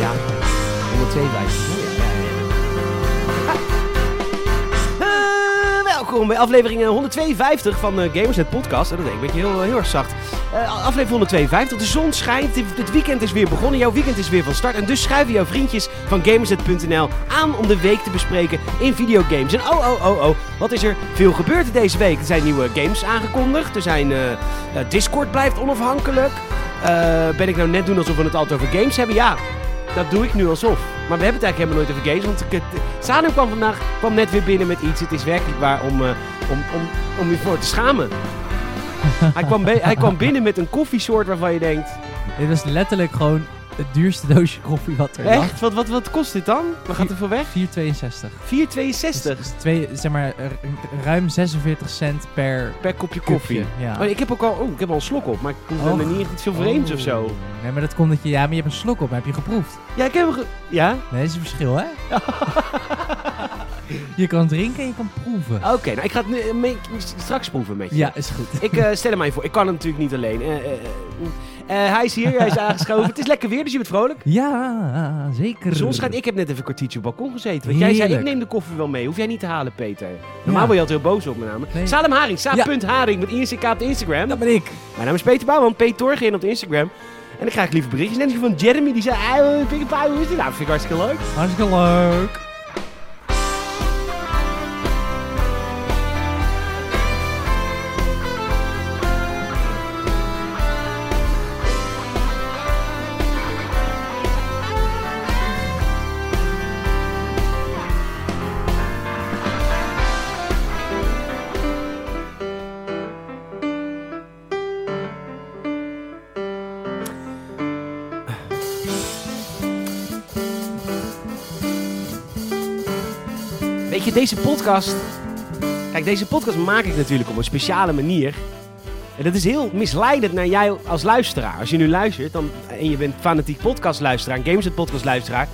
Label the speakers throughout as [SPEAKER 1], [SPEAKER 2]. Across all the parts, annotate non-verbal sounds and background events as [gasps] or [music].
[SPEAKER 1] Ja, 152. Oh, Ja, ja, ja. [laughs] Eh, Welkom bij aflevering eh, 152 van eh, Gamersnet Podcast. Eh, Dat deed ik een beetje heel, eh, heel erg zacht. Eh, aflevering 152. De zon schijnt. dit- Het weekend is weer begonnen. Jouw weekend is weer van start. En dus schuiven jouw vriendjes van Gamersnet.nl aan om de week te bespreken in videogames. En oh, oh, oh, oh. Wat is er veel gebeurd deze week? Er zijn nieuwe games aangekondigd. Er zijn... eh, eh, Discord blijft onafhankelijk. Eh, ben ik nou net doen alsof we het altijd over games hebben? Ja, dat doe ik nu alsof. Maar we hebben het eigenlijk helemaal nooit over games. Want ik, het- Sanu kwam vandaag kwam net weer binnen met iets. Het is werkelijk waar om, eh, om, om, om je voor te
[SPEAKER 2] [laughs]
[SPEAKER 1] schamen. hij, kwam be- hij kwam binnen met een koffiesoort waarvan je denkt...
[SPEAKER 2] Dit was letterlijk gewoon het duurste doosje koffie wat er lag.
[SPEAKER 1] Echt? Wat, wat, wat kost dit dan? Waar gaat er voor weg?
[SPEAKER 2] 4,62.
[SPEAKER 1] 4,62
[SPEAKER 2] Dus twee, zeg maar, eh, ruim 46 cent per
[SPEAKER 1] per kopje koffie.
[SPEAKER 2] kopje. Ja.
[SPEAKER 1] Oh, ik heb ook al... Oh, ik heb al een slok op. Maar ik proef er
[SPEAKER 2] Och.
[SPEAKER 1] niet echt iets veel vreemds of zo.
[SPEAKER 2] Oh. Nee, maar dat komt dat je... Ja, maar je hebt een slok op. Heb je geproefd?
[SPEAKER 1] Ja, ik heb... hem ge- Ja?
[SPEAKER 2] Nee, dat is een verschil,
[SPEAKER 1] [laughs]
[SPEAKER 2] hè? je kan drinken en je kan proeven.
[SPEAKER 1] Oké, nou ik ga het nu, eh, mee- straks proeven met je.
[SPEAKER 2] Ja, is goed.
[SPEAKER 1] Ik eh, stel hem mij voor. Ik kan hem natuurlijk niet alleen. Eh, eh, eh, eh, hij is hier,
[SPEAKER 2] [laughs]
[SPEAKER 1] hij is aangeschoven. het is lekker weer, dus je bent vrolijk.
[SPEAKER 2] Ja, zeker.
[SPEAKER 1] De zon schijnt. Ik heb net even een kwartiertje op het balkon gezeten. Want jij zei, ik
[SPEAKER 2] Heerlijk.
[SPEAKER 1] neem de koffie wel mee. Hoef jij niet te halen, Peter. Normaal
[SPEAKER 2] Ja.
[SPEAKER 1] ben je altijd heel boos op me namen.
[SPEAKER 2] Nee.
[SPEAKER 1] Salem Haring,
[SPEAKER 2] Ja.
[SPEAKER 1] sa.haring met INCK op de Instagram.
[SPEAKER 2] Dat ben ik.
[SPEAKER 1] Mijn naam is Peter Bouwman, P. Torgen op de Instagram. En dan krijg ik lieve berichtjes. Net als die van Jeremy, die zei, hey, eh, vind ik een paar hoe is dit? Nou, vind ik hartstikke leuk.
[SPEAKER 2] Hartstikke leuk.
[SPEAKER 1] Weet je, deze podcast. Kijk, deze podcast maak ik natuurlijk op een speciale manier. En dat is heel misleidend naar jij als luisteraar. Als je nu luistert dan, en je bent fanatiek podcastluisteraar, een Games podcastluisteraar,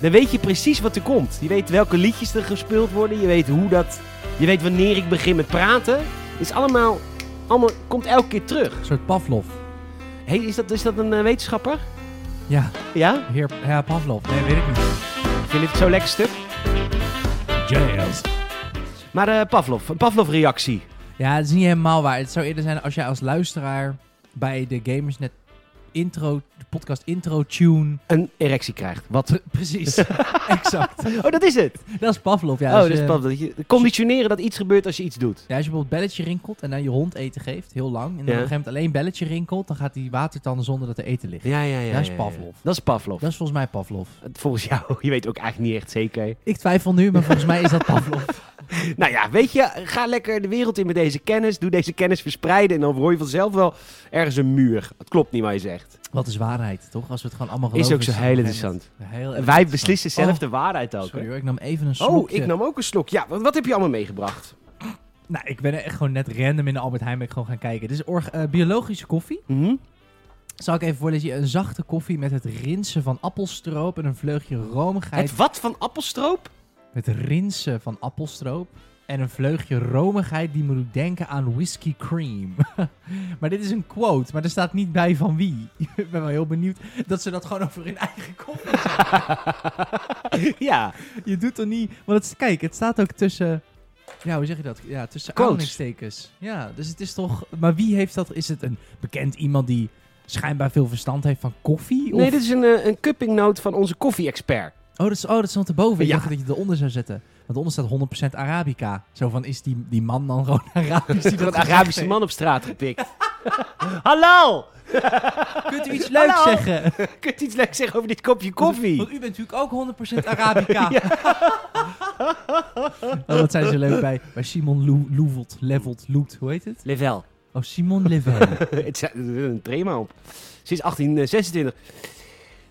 [SPEAKER 1] dan weet je precies wat er komt. Je weet welke liedjes er gespeeld worden, je weet hoe dat. Je weet wanneer ik begin met praten. Het is allemaal, allemaal komt elke keer terug.
[SPEAKER 2] Een soort Pavlov.
[SPEAKER 1] Hey, is, dat, is dat een eh, wetenschapper?
[SPEAKER 2] Ja,
[SPEAKER 1] Ja?
[SPEAKER 2] heer ja, Pavlov. Nee, weet ik niet.
[SPEAKER 1] Vind je het zo lekker stuk?
[SPEAKER 2] Jazz.
[SPEAKER 1] Maar eh, Pavlov, een Pavlov-reactie.
[SPEAKER 2] Ja, het is niet helemaal waar. Het zou eerder zijn als jij als luisteraar bij de Gamersnet intro, de podcast intro tune.
[SPEAKER 1] Een erectie krijgt. Wat?
[SPEAKER 2] Pre-
[SPEAKER 1] [laughs]
[SPEAKER 2] Precies, [laughs] exact.
[SPEAKER 1] Oh, dat is het!
[SPEAKER 2] Dat is Pavlov. Ja,
[SPEAKER 1] oh,
[SPEAKER 2] als
[SPEAKER 1] dus
[SPEAKER 2] je-
[SPEAKER 1] pap, dat je conditioneren dat iets gebeurt als je iets doet.
[SPEAKER 2] Ja, als je bijvoorbeeld belletje rinkelt en dan je hond eten geeft, heel lang.
[SPEAKER 1] Ja.
[SPEAKER 2] En dan op een gegeven moment alleen belletje rinkelt, dan gaat hij watertanden zonder dat er eten ligt.
[SPEAKER 1] Ja, ja, ja.
[SPEAKER 2] Dat is
[SPEAKER 1] ja, ja.
[SPEAKER 2] Pavlov.
[SPEAKER 1] Dat is Pavlov.
[SPEAKER 2] Dat is volgens mij Pavlov.
[SPEAKER 1] Volgens jou, [laughs] je weet ook eigenlijk niet echt zeker.
[SPEAKER 2] Ik twijfel nu, maar volgens mij is
[SPEAKER 1] [laughs]
[SPEAKER 2] dat Pavlov.
[SPEAKER 1] Nou ja, weet je, ga lekker de wereld in met deze kennis. Doe deze kennis verspreiden en dan hoor je vanzelf wel ergens een muur. Het klopt niet wat je zegt.
[SPEAKER 2] Wat is waarheid, toch? Als we het gewoon allemaal
[SPEAKER 1] Is
[SPEAKER 2] geloven.
[SPEAKER 1] ook zo
[SPEAKER 2] het
[SPEAKER 1] heel
[SPEAKER 2] op een
[SPEAKER 1] interessant.
[SPEAKER 2] gegeven moment heel erg
[SPEAKER 1] Eh, Wij
[SPEAKER 2] interessant.
[SPEAKER 1] beslissen zelf
[SPEAKER 2] Oh,
[SPEAKER 1] de waarheid ook.
[SPEAKER 2] Sorry
[SPEAKER 1] hè?
[SPEAKER 2] hoor, ik nam even een slokje.
[SPEAKER 1] Oh, ik nam ook een slok. Ja, wat, wat heb je allemaal meegebracht?
[SPEAKER 2] Nou, ik ben echt gewoon net random in de Albert Heijn ben ik gewoon gaan kijken. Dit is org- eh, biologische koffie.
[SPEAKER 1] Mhm.
[SPEAKER 2] Zal ik even voorlezen? Een zachte koffie met het rinsen van appelstroop en een vleugje romigheid.
[SPEAKER 1] Het wat van appelstroop? [laughs]
[SPEAKER 2] Het rinsen van appelstroop en een vleugje romigheid die me doet denken aan whisky cream. [laughs] maar dit is een quote, maar er staat niet bij van wie. [laughs] ik ben wel heel benieuwd dat ze dat gewoon over hun eigen koffie zeggen.
[SPEAKER 1] ja.
[SPEAKER 2] Je doet er niet... Want het, kijk, het staat ook tussen... Ja, hoe zeg je dat? Ja, tussen
[SPEAKER 1] Quotes.
[SPEAKER 2] aanhalingstekens. Ja, dus het is toch... Maar wie heeft dat? Is het een bekend iemand die schijnbaar veel verstand heeft van koffie? Of...
[SPEAKER 1] Nee, dit is een, eh, een cupping note van onze koffie-expert.
[SPEAKER 2] Oh, dat, is, oh, dat stond erboven. Ik
[SPEAKER 1] Ja.
[SPEAKER 2] dacht dat je het eronder zou zetten. Want eronder staat 100% Arabica. Zo van, is die, die man dan gewoon [laughs] Arabisch? Die
[SPEAKER 1] Een
[SPEAKER 2] dat
[SPEAKER 1] Arabische man op straat [laughs] gepikt. Hallo!
[SPEAKER 2] [laughs] Kunt u iets leuks
[SPEAKER 1] Hallo?
[SPEAKER 2] zeggen?
[SPEAKER 1] Kunt u iets leuks zeggen over dit kopje koffie?
[SPEAKER 2] Want u bent natuurlijk ook 100%
[SPEAKER 1] [laughs]
[SPEAKER 2] Arabica. [laughs] oh, wat zijn ze leuk bij, bij Simon Lou- Louvelt, Levelt, Loet. Hoe heet het?
[SPEAKER 1] Level.
[SPEAKER 2] Oh, Simon Level.
[SPEAKER 1] [laughs] Het zit een trema op. Sinds 1826.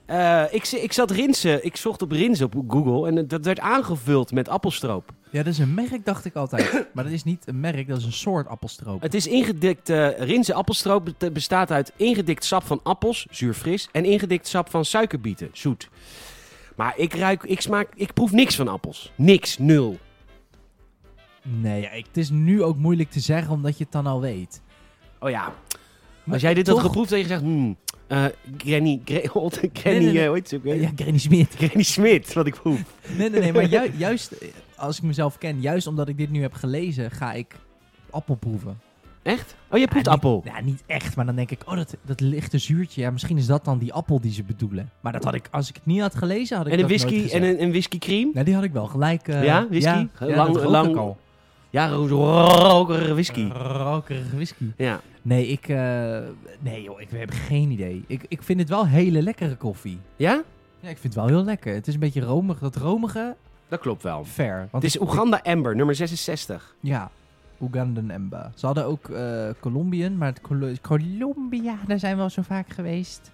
[SPEAKER 1] Eh, ik, zi- ik zat rinsen. Ik zocht op rinsen op Google. En dat werd aangevuld met appelstroop.
[SPEAKER 2] ja, dat is een merk, dacht ik altijd. Maar dat is niet een merk, dat is een soort appelstroop.
[SPEAKER 1] Het is ingedikt. eh rinsen appelstroop bet- bestaat uit ingedikt sap van appels, zuurfris. En ingedikt sap van suikerbieten, zoet. Maar ik ruik, ik smaak, ik proef niks van appels. Niks, nul.
[SPEAKER 2] Nee, ja, ik- het is nu ook moeilijk te zeggen omdat je het dan al weet.
[SPEAKER 1] Oh ja,
[SPEAKER 2] Maar
[SPEAKER 1] als jij dit had
[SPEAKER 2] toch-
[SPEAKER 1] geproefd, had je gezegd, hmm, eh, Granny, Gra- old- [laughs] Granny,
[SPEAKER 2] Nee, nee, nee.
[SPEAKER 1] eh, hoe heet ze ook weer?
[SPEAKER 2] Ja, Granny Smit.
[SPEAKER 1] Granny Smit, wat ik proef.
[SPEAKER 2] Nee, nee, nee, maar ju- juist eh, als ik mezelf ken, juist omdat ik dit nu heb gelezen, ga ik appel proeven.
[SPEAKER 1] Echt? Oh, je
[SPEAKER 2] Ja,
[SPEAKER 1] proeft
[SPEAKER 2] niet-
[SPEAKER 1] appel.
[SPEAKER 2] Ja, niet echt, maar dan denk ik, oh, dat, dat lichte zuurtje. Ja, misschien is dat dan die appel die ze bedoelen. Maar dat had ik, als ik het niet had gelezen, had ik
[SPEAKER 1] en een
[SPEAKER 2] dat nooit
[SPEAKER 1] whisky,
[SPEAKER 2] gezegd.
[SPEAKER 1] en een, een whisky cream.
[SPEAKER 2] Nou, die had ik wel gelijk. eh,
[SPEAKER 1] Ja, whisky?
[SPEAKER 2] Ja, ja,
[SPEAKER 1] Lang-
[SPEAKER 2] dat rook
[SPEAKER 1] lang-
[SPEAKER 2] ik al.
[SPEAKER 1] Ja, ro- ro- rokerige whisky.
[SPEAKER 2] Rokerige whisky.
[SPEAKER 1] Ja.
[SPEAKER 2] Nee, ik... eh, nee, joh, ik heb geen idee. Ik, ik vind het wel hele lekkere koffie.
[SPEAKER 1] Ja?
[SPEAKER 2] Ja, ik vind het wel heel lekker. Het is een beetje romig. Dat romige,
[SPEAKER 1] Dat klopt wel.
[SPEAKER 2] fair. Want
[SPEAKER 1] Het is Oeganda Amber, nummer 66.
[SPEAKER 2] Ja, Ugandan Emba. Ze hadden ook eh Colombian, maar het Colo- Colombia, daar zijn we al zo vaak geweest.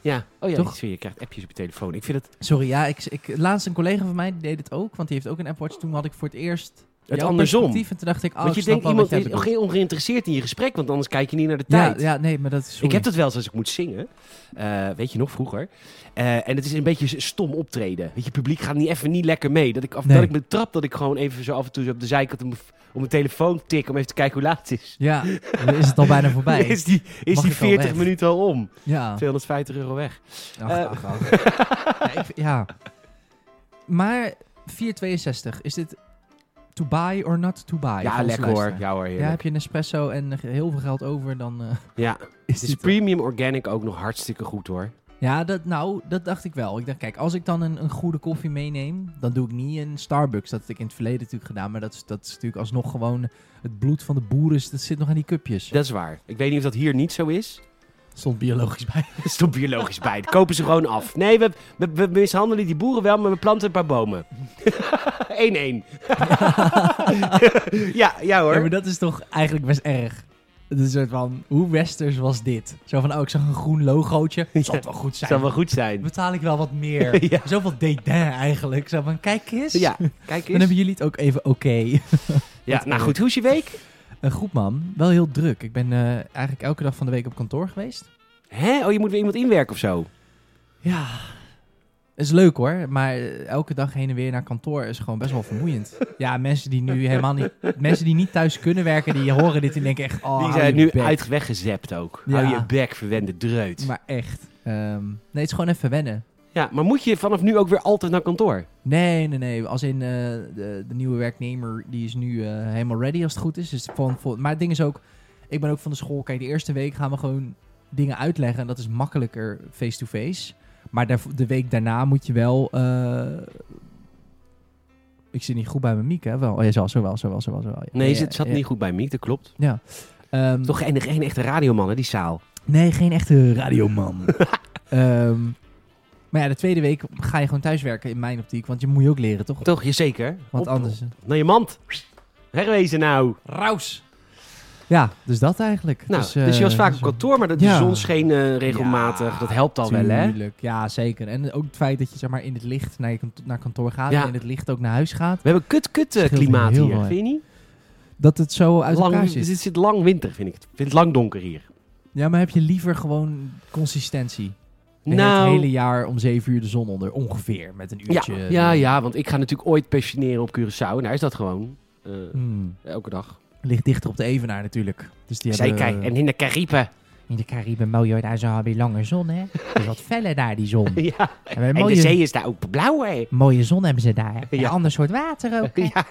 [SPEAKER 1] Ja. Oh ja,
[SPEAKER 2] Toch?
[SPEAKER 1] dit is weer- je krijgt appjes op je telefoon. Ik vind het,
[SPEAKER 2] Sorry, ja, ik, ik, laatst een collega van mij die deed het ook, want die heeft ook een Apple Watch. Toen had ik voor het eerst
[SPEAKER 1] het
[SPEAKER 2] jouw
[SPEAKER 1] andersom.
[SPEAKER 2] perspectief en toen dacht ik, oh,
[SPEAKER 1] Want
[SPEAKER 2] ik
[SPEAKER 1] je
[SPEAKER 2] snap
[SPEAKER 1] denkt,
[SPEAKER 2] wel
[SPEAKER 1] iemand
[SPEAKER 2] wat
[SPEAKER 1] is
[SPEAKER 2] jij bedoelt.
[SPEAKER 1] heel ongeïnteresseerd in je gesprek, want anders kijk je niet naar de
[SPEAKER 2] ja,
[SPEAKER 1] tijd.
[SPEAKER 2] ja, nee, maar dat is
[SPEAKER 1] Ik heb dat wel eens als ik moet zingen. Eh, weet je nog, vroeger. Eh, en het is een beetje stom optreden. Weet je, publiek gaat niet even niet lekker mee. Dat ik, af,
[SPEAKER 2] Nee.
[SPEAKER 1] dat ik me trap, dat ik gewoon even zo af en toe zo op de zijkant om, om mijn telefoon tik om even te kijken hoe laat het is.
[SPEAKER 2] Ja, dan is het al bijna voorbij.
[SPEAKER 1] [laughs] Is die, is
[SPEAKER 2] Mag
[SPEAKER 1] die
[SPEAKER 2] ik al
[SPEAKER 1] 40
[SPEAKER 2] weg? Ah.
[SPEAKER 1] minuten al om? [laughs]
[SPEAKER 2] Ja.
[SPEAKER 1] 250 euro weg.
[SPEAKER 2] Ach,
[SPEAKER 1] Eh.
[SPEAKER 2] ach, ach. ja, ik vind- ja. Maar 4,62, is dit to buy or not to buy? voor
[SPEAKER 1] ja,
[SPEAKER 2] onze
[SPEAKER 1] lekker hoor.
[SPEAKER 2] luisteraar?
[SPEAKER 1] Ja hoor,
[SPEAKER 2] Ja,
[SPEAKER 1] heerlijk.
[SPEAKER 2] heb je een espresso en eh, heel veel geld over, dan eh,
[SPEAKER 1] [laughs] Ja,
[SPEAKER 2] [laughs] is
[SPEAKER 1] het is
[SPEAKER 2] dit...
[SPEAKER 1] premium organic ook nog hartstikke goed hoor.
[SPEAKER 2] Ja, dat, nou, dat dacht ik wel. Ik dacht, kijk, als ik dan een, een goede koffie meeneem, dan doe ik niet een Starbucks. Dat had ik in het verleden natuurlijk gedaan, maar dat, is- dat is natuurlijk alsnog gewoon het bloed van de boeren. is- Dat zit nog aan die cupjes.
[SPEAKER 1] Dat is waar. Ik weet niet of dat hier niet zo is. [laughs]
[SPEAKER 2] stond biologisch bij.
[SPEAKER 1] Er stond biologisch bij. Dat kopen ze gewoon af. Nee, we, we, we mishandelen die boeren wel, maar we planten een paar bomen. [laughs] 1-1. [laughs] ja, ja hoor.
[SPEAKER 2] Ja, maar dat is toch eigenlijk best erg. Het is een soort van, hoe westers was dit? Zo van, oh, ik zag een
[SPEAKER 1] [laughs]
[SPEAKER 2] groen logootje. Zal het wel goed
[SPEAKER 1] dat
[SPEAKER 2] zijn.
[SPEAKER 1] zou wel goed zijn.
[SPEAKER 2] Betaal ik wel wat meer.
[SPEAKER 1] [laughs] Ja.
[SPEAKER 2] Zoveel dédain eigenlijk. Zo van, kijk eens.
[SPEAKER 1] Ja, kijk
[SPEAKER 2] Dan
[SPEAKER 1] eens.
[SPEAKER 2] hebben jullie het ook even oké.
[SPEAKER 1] Ja, nou goed, hoe is je week?
[SPEAKER 2] Eh, goed man, wel heel druk. Ik ben eh, eigenlijk elke dag van de week op kantoor geweest.
[SPEAKER 1] Hè? Oh, je moet weer iemand inwerken of zo?
[SPEAKER 2] Oh, Ja. Is leuk hoor, maar eh, elke dag heen en weer naar kantoor is gewoon best wel vermoeiend. ja, mensen die nu helemaal niet, mensen die niet thuis kunnen werken, die horen dit en denken echt, oh,
[SPEAKER 1] Die
[SPEAKER 2] hou
[SPEAKER 1] zijn
[SPEAKER 2] je
[SPEAKER 1] nu
[SPEAKER 2] bek.
[SPEAKER 1] uit weggezept ook.
[SPEAKER 2] Ja.
[SPEAKER 1] Hou je bek, verwende dreut.
[SPEAKER 2] Maar echt, ehm, nee, het is gewoon even wennen.
[SPEAKER 1] Ja, maar moet je vanaf nu ook weer altijd naar kantoor?
[SPEAKER 2] Nee, nee, nee. Als in eh, de, de nieuwe werknemer, die is nu eh, helemaal ready als het goed is. Dus van, van- maar het ding is ook, ik ben ook van de school. Kijk, de eerste week gaan we gewoon dingen uitleggen. En dat is makkelijker face-to-face. Maar daar, de week daarna moet je wel... eh, ik zit niet goed bij mijn mic, hè? Wel, oh, ja, zo, zo wel, zo wel, zo wel. Zo wel. Ja,
[SPEAKER 1] Nee,
[SPEAKER 2] ja,
[SPEAKER 1] het zat
[SPEAKER 2] ja.
[SPEAKER 1] niet goed bij Miek, dat klopt.
[SPEAKER 2] Ja. Ehm,
[SPEAKER 1] Toch geen, geen echte radioman, hè, die zaal.
[SPEAKER 2] Nee, geen echte
[SPEAKER 1] [laughs]
[SPEAKER 2] radioman. Ehm, maar ja, de tweede week ga je gewoon thuiswerken in mijn optiek. Want je moet je ook leren, toch?
[SPEAKER 1] Toch, je zeker?
[SPEAKER 2] Want
[SPEAKER 1] Op-
[SPEAKER 2] anders...
[SPEAKER 1] Naar je mand. Herwezen nou.
[SPEAKER 2] Raus. Ja, dus dat eigenlijk.
[SPEAKER 1] Nou, dus,
[SPEAKER 2] dus, eh,
[SPEAKER 1] je was vaak op
[SPEAKER 2] dus-
[SPEAKER 1] kantoor, maar dat de
[SPEAKER 2] Ja.
[SPEAKER 1] zon scheen eh, regelmatig.
[SPEAKER 2] Ja,
[SPEAKER 1] dat helpt al wel, hè?
[SPEAKER 2] eh, Tuurlijk, ja zeker. En ook het feit dat je zeg maar, in het licht naar, je kanto- naar kantoor gaat
[SPEAKER 1] Ja.
[SPEAKER 2] en in het licht ook naar huis gaat.
[SPEAKER 1] We hebben kut-kut eh,
[SPEAKER 2] Scheelt
[SPEAKER 1] klimaat
[SPEAKER 2] heel
[SPEAKER 1] hier,
[SPEAKER 2] veel, hè?
[SPEAKER 1] vind je niet?
[SPEAKER 2] Dat het zo uit elkaar
[SPEAKER 1] Lang,
[SPEAKER 2] zit.
[SPEAKER 1] het zit lang winter, vind ik. het. Ik vind het lang donker hier.
[SPEAKER 2] Ja, maar heb je liever gewoon consistentie? En
[SPEAKER 1] Nou,
[SPEAKER 2] Het hele jaar om zeven uur de zon onder, ongeveer, met een
[SPEAKER 1] ja,
[SPEAKER 2] uurtje. eh,
[SPEAKER 1] ja, ja, want ik ga natuurlijk ooit pensioneren op Curaçao. En daar is dat gewoon. eh,
[SPEAKER 2] Hmm.
[SPEAKER 1] elke dag.
[SPEAKER 2] Ligt dichter op de Evenaar natuurlijk. Dus die hebben,
[SPEAKER 1] Zeker. En in de
[SPEAKER 2] [laughs]
[SPEAKER 1] Cariben.
[SPEAKER 2] In de Cariben mooi, daar zo heb je lange zon, hè? Dus wat feller daar, die zon.
[SPEAKER 1] [laughs] ja.
[SPEAKER 2] En een
[SPEAKER 1] En de zee is daar ook blauw, hè?
[SPEAKER 2] Mooie zon hebben ze daar.
[SPEAKER 1] [laughs]
[SPEAKER 2] Een
[SPEAKER 1] Ja.
[SPEAKER 2] ander soort water ook. hè?
[SPEAKER 1] [laughs] Ja.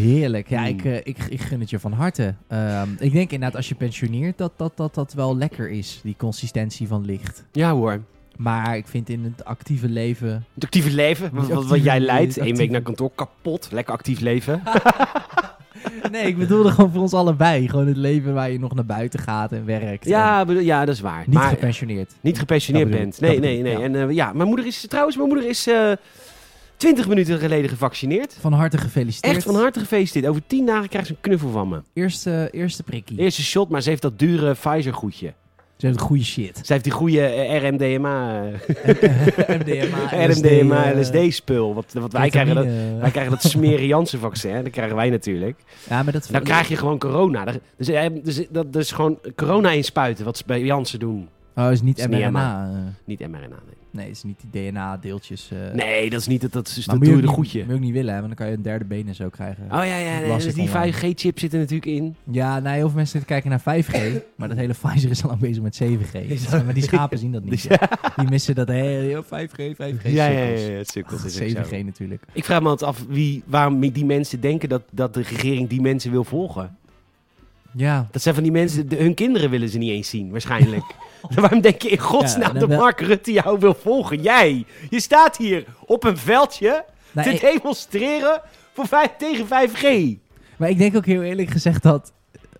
[SPEAKER 2] Heerlijk. Ja,
[SPEAKER 1] Hmm.
[SPEAKER 2] ik, eh, ik, ik gun het je van harte. Ehm, ik denk inderdaad als je pensioneert dat dat, dat dat wel lekker is. Die consistentie van licht.
[SPEAKER 1] ja, hoor.
[SPEAKER 2] Maar ik vind in het actieve leven...
[SPEAKER 1] Het actieve leven, wat, wat, wat jij
[SPEAKER 2] Actieve-
[SPEAKER 1] leidt. Eén week
[SPEAKER 2] actieve-
[SPEAKER 1] naar kantoor, kapot. Lekker actief leven.
[SPEAKER 2] Nee, ik bedoelde gewoon voor ons allebei. Gewoon het leven waar je nog naar buiten gaat en werkt. En
[SPEAKER 1] Ja, bedoel- ja dat is waar.
[SPEAKER 2] niet
[SPEAKER 1] maar,
[SPEAKER 2] gepensioneerd.
[SPEAKER 1] Niet gepensioneerd
[SPEAKER 2] Dat bedoel
[SPEAKER 1] bent.
[SPEAKER 2] ik,
[SPEAKER 1] Nee,
[SPEAKER 2] dat
[SPEAKER 1] nee,
[SPEAKER 2] bedoel
[SPEAKER 1] nee.
[SPEAKER 2] ik,
[SPEAKER 1] En eh, ja, mijn moeder is trouwens, mijn moeder is eh 20 minuten geleden gevaccineerd.
[SPEAKER 2] Van harte gefeliciteerd.
[SPEAKER 1] Echt van harte gefeliciteerd. Over 10 dagen krijgt ze een knuffel van me.
[SPEAKER 2] Eerste, eerste prikkie.
[SPEAKER 1] Eerste shot, maar ze heeft dat dure Pfizer-goedje.
[SPEAKER 2] Ze hebben goede
[SPEAKER 1] [laughs]
[SPEAKER 2] shit.
[SPEAKER 1] Ze heeft die goede eh, RMDMA, eh, [laughs]
[SPEAKER 2] MDMA, eh,
[SPEAKER 1] RMDMA LSD-spul. Wat, wat wij, krijgen dat,
[SPEAKER 2] vitamine.
[SPEAKER 1] wij krijgen dat smeren Janssen-vaccin. Dat krijgen wij natuurlijk.
[SPEAKER 2] Ja, maar dat...
[SPEAKER 1] Nou Dan krijg je gewoon corona. Dat- Dus, eh, dus dat, dat is gewoon corona inspuiten, wat ze bij Janssen doen.
[SPEAKER 2] Oh, is niet
[SPEAKER 1] Is niet
[SPEAKER 2] mRNA. eh.
[SPEAKER 1] Niet mRNA, nee.
[SPEAKER 2] nee, is niet die DNA-deeltjes. eh.
[SPEAKER 1] Nee, dat is niet het, dat is
[SPEAKER 2] Maar
[SPEAKER 1] dat
[SPEAKER 2] moet je
[SPEAKER 1] doe
[SPEAKER 2] ook
[SPEAKER 1] je
[SPEAKER 2] niet-
[SPEAKER 1] goedje.
[SPEAKER 2] Moet je ook niet willen, hè, want dan kan je een derde been en zo krijgen.
[SPEAKER 1] Oh ja, ja, nee,
[SPEAKER 2] Las
[SPEAKER 1] dus
[SPEAKER 2] ik
[SPEAKER 1] die
[SPEAKER 2] online.
[SPEAKER 1] 5G-chip zit er natuurlijk in.
[SPEAKER 2] Ja, nou, heel veel mensen zitten kijken naar
[SPEAKER 1] [laughs]
[SPEAKER 2] 5G, maar dat hele Pfizer is al lang bezig met 7G.
[SPEAKER 1] Is dat-
[SPEAKER 2] Maar die schapen zien
[SPEAKER 1] [laughs]
[SPEAKER 2] dat niet. Die missen dat hele 5G, 5G. cirkels.
[SPEAKER 1] het
[SPEAKER 2] Ach, 7G natuurlijk.
[SPEAKER 1] Ik vraag me altijd af wie, waarom die mensen denken dat, dat de regering die mensen wil volgen.
[SPEAKER 2] Ja.
[SPEAKER 1] Dat zijn van die mensen, de- hun kinderen willen ze niet eens zien,
[SPEAKER 2] [laughs]
[SPEAKER 1] waarschijnlijk. [laughs] Waarom denk je in godsnaam
[SPEAKER 2] Ja,
[SPEAKER 1] dat
[SPEAKER 2] dan wel-
[SPEAKER 1] Mark Rutte jou wil volgen? Jij, je staat hier op een veldje
[SPEAKER 2] Nou,
[SPEAKER 1] te
[SPEAKER 2] ik-
[SPEAKER 1] demonstreren voor vijf, tegen 5G.
[SPEAKER 2] maar ik denk ook heel eerlijk gezegd dat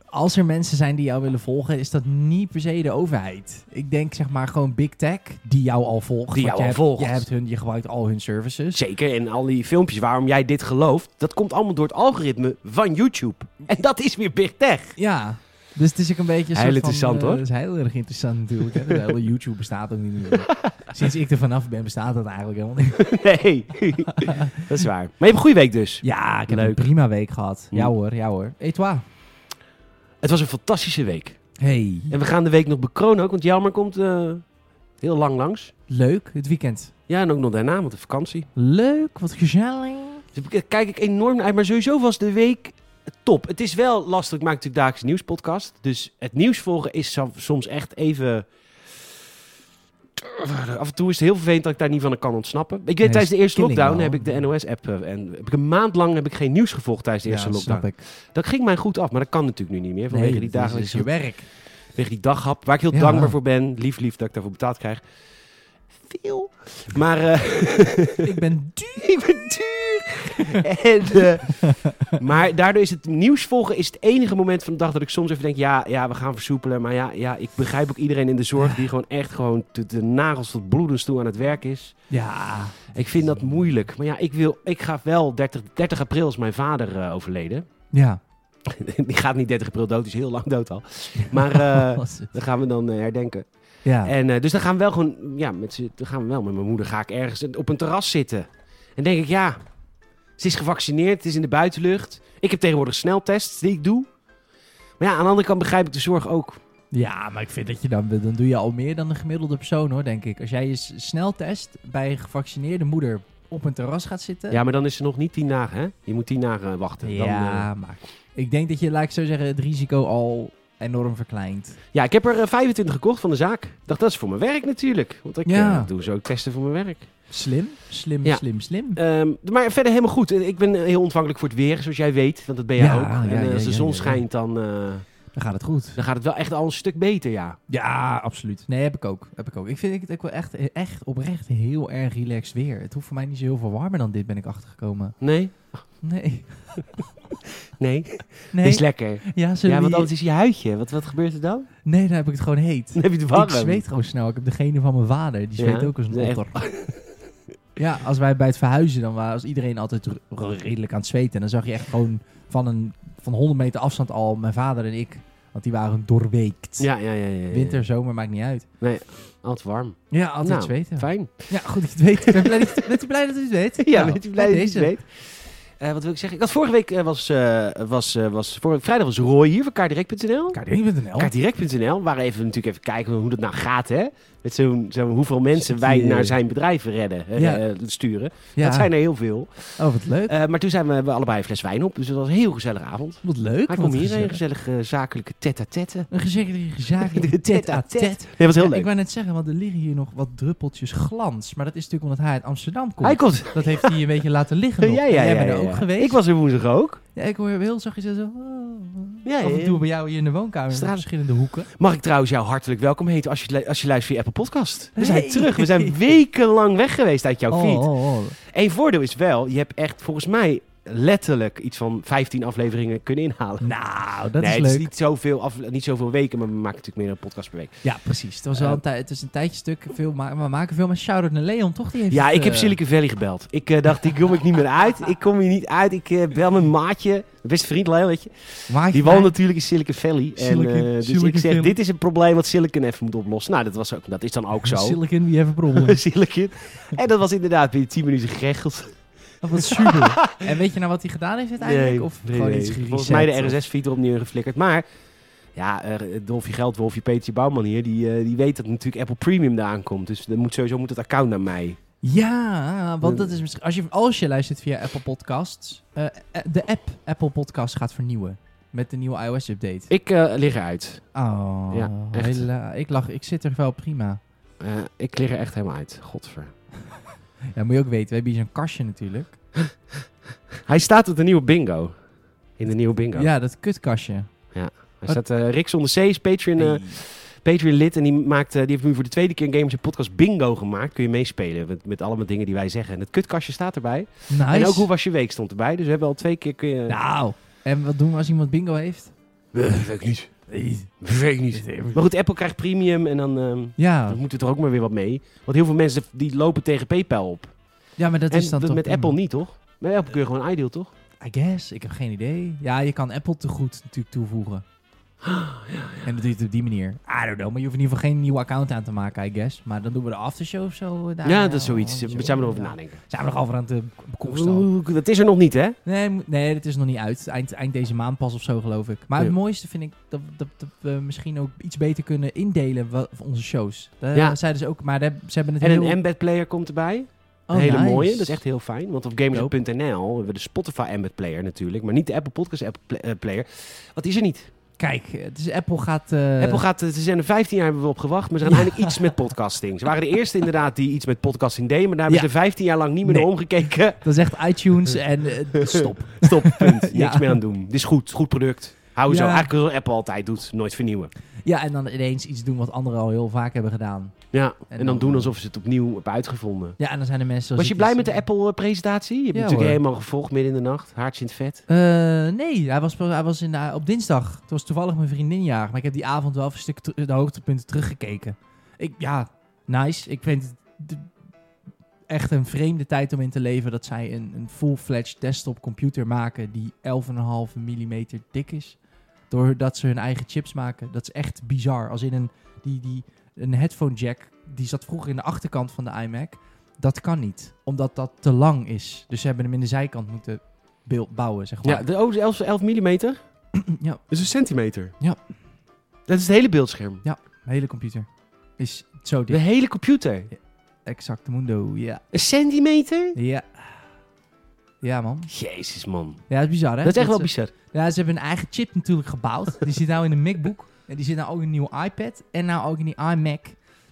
[SPEAKER 2] als er mensen zijn die jou willen volgen, is dat niet per se de overheid. Ik denk zeg maar gewoon big tech die jou al volgt.
[SPEAKER 1] Die jou
[SPEAKER 2] want je
[SPEAKER 1] al
[SPEAKER 2] hebt,
[SPEAKER 1] volgt.
[SPEAKER 2] Je, hebt hun, je gebruikt al hun services.
[SPEAKER 1] Zeker, en al die filmpjes waarom jij dit gelooft, dat komt allemaal door het algoritme van YouTube. En dat is weer big
[SPEAKER 2] [laughs]
[SPEAKER 1] tech.
[SPEAKER 2] Ja. Dus het is ook een beetje... een soort
[SPEAKER 1] Heel
[SPEAKER 2] van,
[SPEAKER 1] interessant,
[SPEAKER 2] eh,
[SPEAKER 1] hoor.
[SPEAKER 2] Dat is heel erg interessant natuurlijk. Hè? De hele YouTube bestaat ook niet meer. [laughs] Sinds ik er vanaf ben, bestaat dat eigenlijk helemaal niet.
[SPEAKER 1] Nee, dat is waar. Maar je hebt een goede week dus.
[SPEAKER 2] Ja, ik heb
[SPEAKER 1] Leuk.
[SPEAKER 2] een prima week gehad.
[SPEAKER 1] Hm.
[SPEAKER 2] Ja hoor, ja hoor. Et toi?
[SPEAKER 1] Het was een fantastische week.
[SPEAKER 2] Hey.
[SPEAKER 1] En we gaan de week nog bekronen ook, want Jelmer komt eh, heel lang langs.
[SPEAKER 2] Leuk, het weekend.
[SPEAKER 1] Ja, en ook nog daarna, want de vakantie.
[SPEAKER 2] Leuk, wat gezellig.
[SPEAKER 1] Dus daar kijk ik enorm naar uit, maar sowieso was de week top. Het is wel lastig, ik maak natuurlijk dagelijks nieuwspodcast. Dus het nieuws volgen is som- soms echt even... Af en toe is het heel vervelend dat ik daar niet van kan ontsnappen. Ik weet,
[SPEAKER 2] Nee,
[SPEAKER 1] tijdens de eerste
[SPEAKER 2] killing
[SPEAKER 1] lockdown
[SPEAKER 2] wel.
[SPEAKER 1] heb ik de NOS-app... eh, en heb ik een maand lang heb ik geen nieuws gevolgd tijdens de eerste
[SPEAKER 2] ja,
[SPEAKER 1] lockdown.
[SPEAKER 2] snap ik.
[SPEAKER 1] Dat ging mij goed af, maar dat kan natuurlijk nu niet meer. Vanwege die
[SPEAKER 2] dat is
[SPEAKER 1] dagelijkse
[SPEAKER 2] je werk.
[SPEAKER 1] [laughs] Tegen die daghap, waar ik heel
[SPEAKER 2] Ja.
[SPEAKER 1] dankbaar voor ben. Lief, lief dat ik daarvoor betaald krijg. Veel. Maar eh, [laughs]
[SPEAKER 2] ik ben duur.
[SPEAKER 1] ik ben duur. en, eh, maar daardoor is het nieuws volgen is het enige moment van de dag dat ik soms even denk... Ja, ja we gaan versoepelen. Maar ja, ja, ik begrijp ook iedereen in de zorg die gewoon echt gewoon de, de nagels tot bloedens toe aan het werk is.
[SPEAKER 2] Ja.
[SPEAKER 1] Ik vind dat moeilijk. Maar ja, ik, wil, ik ga wel... 30, 30 april is mijn vader eh, overleden. [laughs]
[SPEAKER 2] Ja.
[SPEAKER 1] die gaat niet 30 april dood, die is heel lang dood al. Maar...
[SPEAKER 2] [laughs]
[SPEAKER 1] eh
[SPEAKER 2] Was het.
[SPEAKER 1] dat gaan we dan eh, herdenken.
[SPEAKER 2] ja.
[SPEAKER 1] En, eh, dus dan gaan we wel gewoon, ja, met, z'n- dan gaan we wel met mijn moeder ga ik ergens op een terras zitten. En denk ik, ja, ze is gevaccineerd, het is in de buitenlucht. Ik heb tegenwoordig sneltests die ik doe. Maar ja, aan de andere kant begrijp ik de zorg ook.
[SPEAKER 2] ja, maar ik vind dat je dan... Dan doe je al meer dan een gemiddelde persoon hoor, denk ik. Als jij je s- sneltest bij een gevaccineerde moeder op een terras gaat zitten...
[SPEAKER 1] Ja, maar dan is ze nog niet tien dagen, hè? Je moet tien dagen eh, wachten. Dan,
[SPEAKER 2] Ja, maar... Ik denk dat je, laat ik zo zeggen, het risico al enorm verkleint.
[SPEAKER 1] eh, ja, ik heb er eh, 25 gekocht van de zaak. Ik dacht, dat is voor mijn werk natuurlijk. Want ik
[SPEAKER 2] Ja.
[SPEAKER 1] eh, doe zo ook testen voor mijn werk.
[SPEAKER 2] Slim, slim,
[SPEAKER 1] Ja.
[SPEAKER 2] slim, slim.
[SPEAKER 1] Ehm, maar verder helemaal goed. Eh, Ik ben eh, heel ontvankelijk voor het weer, zoals jij weet. Want dat ben jij
[SPEAKER 2] Ja,
[SPEAKER 1] ook. En
[SPEAKER 2] ja,
[SPEAKER 1] eh,
[SPEAKER 2] ja,
[SPEAKER 1] als de
[SPEAKER 2] ja,
[SPEAKER 1] zon
[SPEAKER 2] ja, ja.
[SPEAKER 1] schijnt, dan, eh,
[SPEAKER 2] Dan gaat het goed.
[SPEAKER 1] dan gaat het wel echt al een stuk beter, ja.
[SPEAKER 2] Ja, absoluut. Nee, heb ik ook. Heb ik ook. Ik vind het ook wel echt, echt oprecht heel erg relaxed weer. Het hoeft voor mij niet zo heel veel warmer dan dit, ben ik achtergekomen.
[SPEAKER 1] Nee?
[SPEAKER 2] Nee.
[SPEAKER 1] Nee?
[SPEAKER 2] Nee.
[SPEAKER 1] Is lekker.
[SPEAKER 2] ja,
[SPEAKER 1] Ja,
[SPEAKER 2] ja,
[SPEAKER 1] want anders is je huidje. Wat, wat gebeurt er dan?
[SPEAKER 2] Nee, dan heb ik het gewoon heet.
[SPEAKER 1] [laughs] Dan heb je het warm.
[SPEAKER 2] Ik zweet gewoon snel. Ik heb degene van mijn vader. Die zweet
[SPEAKER 1] Ja,
[SPEAKER 2] ook als een
[SPEAKER 1] nee, echt.
[SPEAKER 2] otter. [laughs] Ja, als wij bij het verhuizen, dan was iedereen altijd r- r- redelijk aan het zweten. En dan zag je echt gewoon van, een, van 100 meter afstand al mijn vader en ik. Want die waren doorweekt.
[SPEAKER 1] Ja, ja, ja, ja, ja.
[SPEAKER 2] Winter, zomer, maakt niet uit.
[SPEAKER 1] Altijd warm.
[SPEAKER 2] Ja, altijd
[SPEAKER 1] Nou,
[SPEAKER 2] zweten.
[SPEAKER 1] Fijn.
[SPEAKER 2] Ja, goed dat je het weet. Ik ben blij dat je- bent u blij dat u het weet?
[SPEAKER 1] [laughs] Ja,
[SPEAKER 2] Nou,
[SPEAKER 1] weet je blij
[SPEAKER 2] bij
[SPEAKER 1] dat je het
[SPEAKER 2] deze.
[SPEAKER 1] weet. Eh, wat wil ik zeggen? Ik had vorige week eh, was, eh, was, eh, was vorige, vrijdag was Roy hier van kaardirect.nl.
[SPEAKER 2] Kaartding.nl.
[SPEAKER 1] Kaardirect.nl. We waren even natuurlijk even kijken hoe dat nou gaat, hè? Met zo'n zo hoeveel mensen
[SPEAKER 2] Zit
[SPEAKER 1] wij
[SPEAKER 2] hier.
[SPEAKER 1] naar zijn bedrijf redden, eh,
[SPEAKER 2] Ja.
[SPEAKER 1] eh, sturen.
[SPEAKER 2] Ja.
[SPEAKER 1] Dat zijn er heel veel.
[SPEAKER 2] Oh, wat leuk.
[SPEAKER 1] Eh, maar toen zijn we, hebben we allebei een fles wijn op, dus dat was een heel gezellige avond.
[SPEAKER 2] Wat leuk.
[SPEAKER 1] Hij
[SPEAKER 2] wat
[SPEAKER 1] kwam hierheen,
[SPEAKER 2] gezellig.
[SPEAKER 1] gezellige eh, zakelijke tête-à-tête. [laughs]
[SPEAKER 2] Een gezellig
[SPEAKER 1] De
[SPEAKER 2] gezagelijke
[SPEAKER 1] tête-à-tête.
[SPEAKER 2] tête-à-tête.
[SPEAKER 1] Nee, was heel
[SPEAKER 2] Ja,
[SPEAKER 1] leuk.
[SPEAKER 2] ik wou net zeggen, want er liggen hier nog wat druppeltjes glans. Maar dat is natuurlijk omdat hij uit Amsterdam komt.
[SPEAKER 1] Hij komt.
[SPEAKER 2] Dat heeft hij een beetje laten liggen nog.
[SPEAKER 1] Ja, ja,
[SPEAKER 2] En jij
[SPEAKER 1] ja,
[SPEAKER 2] bent er
[SPEAKER 1] ja,
[SPEAKER 2] ook
[SPEAKER 1] ja.
[SPEAKER 2] geweest.
[SPEAKER 1] Ik was er woensdag ook.
[SPEAKER 2] Ja, ik hoor heel zachtjes zo... oh,
[SPEAKER 1] Ja,
[SPEAKER 2] Af
[SPEAKER 1] ja.
[SPEAKER 2] en toe bij jou hier in de woonkamer. in
[SPEAKER 1] Straat.
[SPEAKER 2] verschillende hoeken.
[SPEAKER 1] Mag ik trouwens jou hartelijk welkom heten als je, lu- als je luistert via Apple Podcast. We zijn
[SPEAKER 2] Hey.
[SPEAKER 1] terug. We
[SPEAKER 2] [laughs]
[SPEAKER 1] zijn wekenlang weg geweest uit jouw
[SPEAKER 2] Oh,
[SPEAKER 1] feed.
[SPEAKER 2] oh, oh.
[SPEAKER 1] Eén voordeel is wel, je hebt echt volgens mij letterlijk iets van 15 afleveringen kunnen inhalen.
[SPEAKER 2] Nou, dat
[SPEAKER 1] nee,
[SPEAKER 2] is
[SPEAKER 1] het
[SPEAKER 2] leuk.
[SPEAKER 1] is niet zoveel, af, niet zoveel weken, maar we maken natuurlijk meer dan een podcast per week.
[SPEAKER 2] Ja, precies. Het, was wel
[SPEAKER 1] Eh.
[SPEAKER 2] een tij- het is een tijdje stuk. Veel ma- we maken veel, maar shout-out naar Leon, toch? Die heeft
[SPEAKER 1] Ja,
[SPEAKER 2] het,
[SPEAKER 1] ik heb
[SPEAKER 2] eh,
[SPEAKER 1] Silicon Valley gebeld. Ik eh, dacht, ik kom ik niet meer uit. Ik kom hier niet uit. Ik eh, bel mijn maatje, mijn beste vriend Leiletje.
[SPEAKER 2] maatje
[SPEAKER 1] Die
[SPEAKER 2] van-
[SPEAKER 1] woont natuurlijk in Silicon Valley. En,
[SPEAKER 2] Silicon-
[SPEAKER 1] eh, dus ik
[SPEAKER 2] Silicon
[SPEAKER 1] zeg,
[SPEAKER 2] Valley.
[SPEAKER 1] dit is een probleem wat Silicon even moet oplossen. Nou, dat, was ook, dat is dan [laughs] ook zo.
[SPEAKER 2] Silicon, we have a
[SPEAKER 1] [laughs]
[SPEAKER 2] problem.
[SPEAKER 1] Silicon. En dat was inderdaad binnen 10 minuten geregeld.
[SPEAKER 2] Dat
[SPEAKER 1] [laughs]
[SPEAKER 2] was super. en weet je nou wat hij gedaan heeft uiteindelijk? of
[SPEAKER 1] nee,
[SPEAKER 2] gewoon
[SPEAKER 1] nee.
[SPEAKER 2] iets gereset?
[SPEAKER 1] Volgens mij de
[SPEAKER 2] of-
[SPEAKER 1] RSS-feed erop neergeflikkerd. Maar Ja, eh, Dolfje Geldwolfje, Petertje Bouwman hier, die, eh, die weet dat natuurlijk Apple Premium eraan komt. Dus dan moet, sowieso moet het account naar mij.
[SPEAKER 2] Ja,
[SPEAKER 1] Eh.
[SPEAKER 2] want dat is misschien... Als je, als je luistert via Apple Podcasts, eh, eh, de app Apple Podcasts gaat vernieuwen. Met de nieuwe iOS-update.
[SPEAKER 1] Ik eh, lig eruit.
[SPEAKER 2] Oh,
[SPEAKER 1] Ja, echt.
[SPEAKER 2] hela- ik lach. Ik zit er wel prima.
[SPEAKER 1] Eh, ik lig er echt helemaal uit. Godver.
[SPEAKER 2] Ja, moet je ook weten. We hebben hier zo'n kastje natuurlijk.
[SPEAKER 1] Hij staat op de nieuwe bingo. In de nieuwe bingo.
[SPEAKER 2] Ja, dat kutkastje.
[SPEAKER 1] Hij staat eh Rick zonder C is Patreon, eh, Patreon lid. En die, maakt, eh, die heeft nu voor de tweede keer een Gamers en Podcast bingo gemaakt. Kun je meespelen met, met allemaal dingen die wij zeggen. En het kutkastje staat erbij.
[SPEAKER 2] Nice.
[SPEAKER 1] En ook hoe was je week stond erbij. Dus we hebben al twee keer... Kun je...
[SPEAKER 2] Nou, en wat doen we als iemand bingo heeft?
[SPEAKER 1] Eh, weet ik niet. Weet ik niet. Maar goed, Apple krijgt premium en dan, ehm,
[SPEAKER 2] Ja,
[SPEAKER 1] dan moeten we er ook maar weer wat mee. Want heel veel mensen die lopen tegen PayPal op.
[SPEAKER 2] ja maar dat
[SPEAKER 1] en
[SPEAKER 2] is dan
[SPEAKER 1] dat
[SPEAKER 2] toch
[SPEAKER 1] met
[SPEAKER 2] prima.
[SPEAKER 1] Apple niet, toch? Met Apple kun je gewoon iDeal, toch?
[SPEAKER 2] I guess, ik heb geen idee. Ja, je kan Apple te goed natuurlijk
[SPEAKER 1] [gasps]
[SPEAKER 2] toevoegen. En dat doe je het op die manier. I don't know, maar je hoeft in ieder geval geen nieuw account aan te maken, I guess. Maar dan doen we de aftershow of zo. eh, daar.
[SPEAKER 1] ja, dat is zoiets.
[SPEAKER 2] Zo,
[SPEAKER 1] Daar zijn we erover
[SPEAKER 2] ja.
[SPEAKER 1] nadenken.
[SPEAKER 2] Zijn we nog over aan het bekomsten?
[SPEAKER 1] Oeh, Dat is er nog niet, hè?
[SPEAKER 2] Nee, mo- nee, het is nog niet uit. Eind, eind deze maand pas of zo, geloof ik. Maar het
[SPEAKER 1] Ja.
[SPEAKER 2] mooiste vind ik dat, dat, dat we misschien ook iets beter kunnen indelen wa- van onze shows. Daar
[SPEAKER 1] Ja.
[SPEAKER 2] zeiden ze ook, maar daar- ze hebben het
[SPEAKER 1] En
[SPEAKER 2] heel...
[SPEAKER 1] een embed player komt erbij.
[SPEAKER 2] Oh,
[SPEAKER 1] een hele
[SPEAKER 2] nice.
[SPEAKER 1] mooie. Dat is echt heel fijn. Want op gamers.nl hebben we de Spotify embed player natuurlijk. Maar niet de Apple Podcast app pla- eh, player. Wat is er niet?
[SPEAKER 2] Kijk, het is Apple gaat... eh,
[SPEAKER 1] Apple gaat, eh, ze zijn er 15 jaar hebben we op gewacht. Maar ze gaan eindelijk iets met podcasting. Ze waren de eerste inderdaad die iets met podcasting deden. Maar daar hebben
[SPEAKER 2] Ja.
[SPEAKER 1] ze 15 jaar lang niet meer
[SPEAKER 2] Nee.
[SPEAKER 1] naar omgekeken.
[SPEAKER 2] Dat is echt
[SPEAKER 1] [laughs]
[SPEAKER 2] iTunes en eh, stop.
[SPEAKER 1] Stop, punt. Niks
[SPEAKER 2] [laughs] Ja.
[SPEAKER 1] meer aan doen. Dit is goed. Goed product. Hou zo.
[SPEAKER 2] Ja.
[SPEAKER 1] Eigenlijk zoals Apple altijd doet. Nooit vernieuwen.
[SPEAKER 2] Ja, en dan ineens iets doen wat anderen al heel vaak hebben gedaan.
[SPEAKER 1] Ja. En,
[SPEAKER 2] En
[SPEAKER 1] dan
[SPEAKER 2] dan-
[SPEAKER 1] doen alsof ze het opnieuw hebben uitgevonden.
[SPEAKER 2] Ja, en dan zijn er mensen... zoals
[SPEAKER 1] Was je
[SPEAKER 2] ik
[SPEAKER 1] blij
[SPEAKER 2] dus-
[SPEAKER 1] met de Apple-presentatie? Je hebt
[SPEAKER 2] Ja,
[SPEAKER 1] natuurlijk
[SPEAKER 2] hoor.
[SPEAKER 1] helemaal gevolgd midden in de nacht. Haartje in het vet.
[SPEAKER 2] Eh, nee, hij was, hij was in, eh, op dinsdag. Toen was toevallig mijn vriendin jarig. Maar ik heb die avond wel even een stuk ter- de hoogtepunten teruggekeken. Ik, ja, nice. Ik vind het de- echt een vreemde tijd om in te leven dat zij een, een full-fledged desktop computer maken die 11,5 mm dik is. Doordat ze hun eigen chips maken. Dat is echt bizar. Als in een, die, die, een headphone jack, die zat vroeger in de achterkant van de iMac. Dat kan niet, omdat dat te lang is. Dus ze hebben hem in de zijkant moeten beel- bouwen, zeg maar.
[SPEAKER 1] Ja, de, oh, 11, 11 mm. Dat
[SPEAKER 2] [clears throat] Ja,
[SPEAKER 1] is Dus een centimeter.
[SPEAKER 2] Ja.
[SPEAKER 1] Dat is het hele beeldscherm.
[SPEAKER 2] de hele computer is zo
[SPEAKER 1] De
[SPEAKER 2] dik.
[SPEAKER 1] hele computer.
[SPEAKER 2] Exact mundo, ja.
[SPEAKER 1] Een centimeter?
[SPEAKER 2] Ja. Ja, man.
[SPEAKER 1] Jezus, man.
[SPEAKER 2] Ja, dat eh, is bizar, hè?
[SPEAKER 1] Dat is echt wel
[SPEAKER 2] ze-
[SPEAKER 1] bizar.
[SPEAKER 2] Ja, ze hebben een eigen chip natuurlijk gebouwd. die zit nou in een MacBook. En die zit nou ook in een nieuwe iPad. En nou ook in die iMac.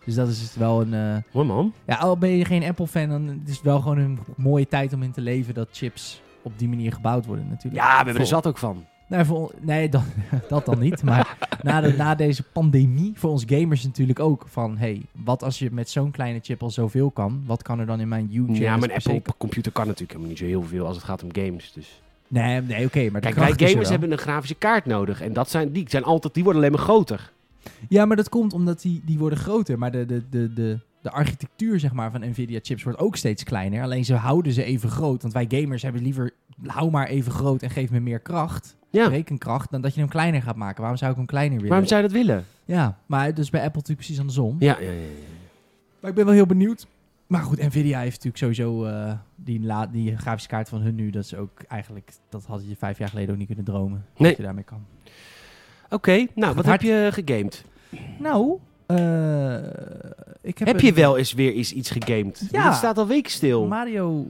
[SPEAKER 2] Dus dat is wel een... eh,
[SPEAKER 1] Mooi, man.
[SPEAKER 2] Ja, al ben je geen Apple-fan, dan is het wel gewoon een mooie tijd om in te leven dat chips op die manier gebouwd worden natuurlijk.
[SPEAKER 1] Ja, we hebben er
[SPEAKER 2] Vol.
[SPEAKER 1] zat ook van.
[SPEAKER 2] Nee, voor, on- nee dan, [laughs] dat dan niet. Maar na, de- na deze pandemie, voor ons gamers natuurlijk ook, van hey, wat als je met zo'n kleine chip al zoveel kan, wat kan er dan in mijn YouTube?
[SPEAKER 1] Ja, mijn Apple-computer kan natuurlijk helemaal niet zo heel veel als het gaat om games. Dus.
[SPEAKER 2] Nee, nee oké, maar de
[SPEAKER 1] Kijk,
[SPEAKER 2] kracht
[SPEAKER 1] wij
[SPEAKER 2] is er
[SPEAKER 1] gamers
[SPEAKER 2] wel.
[SPEAKER 1] hebben een grafische kaart nodig. En dat zijn, die, zijn altijd, die worden alleen maar groter.
[SPEAKER 2] Ja, maar dat komt omdat die, die worden groter. Maar de, de, de, de, de architectuur zeg maar, van Nvidia-chips wordt ook steeds kleiner. Alleen ze houden ze even groot. Want wij gamers hebben liever, hou maar even groot en geef me meer kracht,
[SPEAKER 1] Ja,
[SPEAKER 2] rekenkracht, dan dat je hem kleiner gaat maken. Waarom zou ik hem kleiner willen?
[SPEAKER 1] waarom zou je dat willen?
[SPEAKER 2] Ja, maar dus bij Apple natuurlijk precies andersom.
[SPEAKER 1] Ja, ja, ja. ja.
[SPEAKER 2] Maar ik ben wel heel benieuwd. Maar goed, Nvidia heeft natuurlijk sowieso eh, die, la- die grafische kaart van hun nu. Dat is ook eigenlijk, dat had je vijf jaar geleden ook niet kunnen dromen.
[SPEAKER 1] Nee.
[SPEAKER 2] Dat je daarmee kan.
[SPEAKER 1] Oké, nou, wat
[SPEAKER 2] Hard.
[SPEAKER 1] heb je gegamed?
[SPEAKER 2] Nou, eh, ik heb,
[SPEAKER 1] Heb je wel eens weer eens iets gegamed?
[SPEAKER 2] Ja.
[SPEAKER 1] Het staat al weken stil.
[SPEAKER 2] Mario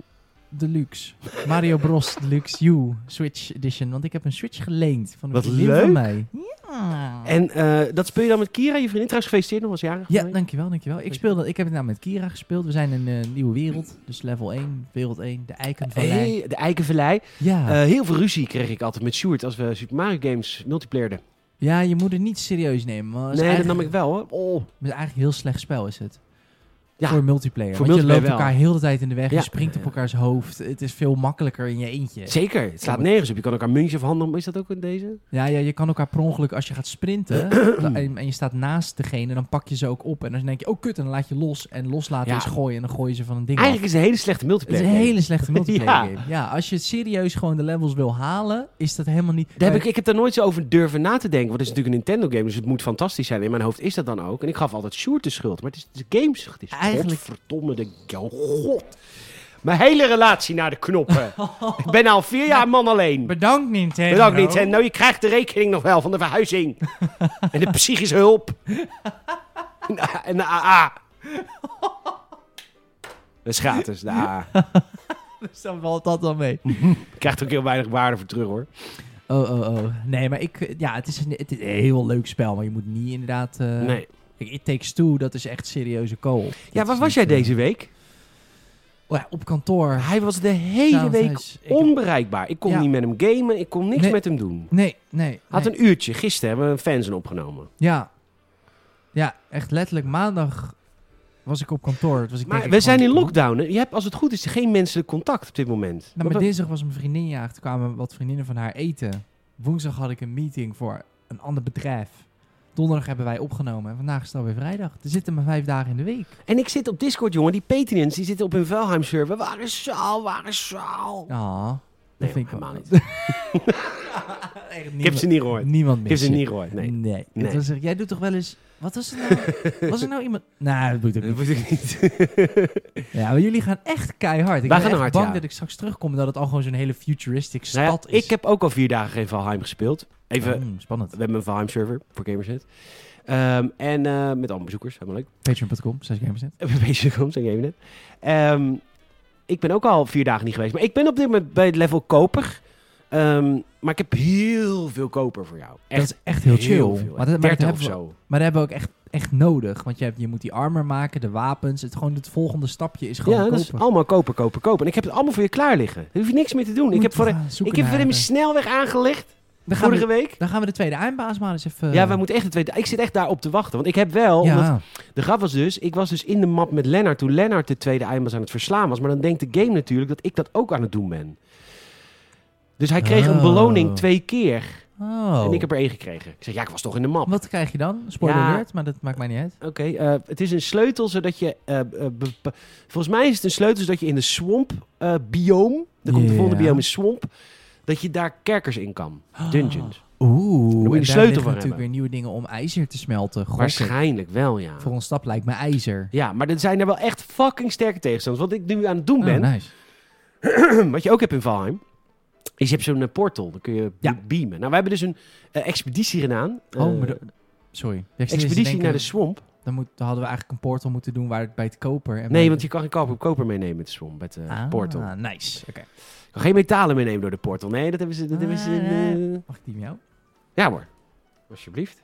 [SPEAKER 2] Deluxe. Mario Bros. Deluxe U Switch Edition. Want ik heb een Switch geleend van een
[SPEAKER 1] Wat
[SPEAKER 2] vriendin
[SPEAKER 1] leuk.
[SPEAKER 2] van mij. Ja.
[SPEAKER 1] En eh, dat speel je dan met Kira, je vriendin. Trouwens, gefeliciteerd nog als jarig.
[SPEAKER 2] ja,
[SPEAKER 1] vandaag.
[SPEAKER 2] dankjewel, dankjewel. Ik, speelde, ik heb het nou met Kira gespeeld. We zijn in een nieuwe wereld. Dus level 1, wereld 1, de eiken van Lijn.
[SPEAKER 1] Hey, de Eikenvallei.
[SPEAKER 2] Ja.
[SPEAKER 1] Eh, heel veel ruzie kreeg ik altijd met Sjoerd als we Super Mario Games multiplayerden.
[SPEAKER 2] ja, je moet het niet serieus nemen. want het is
[SPEAKER 1] Nee, dat
[SPEAKER 2] eigenlijk-
[SPEAKER 1] nam ik wel hoor. Oh.
[SPEAKER 2] Het is eigenlijk een heel slecht spel is het.
[SPEAKER 1] Ja,
[SPEAKER 2] voor multiplayer.
[SPEAKER 1] voor
[SPEAKER 2] want
[SPEAKER 1] multiplayer
[SPEAKER 2] je loopt
[SPEAKER 1] wel.
[SPEAKER 2] elkaar heel de tijd in de weg.
[SPEAKER 1] Ja.
[SPEAKER 2] Je springt op elkaars hoofd. Het is veel makkelijker in je eentje.
[SPEAKER 1] Zeker, het
[SPEAKER 2] Ja,
[SPEAKER 1] slaat
[SPEAKER 2] maar-
[SPEAKER 1] nergens op. Je kan elkaar muntjes afhandelen. Is dat ook in deze?
[SPEAKER 2] Ja, ja, je kan elkaar per ongeluk als je gaat sprinten
[SPEAKER 1] [clears throat]
[SPEAKER 2] da- en, en je staat naast degene, dan pak je ze ook op. En dan denk je, oh kut, en dan laat je los. En loslaten
[SPEAKER 1] Ja.
[SPEAKER 2] is gooien en dan gooi je ze van een ding af.
[SPEAKER 1] Eigenlijk is het een hele slechte
[SPEAKER 2] Het is
[SPEAKER 1] multiplayer.
[SPEAKER 2] een hele slechte multiplayer
[SPEAKER 1] [laughs] Ja.
[SPEAKER 2] game. Ja, als je serieus gewoon de levels wil halen, is dat helemaal niet...
[SPEAKER 1] Daar heb ik, ik heb daar nooit zo over durven na te denken. Want het is natuurlijk een Nintendo game, dus het moet fantastisch zijn. In mijn hoofd is dat dan ook. En ik gaf altijd Sjoerd de schuld. Maar het is de games. Het is
[SPEAKER 2] Eigenlijk-
[SPEAKER 1] Godverdomme de... Oh, god. Mijn hele relatie naar de
[SPEAKER 2] [laughs]
[SPEAKER 1] knoppen. Ik ben al vier jaar man alleen.
[SPEAKER 2] Bedankt Nintendo.
[SPEAKER 1] Bedankt niet. En nou, je krijgt de rekening nog wel van de [laughs] verhuizing. en de psychische hulp. en, de- en de AA. Dat is gratis, de AA.
[SPEAKER 2] Dus [laughs] dan valt dat dan mee.
[SPEAKER 1] Je krijgt ook heel weinig waarde voor terug, hoor.
[SPEAKER 2] Oh, oh, oh. Nee, maar ik, ja, het is, een, het is een heel leuk spel, maar je moet niet inderdaad... eh,
[SPEAKER 1] Nee.
[SPEAKER 2] Kijk, It Takes Two, dat is echt serieuze kool.
[SPEAKER 1] Ja, waar was jij deze week?
[SPEAKER 2] Oh, ja, op kantoor.
[SPEAKER 1] Hij was de hele
[SPEAKER 2] Thuis,
[SPEAKER 1] week
[SPEAKER 2] thuis. Ik-
[SPEAKER 1] onbereikbaar. Ik kon
[SPEAKER 2] Ja.
[SPEAKER 1] niet met hem gamen. Ik kon niks
[SPEAKER 2] Nee.
[SPEAKER 1] met hem doen.
[SPEAKER 2] Nee, nee.
[SPEAKER 1] Had
[SPEAKER 2] nee.
[SPEAKER 1] een uurtje. Gisteren hebben we een fanzin opgenomen.
[SPEAKER 2] Ja. Ja, echt letterlijk maandag was ik op kantoor. Het Was ik
[SPEAKER 1] Maar
[SPEAKER 2] denk
[SPEAKER 1] we
[SPEAKER 2] ik
[SPEAKER 1] zijn in
[SPEAKER 2] gewoon-
[SPEAKER 1] lockdown. hè. Je hebt, als het goed is, geen menselijk contact op dit moment.
[SPEAKER 2] Nou,
[SPEAKER 1] Want
[SPEAKER 2] maar
[SPEAKER 1] dat-
[SPEAKER 2] dinsdag was mijn vriendin jaagd. kwamen wat vriendinnen van haar eten. Woensdag had ik een meeting voor een ander bedrijf. Donderdag hebben wij opgenomen. En vandaag is het alweer vrijdag. Er zitten maar vijf dagen in de week.
[SPEAKER 1] En ik zit op Discord, jongen. Die Patreons, die zitten op hun Valheim-server. Waar is Saal? Waar is Saal?
[SPEAKER 2] Ah, dat
[SPEAKER 1] Nee,
[SPEAKER 2] vind ik
[SPEAKER 1] helemaal
[SPEAKER 2] [laughs]
[SPEAKER 1] niet. [laughs]
[SPEAKER 2] Echt
[SPEAKER 1] Ik heb
[SPEAKER 2] niemand,
[SPEAKER 1] ze niet gehoord.
[SPEAKER 2] niemand
[SPEAKER 1] Ik
[SPEAKER 2] meer.
[SPEAKER 1] heb ze niet gehoord, nee.
[SPEAKER 2] nee.
[SPEAKER 1] Nee.
[SPEAKER 2] Het was echt- jij doet toch wel eens... Wat was het nou? was er nou iemand... Nou, dat doet ook
[SPEAKER 1] Dat
[SPEAKER 2] niet.
[SPEAKER 1] moet ik niet.
[SPEAKER 2] [laughs] Ja, maar jullie gaan echt keihard.
[SPEAKER 1] Wij
[SPEAKER 2] Ik ben
[SPEAKER 1] gaan
[SPEAKER 2] echt
[SPEAKER 1] hard,
[SPEAKER 2] bang
[SPEAKER 1] ja.
[SPEAKER 2] dat ik straks terugkom en dat het al gewoon zo'n hele futuristic
[SPEAKER 1] Nou ja,
[SPEAKER 2] stad is.
[SPEAKER 1] ik heb ook al vier dagen geen Valheim gespeeld. Even,
[SPEAKER 2] Mm, spannend.
[SPEAKER 1] we hebben een Valheim-server voor Gamerset. Ehm, en eh, met allemaal bezoekers, helemaal leuk. [laughs]
[SPEAKER 2] Patreon.com, 6
[SPEAKER 1] Bezig om, zeg ik even net. Ehm, ik ben ook al vier dagen niet geweest. Maar ik ben op dit moment bij het level koper. Ehm, maar ik heb heel veel koper voor jou.
[SPEAKER 2] Dat
[SPEAKER 1] Echt
[SPEAKER 2] is echt heel chill.
[SPEAKER 1] veel.
[SPEAKER 2] maar, dat, maar, dat
[SPEAKER 1] 30 of
[SPEAKER 2] hebben we,
[SPEAKER 1] zo.
[SPEAKER 2] maar dat hebben we ook echt, echt nodig. Want je, hebt, je moet die armor maken, de wapens. Het, gewoon het volgende stapje is gewoon
[SPEAKER 1] Ja, dat is
[SPEAKER 2] kopen.
[SPEAKER 1] allemaal koper, koper, koper. En ik heb het allemaal voor je klaar liggen. Daar hoef je niks meer te doen. Ik
[SPEAKER 2] Moet
[SPEAKER 1] heb, voor
[SPEAKER 2] we
[SPEAKER 1] de,
[SPEAKER 2] gaan zoeken
[SPEAKER 1] ik heb voor
[SPEAKER 2] naar
[SPEAKER 1] hem
[SPEAKER 2] de-
[SPEAKER 1] snelweg aangelegd
[SPEAKER 2] dan, gaan
[SPEAKER 1] vorige
[SPEAKER 2] we,
[SPEAKER 1] week.
[SPEAKER 2] dan gaan we de tweede eindbaas maar eens even...
[SPEAKER 1] Ja, wij moeten echt de tweede. Ik zit echt daarop te wachten. Want ik heb wel.
[SPEAKER 2] Ja,
[SPEAKER 1] Omdat, de grap was dus. Ik was dus in de map met Lennart. Toen Lennart de tweede eindbaas aan het verslaan was. Maar dan denkt de game natuurlijk dat ik dat ook aan het doen ben. Dus hij kreeg een
[SPEAKER 2] Oh.
[SPEAKER 1] beloning twee keer.
[SPEAKER 2] Oh.
[SPEAKER 1] En ik heb er één gekregen. Ik zeg, ja, ik was toch in de map.
[SPEAKER 2] Wat krijg je dan? Spoiler
[SPEAKER 1] Ja.
[SPEAKER 2] alert, maar dat maakt mij niet uit.
[SPEAKER 1] Oké, eh, het is een sleutel zodat je. eh, eh, be- be- volgens mij is het een sleutel zodat je in de swamp eh bioom. Dan komt de volgende
[SPEAKER 2] Ja. Ah,
[SPEAKER 1] bioom is swamp. Dat je daar kerkers in kan. Dungeons.
[SPEAKER 2] Oeh,
[SPEAKER 1] je
[SPEAKER 2] en
[SPEAKER 1] de
[SPEAKER 2] daar
[SPEAKER 1] sleutel
[SPEAKER 2] liggen
[SPEAKER 1] voor
[SPEAKER 2] natuurlijk
[SPEAKER 1] hebben.
[SPEAKER 2] weer nieuwe dingen om ijzer te smelten. Gok ik.
[SPEAKER 1] Waarschijnlijk wel, ja.
[SPEAKER 2] Voor ons stap lijkt me ijzer.
[SPEAKER 1] Ja, maar er zijn er wel echt fucking sterke tegenstanders. Wat ik nu aan het doen
[SPEAKER 2] Oh,
[SPEAKER 1] ben, [clears throat]
[SPEAKER 2] nice.
[SPEAKER 1] wat je ook hebt in Valheim, is je hebt zo'n eh, portal. Dan kun je
[SPEAKER 2] Ja.
[SPEAKER 1] be- beamen. Nou, we hebben dus een eh, expeditie gedaan.
[SPEAKER 2] Oh,
[SPEAKER 1] Eh,
[SPEAKER 2] maar de- sorry. Ja, ik zit eens te
[SPEAKER 1] expeditie
[SPEAKER 2] denken,
[SPEAKER 1] naar de swamp.
[SPEAKER 2] Dan, moet, dan hadden we eigenlijk een portal moeten doen waar het bij het koper... En
[SPEAKER 1] Nee, want je kan geen koper koper meenemen met de swamp, met de
[SPEAKER 2] Ah,
[SPEAKER 1] portal. Je
[SPEAKER 2] nice. Oké.
[SPEAKER 1] kan geen metalen meenemen door de portal. Nee, dat hebben ze... Dat hebben
[SPEAKER 2] Ah,
[SPEAKER 1] ze in, eh,
[SPEAKER 2] Mag ik die met jou?
[SPEAKER 1] Ja hoor, alsjeblieft.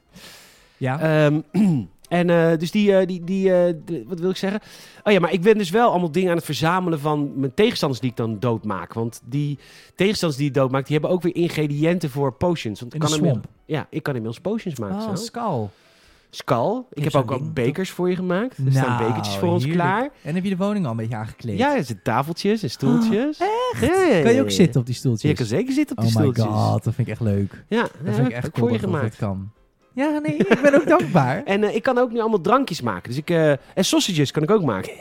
[SPEAKER 2] Ja.
[SPEAKER 1] Ehm, [clears throat] en eh, dus die... eh, die, die eh, de- wat wil ik zeggen? Oh ja, maar ik ben dus wel allemaal dingen aan het verzamelen van mijn tegenstanders die ik dan doodmaak. Want die tegenstanders die ik doodmaak, die hebben ook weer ingrediënten voor potions. Want ik
[SPEAKER 2] in de
[SPEAKER 1] kan inmiddels-
[SPEAKER 2] swamp.
[SPEAKER 1] Ja, ik kan inmiddels potions maken.
[SPEAKER 2] Oh,
[SPEAKER 1] zo.
[SPEAKER 2] skal.
[SPEAKER 1] Skal. Ik
[SPEAKER 2] Heb
[SPEAKER 1] heb
[SPEAKER 2] zo'n
[SPEAKER 1] ook al
[SPEAKER 2] ding,
[SPEAKER 1] bekers voor je gemaakt. Er staan
[SPEAKER 2] Nou,
[SPEAKER 1] bekertjes voor ons
[SPEAKER 2] heerlijk.
[SPEAKER 1] klaar.
[SPEAKER 2] En heb je de woning al een beetje aangekleed?
[SPEAKER 1] Ja, er zitten tafeltjes en stoeltjes. echt? Ja, ja, ja,
[SPEAKER 2] Oh, Kan je
[SPEAKER 1] ja,
[SPEAKER 2] ook
[SPEAKER 1] ja.
[SPEAKER 2] zitten op die stoeltjes?
[SPEAKER 1] Je kan zeker zitten op
[SPEAKER 2] oh
[SPEAKER 1] die stoeltjes.
[SPEAKER 2] my god, dat vind ik echt leuk.
[SPEAKER 1] Ja,
[SPEAKER 2] Dat
[SPEAKER 1] heb
[SPEAKER 2] vind ik echt
[SPEAKER 1] ook
[SPEAKER 2] cool
[SPEAKER 1] voor je
[SPEAKER 2] dat dat
[SPEAKER 1] gemaakt.
[SPEAKER 2] kan. Ja, nee, ik ben ook dankbaar.
[SPEAKER 1] En eh, ik kan ook nu allemaal drankjes maken. Dus ik, eh, en sausages kan ik ook maken.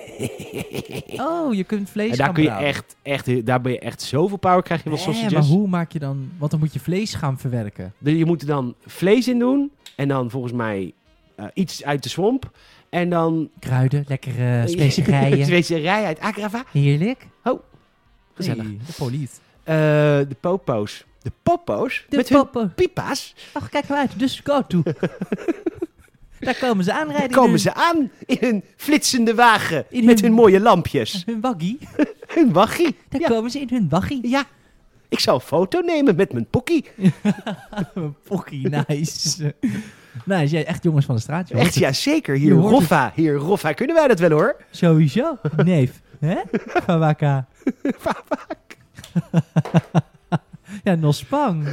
[SPEAKER 2] Oh, je kunt vlees
[SPEAKER 1] En daar
[SPEAKER 2] gaan
[SPEAKER 1] kun je
[SPEAKER 2] brouwen.
[SPEAKER 1] echt, echt, daar ben je echt zoveel power krijg je van
[SPEAKER 2] Nee,
[SPEAKER 1] sausages.
[SPEAKER 2] maar hoe maak je dan... Want dan moet je vlees gaan verwerken.
[SPEAKER 1] Dus Je moet er dan vlees in doen. En dan volgens mij eh, iets uit de swamp. En dan...
[SPEAKER 2] Kruiden,
[SPEAKER 1] [laughs]
[SPEAKER 2] lekkere specerijen.
[SPEAKER 1] Specerij uit Agrava.
[SPEAKER 2] Heerlijk.
[SPEAKER 1] Oh, Gezellig.
[SPEAKER 2] Hey, de police.
[SPEAKER 1] Eh, de popo's. De popo's?
[SPEAKER 2] De
[SPEAKER 1] met hun
[SPEAKER 2] poppen.
[SPEAKER 1] pipa's?
[SPEAKER 2] Ach, kijk nou uit, dus go
[SPEAKER 1] [laughs]
[SPEAKER 2] toe. Daar komen ze aanrijden.
[SPEAKER 1] Komen ze aan in hun flitsende wagen.
[SPEAKER 2] In
[SPEAKER 1] met
[SPEAKER 2] hun-
[SPEAKER 1] hun mooie lampjes.
[SPEAKER 2] Hun waggie.
[SPEAKER 1] Hun waggie.
[SPEAKER 2] Daar
[SPEAKER 1] Ja.
[SPEAKER 2] komen ze in hun waggie.
[SPEAKER 1] Ja. Ik zal een foto nemen met mijn pokkie.
[SPEAKER 2] [laughs] Pokkie, nice. [laughs] nice, jij echt jongens van de straat, joh.
[SPEAKER 1] Echt, ja zeker. Hier,
[SPEAKER 2] Je hoort het.
[SPEAKER 1] Roffa. Hier, Roffa. Kunnen wij dat wel, hoor?
[SPEAKER 2] Sowieso, neef. Hè?
[SPEAKER 1] [laughs]
[SPEAKER 2] Fawaka. [laughs] ja, Nospang.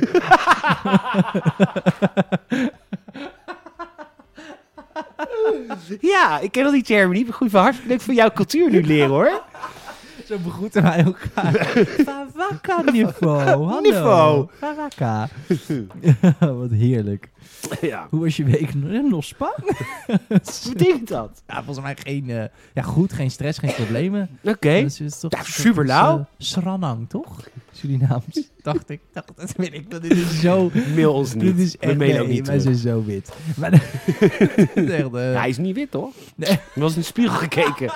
[SPEAKER 1] Ja, ik ken al die termen niet. Maar goed, van harte leuk van jouw cultuur nu leren, hoor.
[SPEAKER 2] Zo begroeten wij elkaar.
[SPEAKER 1] [laughs]
[SPEAKER 2] Fawaka niveau. Hallo.
[SPEAKER 1] Niveau.
[SPEAKER 2] Fawaka. [laughs] Wat heerlijk.
[SPEAKER 1] [laughs] ja.
[SPEAKER 2] Hoe was je week? Nospang?
[SPEAKER 1] Hoe betekent dat?
[SPEAKER 2] Ja, volgens mij geen... eh, ja, goed, geen stress, geen problemen.
[SPEAKER 1] Oké.
[SPEAKER 2] Dat is dus toch,
[SPEAKER 1] Ja,
[SPEAKER 2] dat is,
[SPEAKER 1] super lauw.
[SPEAKER 2] eh, Sranang, toch? Surinaams.
[SPEAKER 1] [laughs]
[SPEAKER 2] dacht ik. Dacht, dat weet ik. Dat is zo...
[SPEAKER 1] Mail ons niet.
[SPEAKER 2] Dit is
[SPEAKER 1] We
[SPEAKER 2] echt...
[SPEAKER 1] mailen ook
[SPEAKER 2] nee,
[SPEAKER 1] niet
[SPEAKER 2] wij
[SPEAKER 1] terug.
[SPEAKER 2] zijn
[SPEAKER 1] [laughs]
[SPEAKER 2] zo wit. Maar, [laughs] dat is echt, eh,
[SPEAKER 1] Ja, Hij is niet wit, hoor.
[SPEAKER 2] Nee.
[SPEAKER 1] Er was in de spiegel gekeken.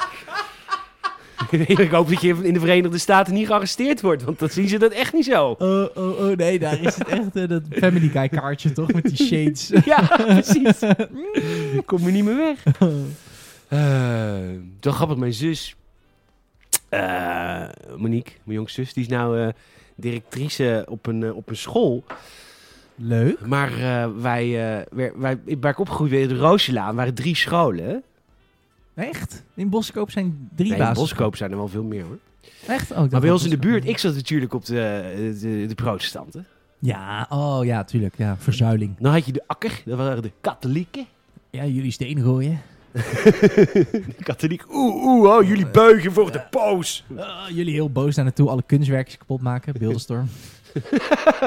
[SPEAKER 1] [laughs] ik hoop dat je in de Verenigde Staten niet gearresteerd wordt, want dan zien ze dat echt niet
[SPEAKER 2] [laughs]
[SPEAKER 1] zo.
[SPEAKER 2] Oh, oh, oh, nee, daar is het echt eh, dat Family Guy kaartje toch, met die
[SPEAKER 1] [laughs]
[SPEAKER 2] shades.
[SPEAKER 1] Ja, precies. [laughs] Ik kom er niet meer
[SPEAKER 2] [laughs]
[SPEAKER 1] weg. Eh, zo grappig, mijn zus, eh, Monique, mijn jongzus, die is nou eh, directrice op een, eh, op een school.
[SPEAKER 2] Leuk.
[SPEAKER 1] Maar eh, wij, eh, wer- wij, waar ik opgegroeid ben, in Rooselaan, waren drie scholen.
[SPEAKER 2] Echt? In Boskoop zijn drie
[SPEAKER 1] Nee, in
[SPEAKER 2] basis.
[SPEAKER 1] Boskoop zijn er wel veel meer hoor.
[SPEAKER 2] Echt? Oh, ik dacht
[SPEAKER 1] Maar bij
[SPEAKER 2] dat
[SPEAKER 1] ons in de
[SPEAKER 2] Boskoop-
[SPEAKER 1] buurt, ik zat natuurlijk op de, de, de protestanten.
[SPEAKER 2] Ja, oh ja, tuurlijk. Ja, verzuiling.
[SPEAKER 1] Dan had je de akker, dat waren de
[SPEAKER 2] [laughs]
[SPEAKER 1] katholieken.
[SPEAKER 2] Ja, jullie steen gooien.
[SPEAKER 1] De katholiek, oeh, oeh, oh, jullie buigen voor de
[SPEAKER 2] [laughs]
[SPEAKER 1] paus.
[SPEAKER 2] Ah, jullie heel boos naar naartoe, alle kunstwerkjes kapot maken. Beeldenstorm.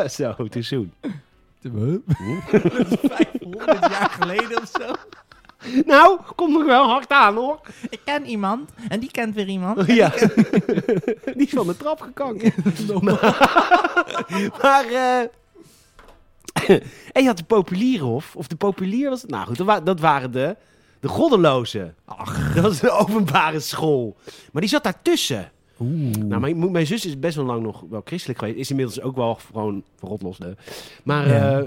[SPEAKER 1] Zo, [laughs] te soon.
[SPEAKER 2] [laughs] Dat is 500 jaar geleden of zo.
[SPEAKER 1] Nou, komt nog wel hard aan hoor.
[SPEAKER 2] Ik ken iemand en die kent weer [laughs] iemand.
[SPEAKER 1] Ja. [laughs] Die is van de trap gekankt. Nou, Maar, eh [laughs] en je had de populierenhof, of de populier was het? Nou goed, dat, wa- dat waren de, de goddelozen. Ach. Dat was een openbare school. Maar die zat daartussen.
[SPEAKER 2] Oeh.
[SPEAKER 1] Nou, mijn, mijn zus is best wel lang nog wel christelijk geweest. Is inmiddels ook wel gewoon verrot los, hè. Maar,
[SPEAKER 2] Ja.
[SPEAKER 1] eh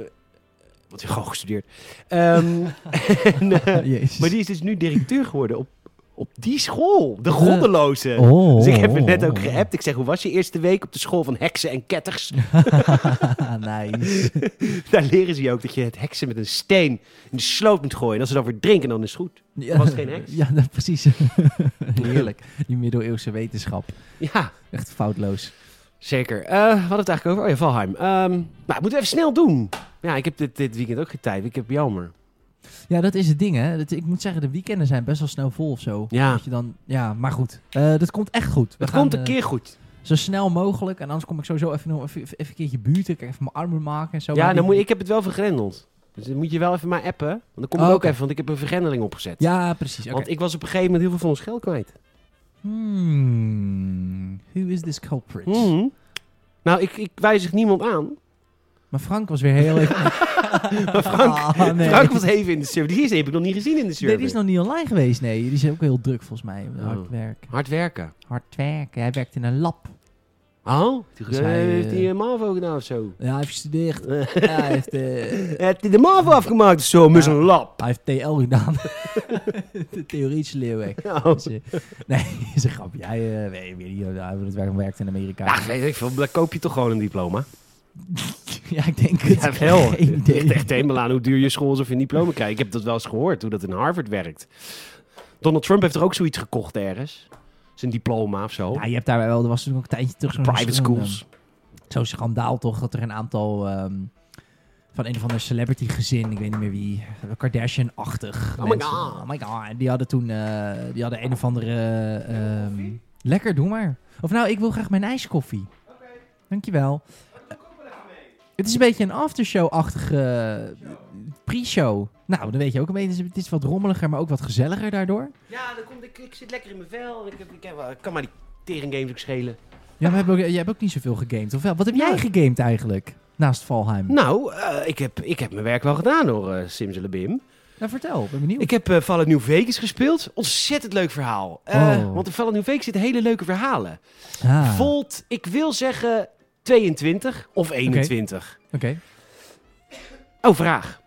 [SPEAKER 1] want hij heeft gewoon gestudeerd. Ehm, [laughs] en, eh,
[SPEAKER 2] Jezus.
[SPEAKER 1] maar die is dus nu directeur geworden op, op die school. De
[SPEAKER 2] Eh,
[SPEAKER 1] goddelozen.
[SPEAKER 2] Oh,
[SPEAKER 1] Dus ik heb het net ook
[SPEAKER 2] oh.
[SPEAKER 1] geappt. Ik zeg, hoe was je eerste week op de school van heksen en ketters? [laughs]
[SPEAKER 2] nice.
[SPEAKER 1] Daar leren ze je ook dat je het heksen met een steen in de sloot moet gooien. En als ze dan weer drinken, dan is het goed.
[SPEAKER 2] Ja,
[SPEAKER 1] Was geen heks?
[SPEAKER 2] Ja, dat- precies. [laughs] Heerlijk. Die middeleeuwse wetenschap.
[SPEAKER 1] Ja,
[SPEAKER 2] Echt foutloos.
[SPEAKER 1] zeker. Eh, we hadden het eigenlijk over. Oh ja, Valheim. Ehm nou, dat moeten we even snel doen. Ja, ik heb dit, dit weekend ook geen tijd. Ik heb jammer.
[SPEAKER 2] Ja, dat is het ding, hè. Dat, ik moet zeggen, de weekenden zijn best wel snel vol of zo.
[SPEAKER 1] Ja,
[SPEAKER 2] Dat je dan, ja, maar goed. Eh, dat komt echt goed. We
[SPEAKER 1] het
[SPEAKER 2] gaan,
[SPEAKER 1] komt een
[SPEAKER 2] eh,
[SPEAKER 1] keer goed.
[SPEAKER 2] zo snel mogelijk. En anders kom ik sowieso even, nog- even, even een keertje buurten. Kijk, even mijn armen maken en zo.
[SPEAKER 1] Ja,
[SPEAKER 2] Maar
[SPEAKER 1] dan
[SPEAKER 2] die-
[SPEAKER 1] moet, ik heb het wel vergrendeld. Dus dan moet je wel even maar appen. Want dan kom ik
[SPEAKER 2] Oh,
[SPEAKER 1] ook
[SPEAKER 2] oké.
[SPEAKER 1] even, want ik heb een vergrendeling opgezet.
[SPEAKER 2] Ja, precies. Oké.
[SPEAKER 1] Want ik was op een gegeven moment heel veel van ons geld kwijt.
[SPEAKER 2] Hmm, who is this culprit?
[SPEAKER 1] Mhm. Nou, ik, ik wijzig niemand aan.
[SPEAKER 2] Maar Frank was weer heel even...
[SPEAKER 1] [laughs]
[SPEAKER 2] [laughs]
[SPEAKER 1] Maar Frank,
[SPEAKER 2] Ah, nee.
[SPEAKER 1] Frank was even in de survey. Die is heb ik nog niet gezien in de
[SPEAKER 2] Nee,
[SPEAKER 1] survey.
[SPEAKER 2] die is nog niet online geweest, nee. Die is ook heel druk, volgens mij. Hard
[SPEAKER 1] Oh.
[SPEAKER 2] werk.
[SPEAKER 1] Hard werken.
[SPEAKER 2] Hard werken. Hij werkt in een lab.
[SPEAKER 1] Oh,
[SPEAKER 2] Dus
[SPEAKER 1] eh,
[SPEAKER 2] hij, eh,
[SPEAKER 1] heeft hij een MAVO gedaan of zo?
[SPEAKER 2] Ja, hij heeft gestudeerd. ja, hij, heeft, eh,
[SPEAKER 1] Heeft hij de MAVO afgemaakt of zo, met
[SPEAKER 2] Ja.
[SPEAKER 1] zijn lab?
[SPEAKER 2] hij heeft TL gedaan. [laughs] de theoretische leerweg.
[SPEAKER 1] Nou,
[SPEAKER 2] Dus, eh, nee, [laughs] is een grapje. Hij eh, weet, weet niet, hij het werk werkt in Amerika.
[SPEAKER 1] ja, weet ik veel, daar koop je toch gewoon een diploma?
[SPEAKER 2] Ja, ik denk
[SPEAKER 1] [laughs]
[SPEAKER 2] het.
[SPEAKER 1] Ja, wel.
[SPEAKER 2] [laughs] Geen
[SPEAKER 1] Het ligt
[SPEAKER 2] idee.
[SPEAKER 1] echt helemaal aan hoe duur je school is of je een diploma krijgt. Ik heb dat wel eens gehoord, hoe dat in Harvard werkt. Donald Trump heeft er ook zoiets gekocht ergens. Zijn diploma of zo.
[SPEAKER 2] Ja, je hebt daar wel, er was toen ook een tijdje terug zo'n...
[SPEAKER 1] Private
[SPEAKER 2] zo'n,
[SPEAKER 1] schools.
[SPEAKER 2] ehm, Zo'n schandaal toch, dat er een aantal... ehm, van een of ander celebrity gezin, ik weet niet meer wie, Kardashian-achtig.
[SPEAKER 1] Oh my
[SPEAKER 2] mensen.
[SPEAKER 1] god.
[SPEAKER 2] Oh my god. En Die hadden toen, eh, die hadden een of andere... ehm, lekker, doe maar. Of nou, ik wil graag mijn ijskoffie. Oké. Dankjewel. Eh, Het is een beetje een aftershow-achtige eh, pre-show. Nou, dan weet je ook een beetje, het is- het is wat rommeliger, maar ook wat gezelliger daardoor.
[SPEAKER 1] Ja, dan komt, ik, ik zit lekker in mijn vel. Ik, heb- ik, heb wel- ik kan maar die tering games ook schelen.
[SPEAKER 2] Ja, maar heb ook, jij hebt ook niet zoveel gegamed, of wel? Wat heb
[SPEAKER 1] Nee.
[SPEAKER 2] jij gegamed eigenlijk, naast Valheim?
[SPEAKER 1] Nou,
[SPEAKER 2] Nou,
[SPEAKER 1] eh, ik, heb, ik heb mijn werk wel gedaan hoor, eh Simsalabim.
[SPEAKER 2] Nou, vertel, ben benieuwd.
[SPEAKER 1] Ik heb eh Fallout New Vegas gespeeld. Ontzettend leuk verhaal. Eh,
[SPEAKER 2] Oh.
[SPEAKER 1] Want in Fallout New Vegas zitten hele leuke verhalen.
[SPEAKER 2] Ah,
[SPEAKER 1] Volt, ik wil zeggen 22 of 21.
[SPEAKER 2] Oké.
[SPEAKER 1] Oh, vraag.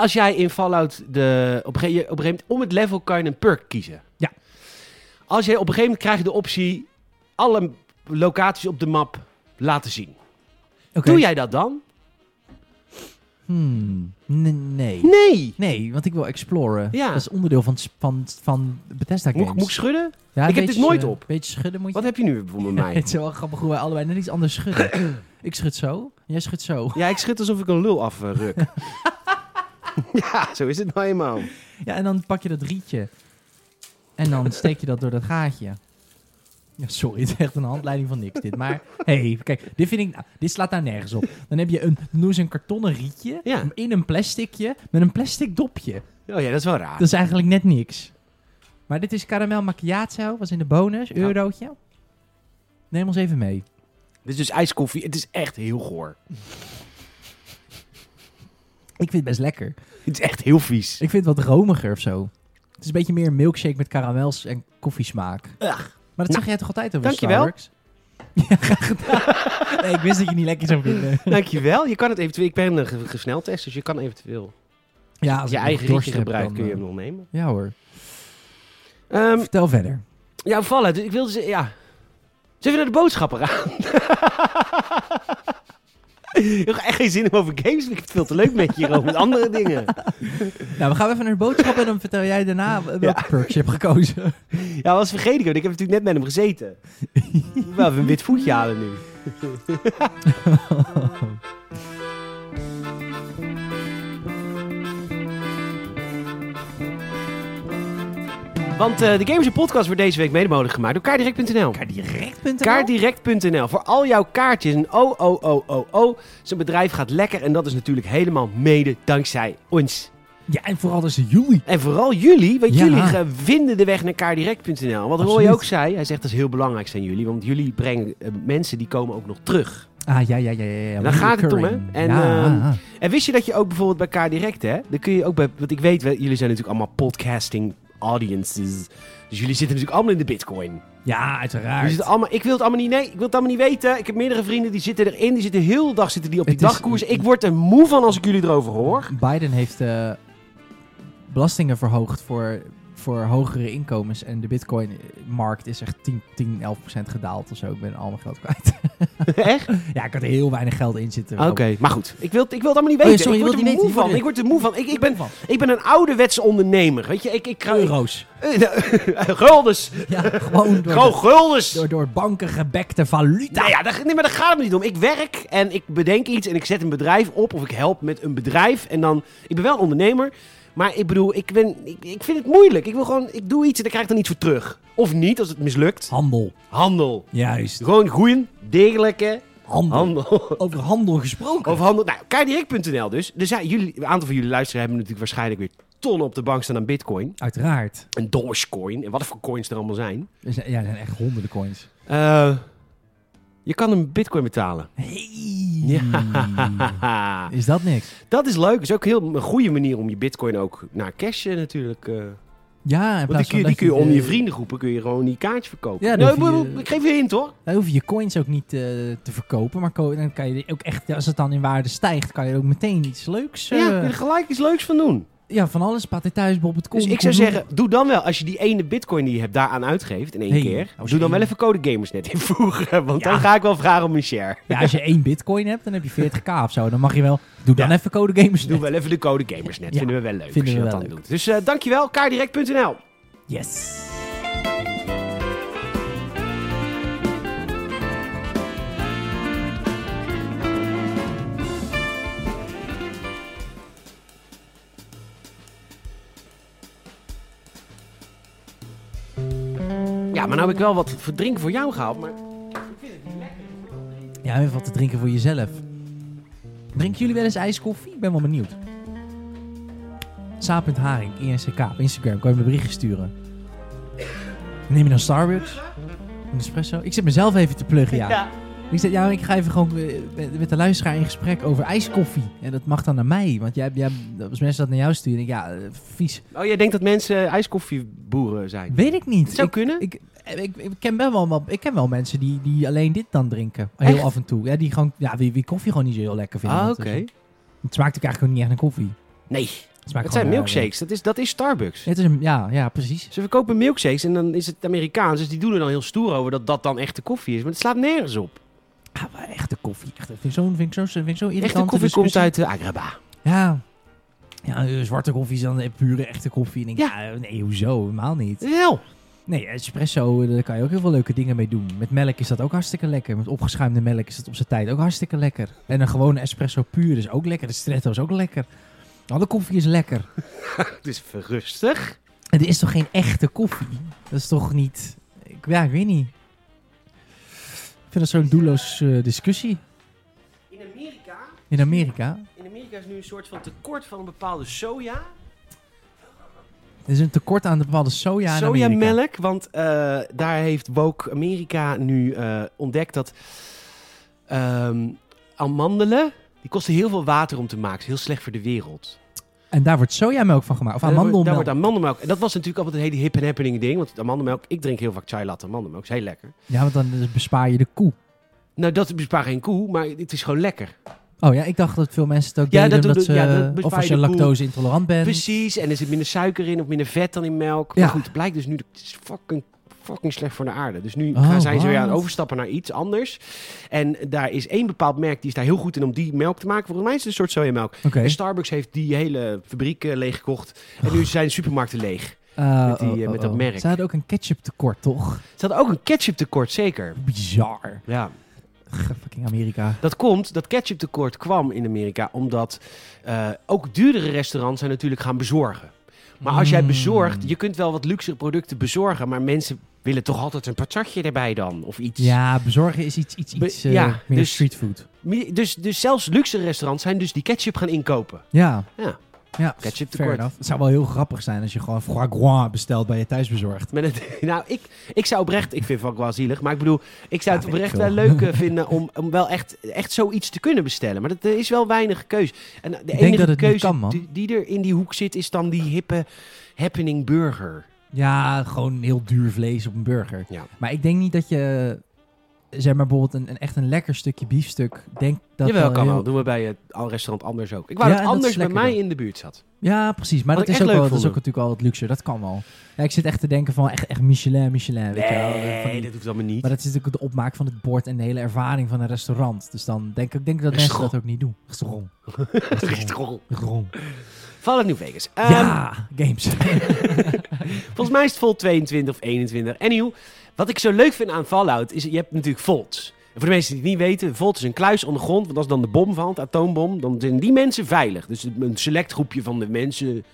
[SPEAKER 1] Als jij in Fallout de, op, een gege- op een gegeven moment om het level kan je een perk kiezen.
[SPEAKER 2] Ja.
[SPEAKER 1] Als jij op een gegeven moment krijg je de optie alle locaties op de map laten zien.
[SPEAKER 2] Oké.
[SPEAKER 1] Doe jij dat dan?
[SPEAKER 2] Hmm, n- nee.
[SPEAKER 1] Nee.
[SPEAKER 2] Nee, want ik wil exploren.
[SPEAKER 1] Ja.
[SPEAKER 2] Dat is onderdeel van, s- van, van Bethesda Games.
[SPEAKER 1] Moet, ik- moet ik schudden?
[SPEAKER 2] Ja,
[SPEAKER 1] ik heb
[SPEAKER 2] een
[SPEAKER 1] dit
[SPEAKER 2] beetje,
[SPEAKER 1] nooit
[SPEAKER 2] eh,
[SPEAKER 1] op.
[SPEAKER 2] Een beetje schudden moet je.
[SPEAKER 1] Wat heb je nu weer
[SPEAKER 2] [laughs]
[SPEAKER 1] voor mij?
[SPEAKER 2] Het is wel grappig hoe wij allebei net iets
[SPEAKER 1] [clears throat]
[SPEAKER 2] anders schudden. ik schud zo, jij schudt zo.
[SPEAKER 1] Ja, ik schud alsof ik een lul
[SPEAKER 2] [laughs]
[SPEAKER 1] afruk. ja, zo is het nou eenmaal.
[SPEAKER 2] Ja, en dan pak je dat rietje. En dan steek je dat door dat gaatje. Ja, sorry, [laughs] het is echt een handleiding van niks dit. Maar hey, kijk, dit, vind ik, nou, dit slaat daar nergens op. Dan heb je een, noem ze een kartonnen rietje
[SPEAKER 1] Ja.
[SPEAKER 2] in een plasticje met een plastic dopje.
[SPEAKER 1] Oh ja, dat is wel raar.
[SPEAKER 2] Dat is eigenlijk net niks. Maar dit is caramel macchiato, was in de bonus,
[SPEAKER 1] Ja.
[SPEAKER 2] eurootje. Neem ons even mee.
[SPEAKER 1] Dit is dus ijskoffie. Het is echt heel goor.
[SPEAKER 2] Ik vind het best lekker.
[SPEAKER 1] Het is echt heel vies.
[SPEAKER 2] [laughs] Ik vind het wat romiger of zo. Het is een beetje meer een milkshake met karamels en koffiesmaak.
[SPEAKER 1] Ugh.
[SPEAKER 2] Maar dat
[SPEAKER 1] Nou,
[SPEAKER 2] zeg jij toch altijd over
[SPEAKER 1] dankjewel.
[SPEAKER 2] Starbucks? [laughs] Ja, graag gedaan. Nee, ik wist dat je niet lekker zou vinden.
[SPEAKER 1] Dankjewel. Je kan het eventueel... Ik ben een ge- gesneltest, dus je kan eventueel...
[SPEAKER 2] Ja,
[SPEAKER 1] Als
[SPEAKER 2] als
[SPEAKER 1] je
[SPEAKER 2] ik nog
[SPEAKER 1] eigen
[SPEAKER 2] dorst
[SPEAKER 1] rietje
[SPEAKER 2] heb,
[SPEAKER 1] gebruikt
[SPEAKER 2] dan,
[SPEAKER 1] kun je
[SPEAKER 2] eh,
[SPEAKER 1] hem nog nemen.
[SPEAKER 2] Ja hoor.
[SPEAKER 1] Ehm,
[SPEAKER 2] Vertel verder.
[SPEAKER 1] ja, vallen. Dus ik wilde... ze- Ja. Zullen we naar de boodschapper aan? [laughs] Ik heb echt geen zin om over games. Ik heb het veel te leuk met je hier ook met andere dingen.
[SPEAKER 2] Nou, we gaan even naar de boodschap en dan vertel jij [laughs] daarna welke perks je hebt gekozen.
[SPEAKER 1] Ja, dat was vergeten. Ik want ik heb natuurlijk net met hem gezeten. Ik moet wel even een wit voetje halen nu. Want eh, de Games Podcast wordt deze week mede mogelijk gemaakt door kaardirect.nl.
[SPEAKER 2] Direct.nl?
[SPEAKER 1] Kaardirect.nl. Voor al jouw kaartjes en oh, oh, oh, oh, oh. Zijn bedrijf gaat lekker en dat is natuurlijk helemaal mede dankzij ons.
[SPEAKER 2] Ja, en vooral dus jullie.
[SPEAKER 1] En vooral jullie, want
[SPEAKER 2] Ja.
[SPEAKER 1] jullie eh, vinden de weg naar kaardirect.nl. Wat Roy
[SPEAKER 2] Absoluut.
[SPEAKER 1] ook zei, hij zegt dat is heel belangrijk zijn jullie, want jullie brengen eh, mensen die komen ook nog terug.
[SPEAKER 2] Ah, ja, ja, ja. ja, ja.
[SPEAKER 1] Daar gaat het om, hè? En,
[SPEAKER 2] ja,
[SPEAKER 1] ehm, En wist je dat je ook bijvoorbeeld bij Kaardirect, hè? Dan kun je ook bij, want ik weet, wel, jullie zijn natuurlijk allemaal podcasting audiences. Dus jullie zitten natuurlijk allemaal in de bitcoin.
[SPEAKER 2] ja,
[SPEAKER 1] Jullie
[SPEAKER 2] uiteraard.
[SPEAKER 1] zitten allemaal, ik wil het allemaal niet, nee, ik wil het allemaal niet weten. Ik heb meerdere vrienden die zitten erin, die zitten heel de dag zitten die op die
[SPEAKER 2] Het is-
[SPEAKER 1] dagkoers. Ik word er moe van als ik jullie erover
[SPEAKER 2] [laughs]
[SPEAKER 1] hoor.
[SPEAKER 2] Biden heeft eh, belastingen verhoogd voor, voor hogere inkomens. En de bitcoin-markt is echt 10, 10 11 gedaald of zo. Ik ben al mijn geld kwijt. [laughs]
[SPEAKER 1] Echt?
[SPEAKER 2] ja, ik had er heel weinig geld in zitten.
[SPEAKER 1] Oké, maar goed. Ik wil, het- ik wil het allemaal niet
[SPEAKER 2] Oh ja,
[SPEAKER 1] weten.
[SPEAKER 2] sorry,
[SPEAKER 1] ik
[SPEAKER 2] je
[SPEAKER 1] word er
[SPEAKER 2] wilt het niet
[SPEAKER 1] moe
[SPEAKER 2] weten.
[SPEAKER 1] van. Ik word er moe van. Ik, ik ben
[SPEAKER 2] van
[SPEAKER 1] Ik ben een ouderwetse ondernemer, weet je. Ik, ik ga...
[SPEAKER 2] euro's.
[SPEAKER 1] Eh, nou, [laughs] guldens.
[SPEAKER 2] Ja, gewoon door,
[SPEAKER 1] Gewoon
[SPEAKER 2] de-
[SPEAKER 1] guldens.
[SPEAKER 2] door, door banken gebekte valuta.
[SPEAKER 1] Nou ja, daar, nee, maar daar gaat het me niet om. Ik werk en ik bedenk iets en ik zet een bedrijf op of ik help met een bedrijf. En dan... Ik ben wel een ondernemer, maar ik bedoel, ik, ben, ik, ik vind het moeilijk. Ik wil gewoon... Ik doe iets en daar krijg ik dan iets voor terug. Of niet, als het mislukt.
[SPEAKER 2] Handel.
[SPEAKER 1] Handel.
[SPEAKER 2] Juist.
[SPEAKER 1] Gewoon goeie, degelijke
[SPEAKER 2] Handel.
[SPEAKER 1] handel.
[SPEAKER 2] Over handel gesproken.
[SPEAKER 1] Of handel. Nou, kaardirect.nl dus. Er zijn, jullie, een aantal van jullie luisteren hebben natuurlijk waarschijnlijk weer tonnen op de bank staan aan bitcoin.
[SPEAKER 2] Uiteraard.
[SPEAKER 1] En dogecoin. En wat voor coins er allemaal zijn.
[SPEAKER 2] Er zijn, ja, er zijn echt honderden coins.
[SPEAKER 1] Eh, je kan een bitcoin betalen.
[SPEAKER 2] Hey.
[SPEAKER 1] Haha.
[SPEAKER 2] Is dat niks?
[SPEAKER 1] [laughs] dat is leuk. Dat is ook heel, een goede manier om je bitcoin ook naar cashen natuurlijk. eh.
[SPEAKER 2] Ja,
[SPEAKER 1] want die
[SPEAKER 2] in
[SPEAKER 1] kun,
[SPEAKER 2] plaats van
[SPEAKER 1] je,
[SPEAKER 2] dat
[SPEAKER 1] die kun je onder je
[SPEAKER 2] de-
[SPEAKER 1] vriendengroepen kun je gewoon die kaartje verkopen.
[SPEAKER 2] Ja, dan
[SPEAKER 1] nee,
[SPEAKER 2] hoef je-
[SPEAKER 1] maar- ik geef je een hint hoor.
[SPEAKER 2] Dan hoef je je coins ook niet eh, te verkopen, maar ko- dan kan je die ook echt, als het dan in waarde stijgt, kan je ook meteen iets leuks. eh,
[SPEAKER 1] Ja, je
[SPEAKER 2] ja,
[SPEAKER 1] er gelijk iets leuks van doen.
[SPEAKER 2] van alles. Paté thuis, Bob het
[SPEAKER 1] Dus ik zou zeggen, doe dan wel, als je die ene bitcoin die je hebt daaraan uitgeeft in één
[SPEAKER 2] Hey,
[SPEAKER 1] keer,
[SPEAKER 2] als je
[SPEAKER 1] doe dan wel
[SPEAKER 2] één-
[SPEAKER 1] even code gamersnet invoegen. [laughs] Want
[SPEAKER 2] Ja.
[SPEAKER 1] dan ga ik wel vragen om een share.
[SPEAKER 2] Ja, als je één bitcoin hebt, dan heb je 40k of zo. Dan mag je wel. Doe dan
[SPEAKER 1] Ja.
[SPEAKER 2] even code gamers.
[SPEAKER 1] Doe wel even de code gamersnet.
[SPEAKER 2] Ja.
[SPEAKER 1] Vinden we wel leuk
[SPEAKER 2] Vinden
[SPEAKER 1] als je
[SPEAKER 2] we
[SPEAKER 1] dat
[SPEAKER 2] wel
[SPEAKER 1] dan
[SPEAKER 2] leuk.
[SPEAKER 1] doet. Dus eh, dankjewel, kaardirect.nl.
[SPEAKER 2] Yes.
[SPEAKER 1] Ja, maar nou heb ik wel wat verdrinken voor jou gehaald, maar...
[SPEAKER 2] Ja, even wat te drinken voor jezelf. Drinken jullie wel eens ijskoffie? Ik ben wel benieuwd. Saap.haring, INCK, op Instagram. Kan je me berichten sturen. Neem je dan Starbucks? Een espresso? Ik zit mezelf even te pluggen, ja. Ik zeg, ja, ik ga even gewoon eh, met, met de luisteraar in gesprek over ijskoffie. En dat mag dan naar mij. Want jij, jij, als mensen dat naar jou sturen, denk ik, ja, eh, vies.
[SPEAKER 1] Oh, jij denkt dat mensen eh, ijskoffieboeren zijn?
[SPEAKER 2] Weet ik niet.
[SPEAKER 1] Het zou
[SPEAKER 2] Ik-
[SPEAKER 1] kunnen.
[SPEAKER 2] ik, Eh, ik, ik, ken wel wel, ik ken wel mensen die, die alleen dit dan drinken. Heel
[SPEAKER 1] Echt?
[SPEAKER 2] af en toe. Ja, die gewoon, ja, wie, wie koffie gewoon niet zo heel lekker vinden.
[SPEAKER 1] ah,
[SPEAKER 2] Dat
[SPEAKER 1] oké.
[SPEAKER 2] is- Het smaakt ook eigenlijk gewoon niet echt naar koffie.
[SPEAKER 1] Nee,
[SPEAKER 2] Het, smaakt
[SPEAKER 1] het
[SPEAKER 2] gewoon
[SPEAKER 1] zijn
[SPEAKER 2] naar-
[SPEAKER 1] milkshakes. Dat is, dat is Starbucks.
[SPEAKER 2] Ja, het is een, ja, ja, precies.
[SPEAKER 1] Ze verkopen milkshakes en dan is het Amerikaans. Dus die doen er dan heel stoer over dat dat dan echte koffie is. Maar het slaat nergens op.
[SPEAKER 2] Ah, maar echte koffie. Echte, vind ik zo'n vind ik zo, vind ik zo irritant. dus
[SPEAKER 1] Echte koffie komt uit eh, Agraba.
[SPEAKER 2] Ja. Ja, eh, zwarte koffie is dan eh, pure echte koffie. En ik denk,
[SPEAKER 1] Ja.
[SPEAKER 2] ja, nee, hoezo? Helemaal niet.
[SPEAKER 1] Wel.
[SPEAKER 2] Nee, espresso, eh, daar kan je ook heel veel leuke dingen mee doen. Met melk is dat ook hartstikke lekker. Met opgeschuimde melk is dat op zijn tijd ook hartstikke lekker. En een gewone espresso puur is ook lekker. De stretto is ook lekker. Alle koffie is lekker.
[SPEAKER 1] Het is verrustig.
[SPEAKER 2] En dit is toch geen echte koffie? Dat is toch niet... Ik, ja, ik weet niet. Ik vind dat zo'n doelloos eh, discussie.
[SPEAKER 1] In Amerika,
[SPEAKER 2] In Amerika.
[SPEAKER 1] in Amerika is nu een soort van tekort van een bepaalde soja.
[SPEAKER 2] Er is een tekort aan bepaalde soja in Amerika.
[SPEAKER 1] Sojamelk, want eh, daar heeft Woke Amerika nu eh, ontdekt dat ehm, amandelen, die kosten heel veel water om te maken. is heel slecht voor de wereld.
[SPEAKER 2] En daar wordt sojamelk van gemaakt. Of
[SPEAKER 1] Daar wordt-
[SPEAKER 2] amandelmelk.
[SPEAKER 1] Daar wordt amandelmelk. En dat was natuurlijk altijd een hele hip en happening ding. Want amandelmelk, ik drink heel vaak chai latte amandelmelk. is heel lekker.
[SPEAKER 2] Ja, want dan eh, bespaar je de koe.
[SPEAKER 1] Nou, dat bespaar geen koe, maar het is gewoon lekker.
[SPEAKER 2] Oh ja, ik dacht dat veel mensen het ook
[SPEAKER 1] Ja,
[SPEAKER 2] deden
[SPEAKER 1] dat-
[SPEAKER 2] omdat
[SPEAKER 1] dat-
[SPEAKER 2] ze...
[SPEAKER 1] ja, dat
[SPEAKER 2] of
[SPEAKER 1] bespaar
[SPEAKER 2] als
[SPEAKER 1] je
[SPEAKER 2] je
[SPEAKER 1] de koe.
[SPEAKER 2] lactose intolerant bent.
[SPEAKER 1] Precies, en er zit minder suiker in of minder vet dan in melk.
[SPEAKER 2] Ja.
[SPEAKER 1] Maar goed, blijkt dus nu, het is fucking, fucking slecht voor de aarde. Dus nu
[SPEAKER 2] Oh,
[SPEAKER 1] gaan, zijn ze weer aan
[SPEAKER 2] wat?
[SPEAKER 1] het overstappen naar iets anders. En daar is één bepaald merk, die is daar heel goed in om die melk te maken. Volgens mij is het een soort sojamelk.
[SPEAKER 2] Oké.
[SPEAKER 1] En Starbucks heeft die hele fabriek eh, leeggekocht. En
[SPEAKER 2] Oh.
[SPEAKER 1] nu zijn de supermarkten leeg.
[SPEAKER 2] Eh,
[SPEAKER 1] met die, eh, met dat merk.
[SPEAKER 2] Ze hadden ook een ketchup tekort, toch?
[SPEAKER 1] Ze hadden ook een ketchup tekort, zeker.
[SPEAKER 2] Bizar.
[SPEAKER 1] Ja.
[SPEAKER 2] G- fucking Amerika.
[SPEAKER 1] Dat komt, dat ketchuptekort kwam in Amerika omdat eh, ook duurdere restaurants zijn natuurlijk gaan bezorgen. Maar als jij
[SPEAKER 2] Mm.
[SPEAKER 1] bezorgt, je kunt wel wat luxere producten bezorgen, maar mensen willen toch altijd een patatje erbij dan of iets.
[SPEAKER 2] Ja, bezorgen is iets, iets,
[SPEAKER 1] Be-
[SPEAKER 2] iets eh,
[SPEAKER 1] ja,
[SPEAKER 2] meer
[SPEAKER 1] dus-
[SPEAKER 2] streetfood.
[SPEAKER 1] Mi- Dus, dus zelfs luxere restaurants zijn dus die ketchup gaan inkopen.
[SPEAKER 2] Ja.
[SPEAKER 1] Ja.
[SPEAKER 2] ja.
[SPEAKER 1] Ketchup
[SPEAKER 2] fair
[SPEAKER 1] tekort.
[SPEAKER 2] enough. Het zou wel heel grappig zijn als je gewoon foie gras bestelt bij je thuisbezorgd.
[SPEAKER 1] Met het, [laughs] nou, ik, ik zou oprecht, ik vind het ook wel zielig, maar ik bedoel, ik zou
[SPEAKER 2] Ja,
[SPEAKER 1] het
[SPEAKER 2] weet
[SPEAKER 1] oprecht
[SPEAKER 2] ik
[SPEAKER 1] wel
[SPEAKER 2] veel.
[SPEAKER 1] leuk eh, vinden om, om wel echt, echt zoiets te kunnen bestellen. Maar dat, er is wel weinig keus. En de
[SPEAKER 2] denk
[SPEAKER 1] enige
[SPEAKER 2] dat het niet
[SPEAKER 1] keuze
[SPEAKER 2] kan, man.
[SPEAKER 1] die, die er in die hoek zit, is dan die hippe happening burger.
[SPEAKER 2] Ja, gewoon heel duur vlees op een burger.
[SPEAKER 1] Ja.
[SPEAKER 2] Maar ik denk niet dat je, zeg maar bijvoorbeeld, een, een echt een lekker stukje biefstuk. Denk dat
[SPEAKER 1] Jawel,
[SPEAKER 2] wel
[SPEAKER 1] kan wel.
[SPEAKER 2] heel-
[SPEAKER 1] Doen we bij het al- restaurant anders ook. Ik wou
[SPEAKER 2] Ja,
[SPEAKER 1] dat
[SPEAKER 2] en dat is
[SPEAKER 1] anders bij
[SPEAKER 2] lekker
[SPEAKER 1] mij
[SPEAKER 2] dan.
[SPEAKER 1] in de buurt zat.
[SPEAKER 2] Ja, precies. Maar
[SPEAKER 1] Wat
[SPEAKER 2] dat
[SPEAKER 1] ik
[SPEAKER 2] is,
[SPEAKER 1] echt
[SPEAKER 2] ook wel,
[SPEAKER 1] leuk
[SPEAKER 2] dat is ook
[SPEAKER 1] vond.
[SPEAKER 2] natuurlijk al het luxe. Dat kan wel. Ja, ik zit echt te denken van echt, echt Michelin, Michelin. weet je wel. Van die-
[SPEAKER 1] Nee, dat hoeft allemaal niet.
[SPEAKER 2] Maar dat is natuurlijk de opmaak van het bord en de hele ervaring van een restaurant. Dus dan denk ik denk dat mensen
[SPEAKER 1] Restaurant.
[SPEAKER 2] dat ook niet doen. Restaurant.
[SPEAKER 1] [laughs] Restaurant.
[SPEAKER 2] Restaurant.
[SPEAKER 1] Fallout New Vegas. Ehm,
[SPEAKER 2] Ja,
[SPEAKER 1] [laughs]
[SPEAKER 2] games.
[SPEAKER 1] Volgens mij is het Volt 22 of 21. Anyhow, wat ik zo leuk vind aan Fallout is, je hebt natuurlijk Volts. En voor de mensen die het niet weten, Volt is een kluis onder de grond. Want als dan de bom valt, de atoombom, dan zijn die mensen veilig. Dus een select groepje van de mensen,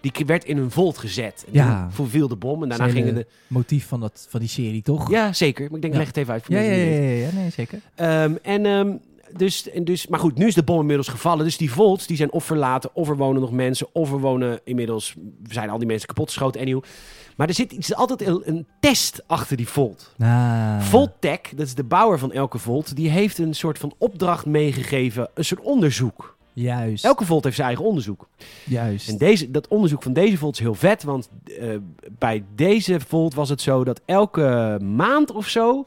[SPEAKER 1] die werd in een Volt gezet. En
[SPEAKER 2] Ja.
[SPEAKER 1] toen viel de bom en daarna
[SPEAKER 2] Zijn,
[SPEAKER 1] gingen
[SPEAKER 2] eh,
[SPEAKER 1] de...
[SPEAKER 2] Motief van, dat, van die serie, toch?
[SPEAKER 1] Ja, zeker. Maar ik denk,
[SPEAKER 2] Ja.
[SPEAKER 1] leg het even uit voor
[SPEAKER 2] ja, ja,
[SPEAKER 1] mensen die het niet weten.
[SPEAKER 2] ja, ja, ja, nee, zeker.
[SPEAKER 1] Ehm, en, ehm, dus, en dus, maar goed, nu is de bom inmiddels gevallen. Dus die volts die zijn of verlaten, of er wonen nog mensen, of er wonen inmiddels zijn al die mensen kapotgeschoten. Anyhow. Maar er zit iets, altijd een, een test achter die volt.
[SPEAKER 2] Ah.
[SPEAKER 1] Voltech, dat is de bouwer van elke volt, die heeft een soort van opdracht meegegeven, een soort onderzoek.
[SPEAKER 2] Juist.
[SPEAKER 1] Elke volt heeft zijn eigen onderzoek.
[SPEAKER 2] Juist.
[SPEAKER 1] En deze, dat onderzoek van deze volt is heel vet, want eh, bij deze volt was het zo dat elke maand of zo
[SPEAKER 2] Oké.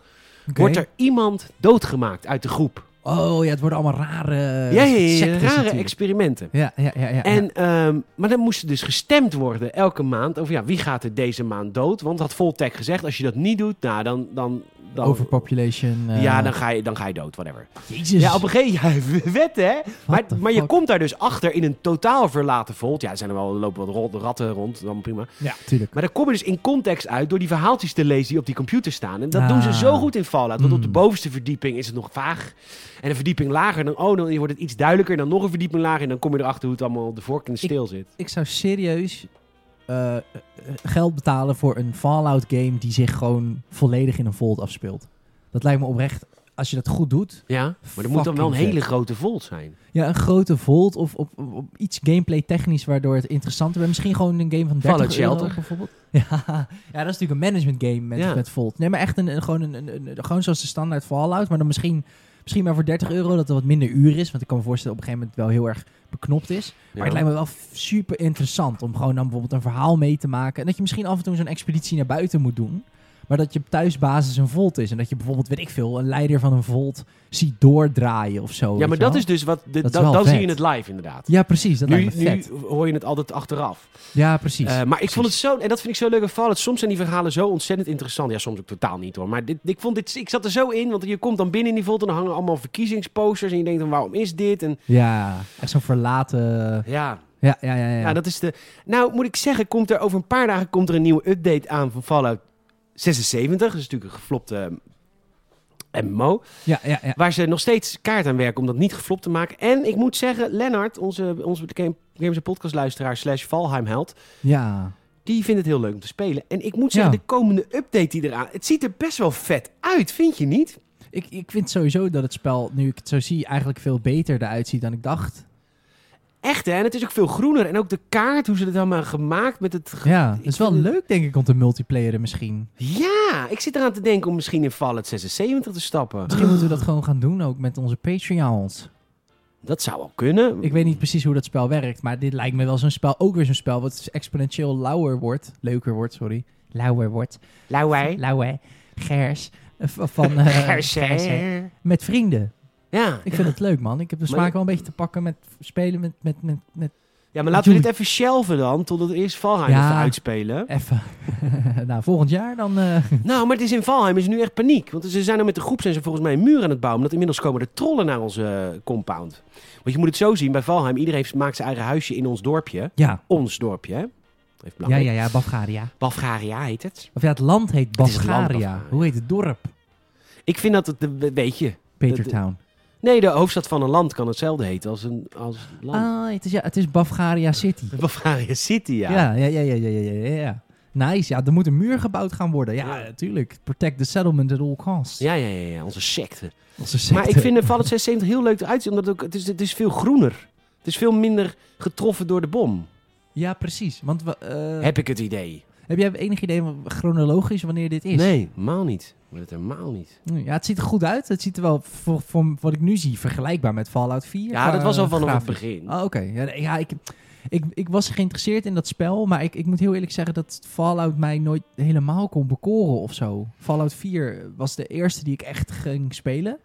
[SPEAKER 1] wordt er iemand doodgemaakt uit de groep.
[SPEAKER 2] Oh ja, het worden allemaal rare.
[SPEAKER 1] ja, ja, ja, ja,
[SPEAKER 2] sectes
[SPEAKER 1] rare
[SPEAKER 2] natuurlijk.
[SPEAKER 1] experimenten.
[SPEAKER 2] Ja, ja, ja. ja
[SPEAKER 1] En,
[SPEAKER 2] ja.
[SPEAKER 1] ehm, maar dan moest er dus gestemd worden elke maand over ja, wie gaat er deze maand dood. Want had Voltech gezegd, als je dat niet doet, nou, dan... dan, dan
[SPEAKER 2] Overpopulation. eh,
[SPEAKER 1] ja, dan ga, je, dan ga je dood, whatever.
[SPEAKER 2] Jezus.
[SPEAKER 1] Ja, op een gegeven moment, [laughs] ja, wet hè. Maar,
[SPEAKER 2] the
[SPEAKER 1] maar je
[SPEAKER 2] fuck?
[SPEAKER 1] komt daar dus achter in een totaal verlaten volt. Ja, er zijn er wel, er lopen wat rot- ratten rond, dan prima.
[SPEAKER 2] Ja, tuurlijk.
[SPEAKER 1] Maar daar kom je dus in context uit door die verhaaltjes te lezen die op die computer staan. En dat doen ze
[SPEAKER 2] Ah.
[SPEAKER 1] zo goed in Fallout. Want op de
[SPEAKER 2] Mm.
[SPEAKER 1] bovenste verdieping is het nog vaag. En een verdieping lager, dan, oh, dan wordt het iets duidelijker. Dan nog een verdieping lager. En dan kom je erachter hoe het allemaal op de voorkant stil zit.
[SPEAKER 2] Ik zou serieus eh, eh, geld betalen voor een Fallout game die zich gewoon volledig in een fold afspeelt. Dat lijkt me oprecht, als je dat goed doet.
[SPEAKER 1] Ja, maar er moet dan wel een
[SPEAKER 2] Fucking
[SPEAKER 1] hele
[SPEAKER 2] vet.
[SPEAKER 1] grote volt zijn.
[SPEAKER 2] Ja, een grote fold of op, op, op iets gameplay technisch waardoor het interessanter wordt. Misschien gewoon een game van 30
[SPEAKER 1] Fallout
[SPEAKER 2] euro
[SPEAKER 1] Shelter.
[SPEAKER 2] bijvoorbeeld. [laughs] Ja, ja, dat is natuurlijk een management game met,
[SPEAKER 1] Ja.
[SPEAKER 2] met fold. Nee, maar echt een, een- gewoon, een, een- een- gewoon zoals de standaard Fallout. Maar dan misschien, misschien maar voor 30 euro dat er wat minder uur is. Want ik kan me voorstellen dat op een gegeven moment wel heel erg beknopt is. Maar het lijkt me wel f- super interessant om gewoon dan bijvoorbeeld een verhaal mee te maken. En dat je misschien af en toe zo'n expeditie naar buiten moet doen. Maar dat je thuisbasis een volt is. En dat je bijvoorbeeld, weet ik veel, een leider van een volt ziet doordraaien of zo.
[SPEAKER 1] ja,
[SPEAKER 2] weet
[SPEAKER 1] maar
[SPEAKER 2] je
[SPEAKER 1] dat
[SPEAKER 2] wel.
[SPEAKER 1] is dus wat. de-
[SPEAKER 2] Dat is
[SPEAKER 1] da-
[SPEAKER 2] wel
[SPEAKER 1] dan
[SPEAKER 2] vet.
[SPEAKER 1] zie je het live inderdaad.
[SPEAKER 2] Ja, precies. Dat
[SPEAKER 1] Nu,
[SPEAKER 2] lijkt me
[SPEAKER 1] nu
[SPEAKER 2] vet.
[SPEAKER 1] hoor je het altijd achteraf.
[SPEAKER 2] Ja, precies.
[SPEAKER 1] Eh, maar ik vond het zo, en dat vind ik zo leuk aan Fallout. Soms zijn die verhalen zo ontzettend interessant. Ja, soms ook totaal niet hoor. Maar dit, ik, vond dit, ik zat er zo in, want je komt dan binnen in die volt en dan hangen allemaal verkiezingsposters. En je denkt dan, waarom is dit? En
[SPEAKER 2] ja, echt zo'n verlaten...
[SPEAKER 1] ja,
[SPEAKER 2] Ja, ja, ja. ja.
[SPEAKER 1] ja. dat is de. Nou, moet ik zeggen, komt er over een paar dagen komt er een nieuwe update aan van Fallout 76. Dat is natuurlijk een geflopte eh, MMO.
[SPEAKER 2] ja, ja, ja.
[SPEAKER 1] Waar ze nog steeds kaart aan werken om dat niet geflopt te maken. En ik moet zeggen, Lennart, onze, onze Game- Games Podcast luisteraar slash Valheim held.
[SPEAKER 2] Ja.
[SPEAKER 1] Die vindt het heel leuk om te spelen. En ik moet zeggen,
[SPEAKER 2] Ja.
[SPEAKER 1] de komende update die eraan... Het ziet er best wel vet uit, vind je niet?
[SPEAKER 2] Ik, ik vind sowieso dat het spel, nu ik het zo zie, eigenlijk veel beter eruit ziet dan ik dacht.
[SPEAKER 1] Echt, hè? En het is ook veel groener. En ook de kaart, hoe ze het allemaal gemaakt met het... ge-
[SPEAKER 2] Ja, het is wel
[SPEAKER 1] vind het-
[SPEAKER 2] leuk denk ik om te multiplayeren misschien.
[SPEAKER 1] Ja, ik zit eraan te denken om misschien in Fallout 76 te stappen.
[SPEAKER 2] Misschien moeten we dat gewoon gaan doen ook met onze Patreons.
[SPEAKER 1] Dat zou wel kunnen.
[SPEAKER 2] Ik weet niet precies hoe dat spel werkt, maar dit lijkt me wel zo'n spel. Ook weer zo'n spel wat exponentieel lauwer wordt. Leuker wordt, sorry. Lauwer wordt. [laughs]
[SPEAKER 1] [laughs] Lauwei.
[SPEAKER 2] Lauwer. Gers. Eh, v- Van,
[SPEAKER 1] [laughs]
[SPEAKER 2] eh, Gersen. Met vrienden.
[SPEAKER 1] Ja.
[SPEAKER 2] Ik vind het leuk, man. Ik heb de
[SPEAKER 1] Maar
[SPEAKER 2] smaak
[SPEAKER 1] je-
[SPEAKER 2] wel een beetje te pakken met spelen met... met, met, met
[SPEAKER 1] ja, maar laten we dit
[SPEAKER 2] Joey.
[SPEAKER 1] even shelven dan, totdat eerst Valheim
[SPEAKER 2] Ja.
[SPEAKER 1] even uitspelen.
[SPEAKER 2] even... [laughs] nou, volgend jaar dan... eh,
[SPEAKER 1] Nou, maar het is in Valheim is nu echt paniek. Want ze zijn er met de groep zijn ze volgens mij een muur aan het bouwen. Omdat inmiddels komen er trollen naar onze eh, compound. Want je moet het zo zien, bij Valheim, iedereen heeft- maakt zijn eigen huisje in ons dorpje.
[SPEAKER 2] ja.
[SPEAKER 1] Ons dorpje, hè? Even
[SPEAKER 2] ja,
[SPEAKER 1] belangrijk.
[SPEAKER 2] ja, ja. Bafgaria.
[SPEAKER 1] Bafgaria heet het.
[SPEAKER 2] Of ja, het land heet
[SPEAKER 1] is het land
[SPEAKER 2] Bafgaria.
[SPEAKER 1] Bafgaria.
[SPEAKER 2] Hoe heet het dorp?
[SPEAKER 1] Ik vind dat het, de- weet je...
[SPEAKER 2] Petertown.
[SPEAKER 1] Nee, de hoofdstad van een land kan hetzelfde heten als een als land.
[SPEAKER 2] Ah, het is, ja, het is Bafgaria City.
[SPEAKER 1] Bavaria City, Ah. ja.
[SPEAKER 2] Ja, ja, ja, ja, ja, ja, ja, ja. Nice, ja, er moet een muur gebouwd gaan worden. Ja,
[SPEAKER 1] Ja.
[SPEAKER 2] natuurlijk. Protect the settlement at all costs.
[SPEAKER 1] Ja, ja, ja, ja, onze secte.
[SPEAKER 2] Onze secte.
[SPEAKER 1] Maar ik vind de Fallout 76 heel leuk eruit zien, omdat het ook, het, is, het is veel groener. Het is veel minder getroffen door de bom,
[SPEAKER 2] Ja, precies. Want we, eh,
[SPEAKER 1] heb ik het idee.
[SPEAKER 2] heb jij enig idee wa- chronologisch wanneer dit is? Mm,
[SPEAKER 1] Nee, helemaal niet. Maar dat helemaal niet.
[SPEAKER 2] Ja, het ziet er goed uit. Het ziet er wel, voor, voor wat ik nu zie, vergelijkbaar met Fallout 4.
[SPEAKER 1] Ja, dat was al vanaf
[SPEAKER 2] van
[SPEAKER 1] het begin.
[SPEAKER 2] Oh, Oké, ja, nee, ja ik, ik, ik was geïnteresseerd in dat spel, maar ik, ik moet heel eerlijk zeggen dat Fallout mij nooit helemaal kon bekoren of zo. Fallout 4 was de eerste die ik echt ging spelen.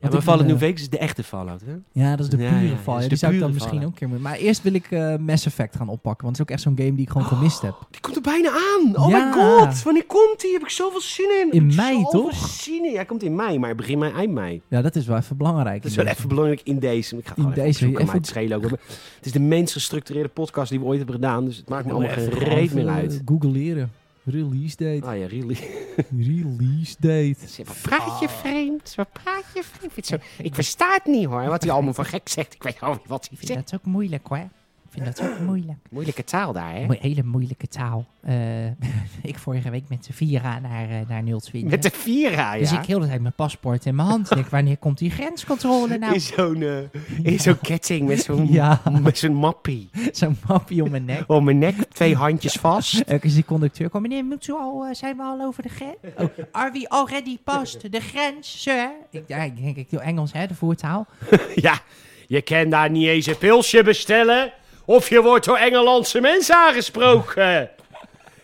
[SPEAKER 1] Ja,
[SPEAKER 2] Want
[SPEAKER 1] maar
[SPEAKER 2] ik ben,
[SPEAKER 1] Fallout
[SPEAKER 2] eh,
[SPEAKER 1] New Vegas is de echte Fallout, hè?
[SPEAKER 2] Ja, dat is de
[SPEAKER 1] Ja,
[SPEAKER 2] pure
[SPEAKER 1] ja, dat
[SPEAKER 2] Fallout.
[SPEAKER 1] is
[SPEAKER 2] Ja,
[SPEAKER 1] de
[SPEAKER 2] die zou ik dan
[SPEAKER 1] pure
[SPEAKER 2] misschien
[SPEAKER 1] Fallout.
[SPEAKER 2] ook een keer moeten. Maar eerst wil ik eh, Mass Effect gaan oppakken, want het is ook echt zo'n game die ik gewoon
[SPEAKER 1] Oh.
[SPEAKER 2] gemist heb.
[SPEAKER 1] Die komt er bijna aan. Oh
[SPEAKER 2] Ja.
[SPEAKER 1] my god, wanneer komt die? Heb ik zoveel zin in.
[SPEAKER 2] In
[SPEAKER 1] Heb ik
[SPEAKER 2] mei,
[SPEAKER 1] zoveel
[SPEAKER 2] toch?
[SPEAKER 1] Zin in. Ja, hij komt in mei, maar begin mei, eind mei.
[SPEAKER 2] Ja, dat is wel even belangrijk.
[SPEAKER 1] Dat is wel even belangrijk in deze. Ik ga het
[SPEAKER 2] In
[SPEAKER 1] gewoon even
[SPEAKER 2] deze,
[SPEAKER 1] opzoeken, maar
[SPEAKER 2] even-
[SPEAKER 1] het schelen ook. Het is de minst gestructureerde podcast die we ooit hebben gedaan. Dus het maakt me allemaal geen
[SPEAKER 2] Even
[SPEAKER 1] reet meer
[SPEAKER 2] gewoon,
[SPEAKER 1] uit.
[SPEAKER 2] eh, Googleren. Release date.
[SPEAKER 1] Ah ja, really. [laughs]
[SPEAKER 2] Release date. Ah.
[SPEAKER 1] Wat praat je vreemd? Wat praat je vreemd? Ik, vind het zo- ik versta het niet hoor, wat hij allemaal van gek zegt. Ik weet al niet wat hij zegt.
[SPEAKER 2] dat ook moeilijk hoor. Ik vind dat ook moeilijk.
[SPEAKER 1] Moeilijke taal daar, hè?
[SPEAKER 2] Moe- hele moeilijke taal. Eh, [laughs] ik vorige week met z'n vieren naar, eh naar Nulswinkel.
[SPEAKER 1] Met de Vira, ja.
[SPEAKER 2] Dus ik heel de tijd mijn paspoort in mijn hand. Ik denk, wanneer komt die grenscontrole nou?
[SPEAKER 1] In zo'n eh, in zo'n ketting met zo'n
[SPEAKER 2] Ja, [laughs]
[SPEAKER 1] met zo'n mappie.
[SPEAKER 2] zo'n mapje om mijn nek.
[SPEAKER 1] Om mijn nek, twee handjes vast.
[SPEAKER 2] Elke keer die conducteur kwam, meneer, moet u al, eh, zijn we al over de grens? Oh, are we already past de grens, sir? Ik, ja, ik denk, ik doe Engels, hè, de voertaal.
[SPEAKER 1] [laughs] Ja, je kan daar niet eens een pilsje bestellen. Of je wordt door Engelandse mensen aangesproken.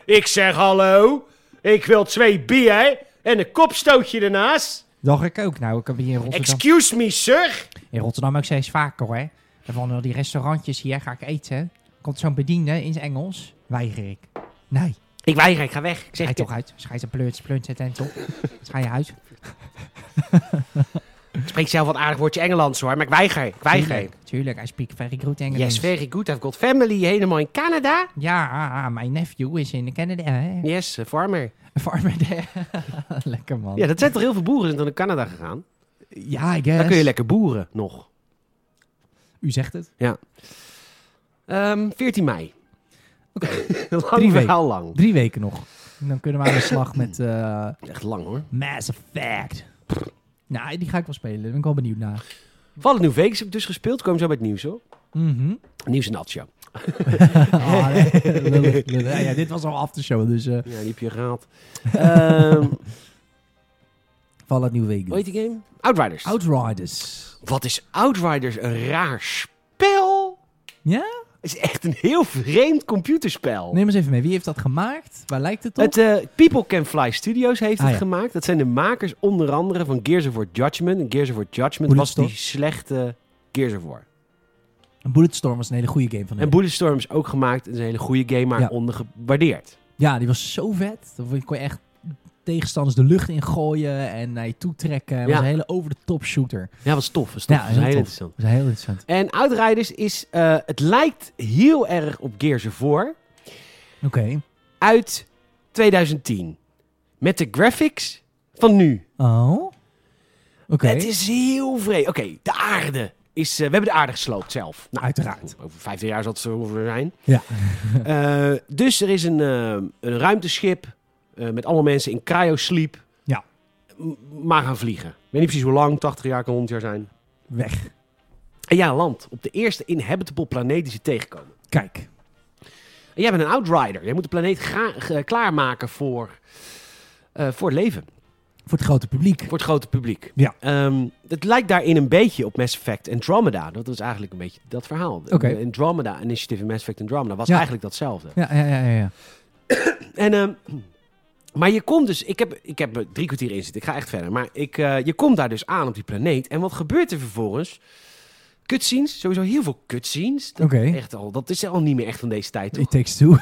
[SPEAKER 1] Ik zeg hallo. Ik wil twee bier en een kopstootje ernaast.
[SPEAKER 2] Dacht ik ook. Nou, ik heb hier in Rotterdam,
[SPEAKER 1] Excuse me, sir.
[SPEAKER 2] in Rotterdam ook steeds vaker, hoor. En Van al die restaurantjes hier ga ik eten. Komt zo'n bediende in het Engels, weiger ik. Nee,
[SPEAKER 1] Ik weiger, ik ga weg. Ik zeg
[SPEAKER 2] ga je toch uit. Schijt een pleurt, plunt het en toch. Ga je uit.
[SPEAKER 1] ik spreek zelf wat aardig woordje Engelands hoor, maar ik weiger. Ik weiger.
[SPEAKER 2] Tuurlijk, tuurlijk, I speak very good Engels.
[SPEAKER 1] Yes, very good. I've got family helemaal in Canada.
[SPEAKER 2] Ja, ah, ah, mijn nephew is in Canada, hè.
[SPEAKER 1] Yes, a farmer.
[SPEAKER 2] Farmer [laughs] there. Lekker, man.
[SPEAKER 1] Ja, dat zijn toch heel veel boeren zijn dan naar Canada gegaan.
[SPEAKER 2] Ja, ik guess.
[SPEAKER 1] Daar kun je lekker boeren nog.
[SPEAKER 2] U zegt het.
[SPEAKER 1] Ehm 14 mei.
[SPEAKER 2] Oké.
[SPEAKER 1] [laughs] lang
[SPEAKER 2] Drie
[SPEAKER 1] verhaal lang.
[SPEAKER 2] Drie weken nog. En dan kunnen we aan de slag [clears throat] met eh,
[SPEAKER 1] Echt lang hoor.
[SPEAKER 2] Mass Effect. Nou, die ga ik wel spelen. Daar ben ik wel benieuwd naar.
[SPEAKER 1] Vallen New Vegas heb ik dus gespeeld. Komen zo bij het nieuws hoor.
[SPEAKER 2] [laughs] Mhm.
[SPEAKER 1] Nieuws en Atsja.
[SPEAKER 2] Ah, nee. [laughs] Lullig, lullig. Ja, ja, dit was al aftershow, dus eh
[SPEAKER 1] Ja, die heb je gehaald. [laughs] Ehm
[SPEAKER 2] Fallout New
[SPEAKER 1] hoe
[SPEAKER 2] Vegas.
[SPEAKER 1] heet die game? Outriders.
[SPEAKER 2] Outriders.
[SPEAKER 1] Wat is Outriders een raar spel?
[SPEAKER 2] Ja?
[SPEAKER 1] Het is echt een heel vreemd computerspel.
[SPEAKER 2] Neem eens even mee. Wie heeft dat gemaakt? Waar lijkt het op?
[SPEAKER 1] Het eh, People Can Fly Studios heeft
[SPEAKER 2] Ah,
[SPEAKER 1] het
[SPEAKER 2] ja.
[SPEAKER 1] gemaakt. Dat zijn de makers onder andere van Gears of War Judgment. En Gears of War Judgment was die
[SPEAKER 2] Bulletstorm.
[SPEAKER 1] slechte Gears of War.
[SPEAKER 2] Bulletstorm was een hele goede game van
[SPEAKER 1] En
[SPEAKER 2] hem.
[SPEAKER 1] Bulletstorm is ook gemaakt. Het is een hele goede game, maar
[SPEAKER 2] Ja.
[SPEAKER 1] ondergewaardeerd.
[SPEAKER 2] Ja, die was zo vet. Dan kon je echt tegenstanders de lucht in gooien en naar je toe trekken. Het
[SPEAKER 1] Ja.
[SPEAKER 2] was een hele over-the-top shooter. Dat
[SPEAKER 1] Ja, was tof. Was tof.
[SPEAKER 2] Ja,
[SPEAKER 1] was
[SPEAKER 2] heel
[SPEAKER 1] heel
[SPEAKER 2] tof.
[SPEAKER 1] interessant.
[SPEAKER 2] was heel interessant.
[SPEAKER 1] En Outriders is... eh, het lijkt heel erg op Gears of War.
[SPEAKER 2] Oké.
[SPEAKER 1] uit 2010. Met de graphics van nu.
[SPEAKER 2] Oh. Oké.
[SPEAKER 1] Het is heel vreemd. Oké, de aarde. Is, eh, we hebben de aarde gesloopt zelf. Nou,
[SPEAKER 2] Uiteraard.
[SPEAKER 1] Over 15 jaar zal het zo ongeveer zijn.
[SPEAKER 2] Ja.
[SPEAKER 1] [laughs] Eh, dus er is een, eh, een ruimteschip eh, met allemaal mensen in cryosleep.
[SPEAKER 2] Ja.
[SPEAKER 1] M- Maar gaan vliegen. Ik weet niet precies hoe lang, 80 jaar, kan 100 jaar zijn.
[SPEAKER 2] Weg.
[SPEAKER 1] En ja, land. Op de eerste inhabitable planeet die ze tegenkomen.
[SPEAKER 2] Kijk.
[SPEAKER 1] En jij bent een outrider. Jij moet de planeet ga- ge- klaarmaken voor, eh, voor het leven.
[SPEAKER 2] Voor het grote publiek.
[SPEAKER 1] Voor het grote publiek.
[SPEAKER 2] Ja.
[SPEAKER 1] Ehm, het lijkt daarin een beetje op Mass Effect Andromeda. Dat is eigenlijk een beetje dat verhaal.
[SPEAKER 2] Oké.
[SPEAKER 1] Andromeda, initiatief in Mass Effect Andromeda, was
[SPEAKER 2] Ja.
[SPEAKER 1] eigenlijk datzelfde.
[SPEAKER 2] Ja, ja, ja, ja. ja.
[SPEAKER 1] En, ehm, maar je komt dus, ik heb, ik heb er drie kwartier in zitten, ik ga echt verder. Maar ik, eh, je komt daar dus aan op die planeet. En wat gebeurt er vervolgens? Cutscenes, sowieso heel veel cutscenes. Dat,
[SPEAKER 2] Oké.
[SPEAKER 1] echt al, dat is al niet meer echt van deze tijd. Toch?
[SPEAKER 2] It takes two.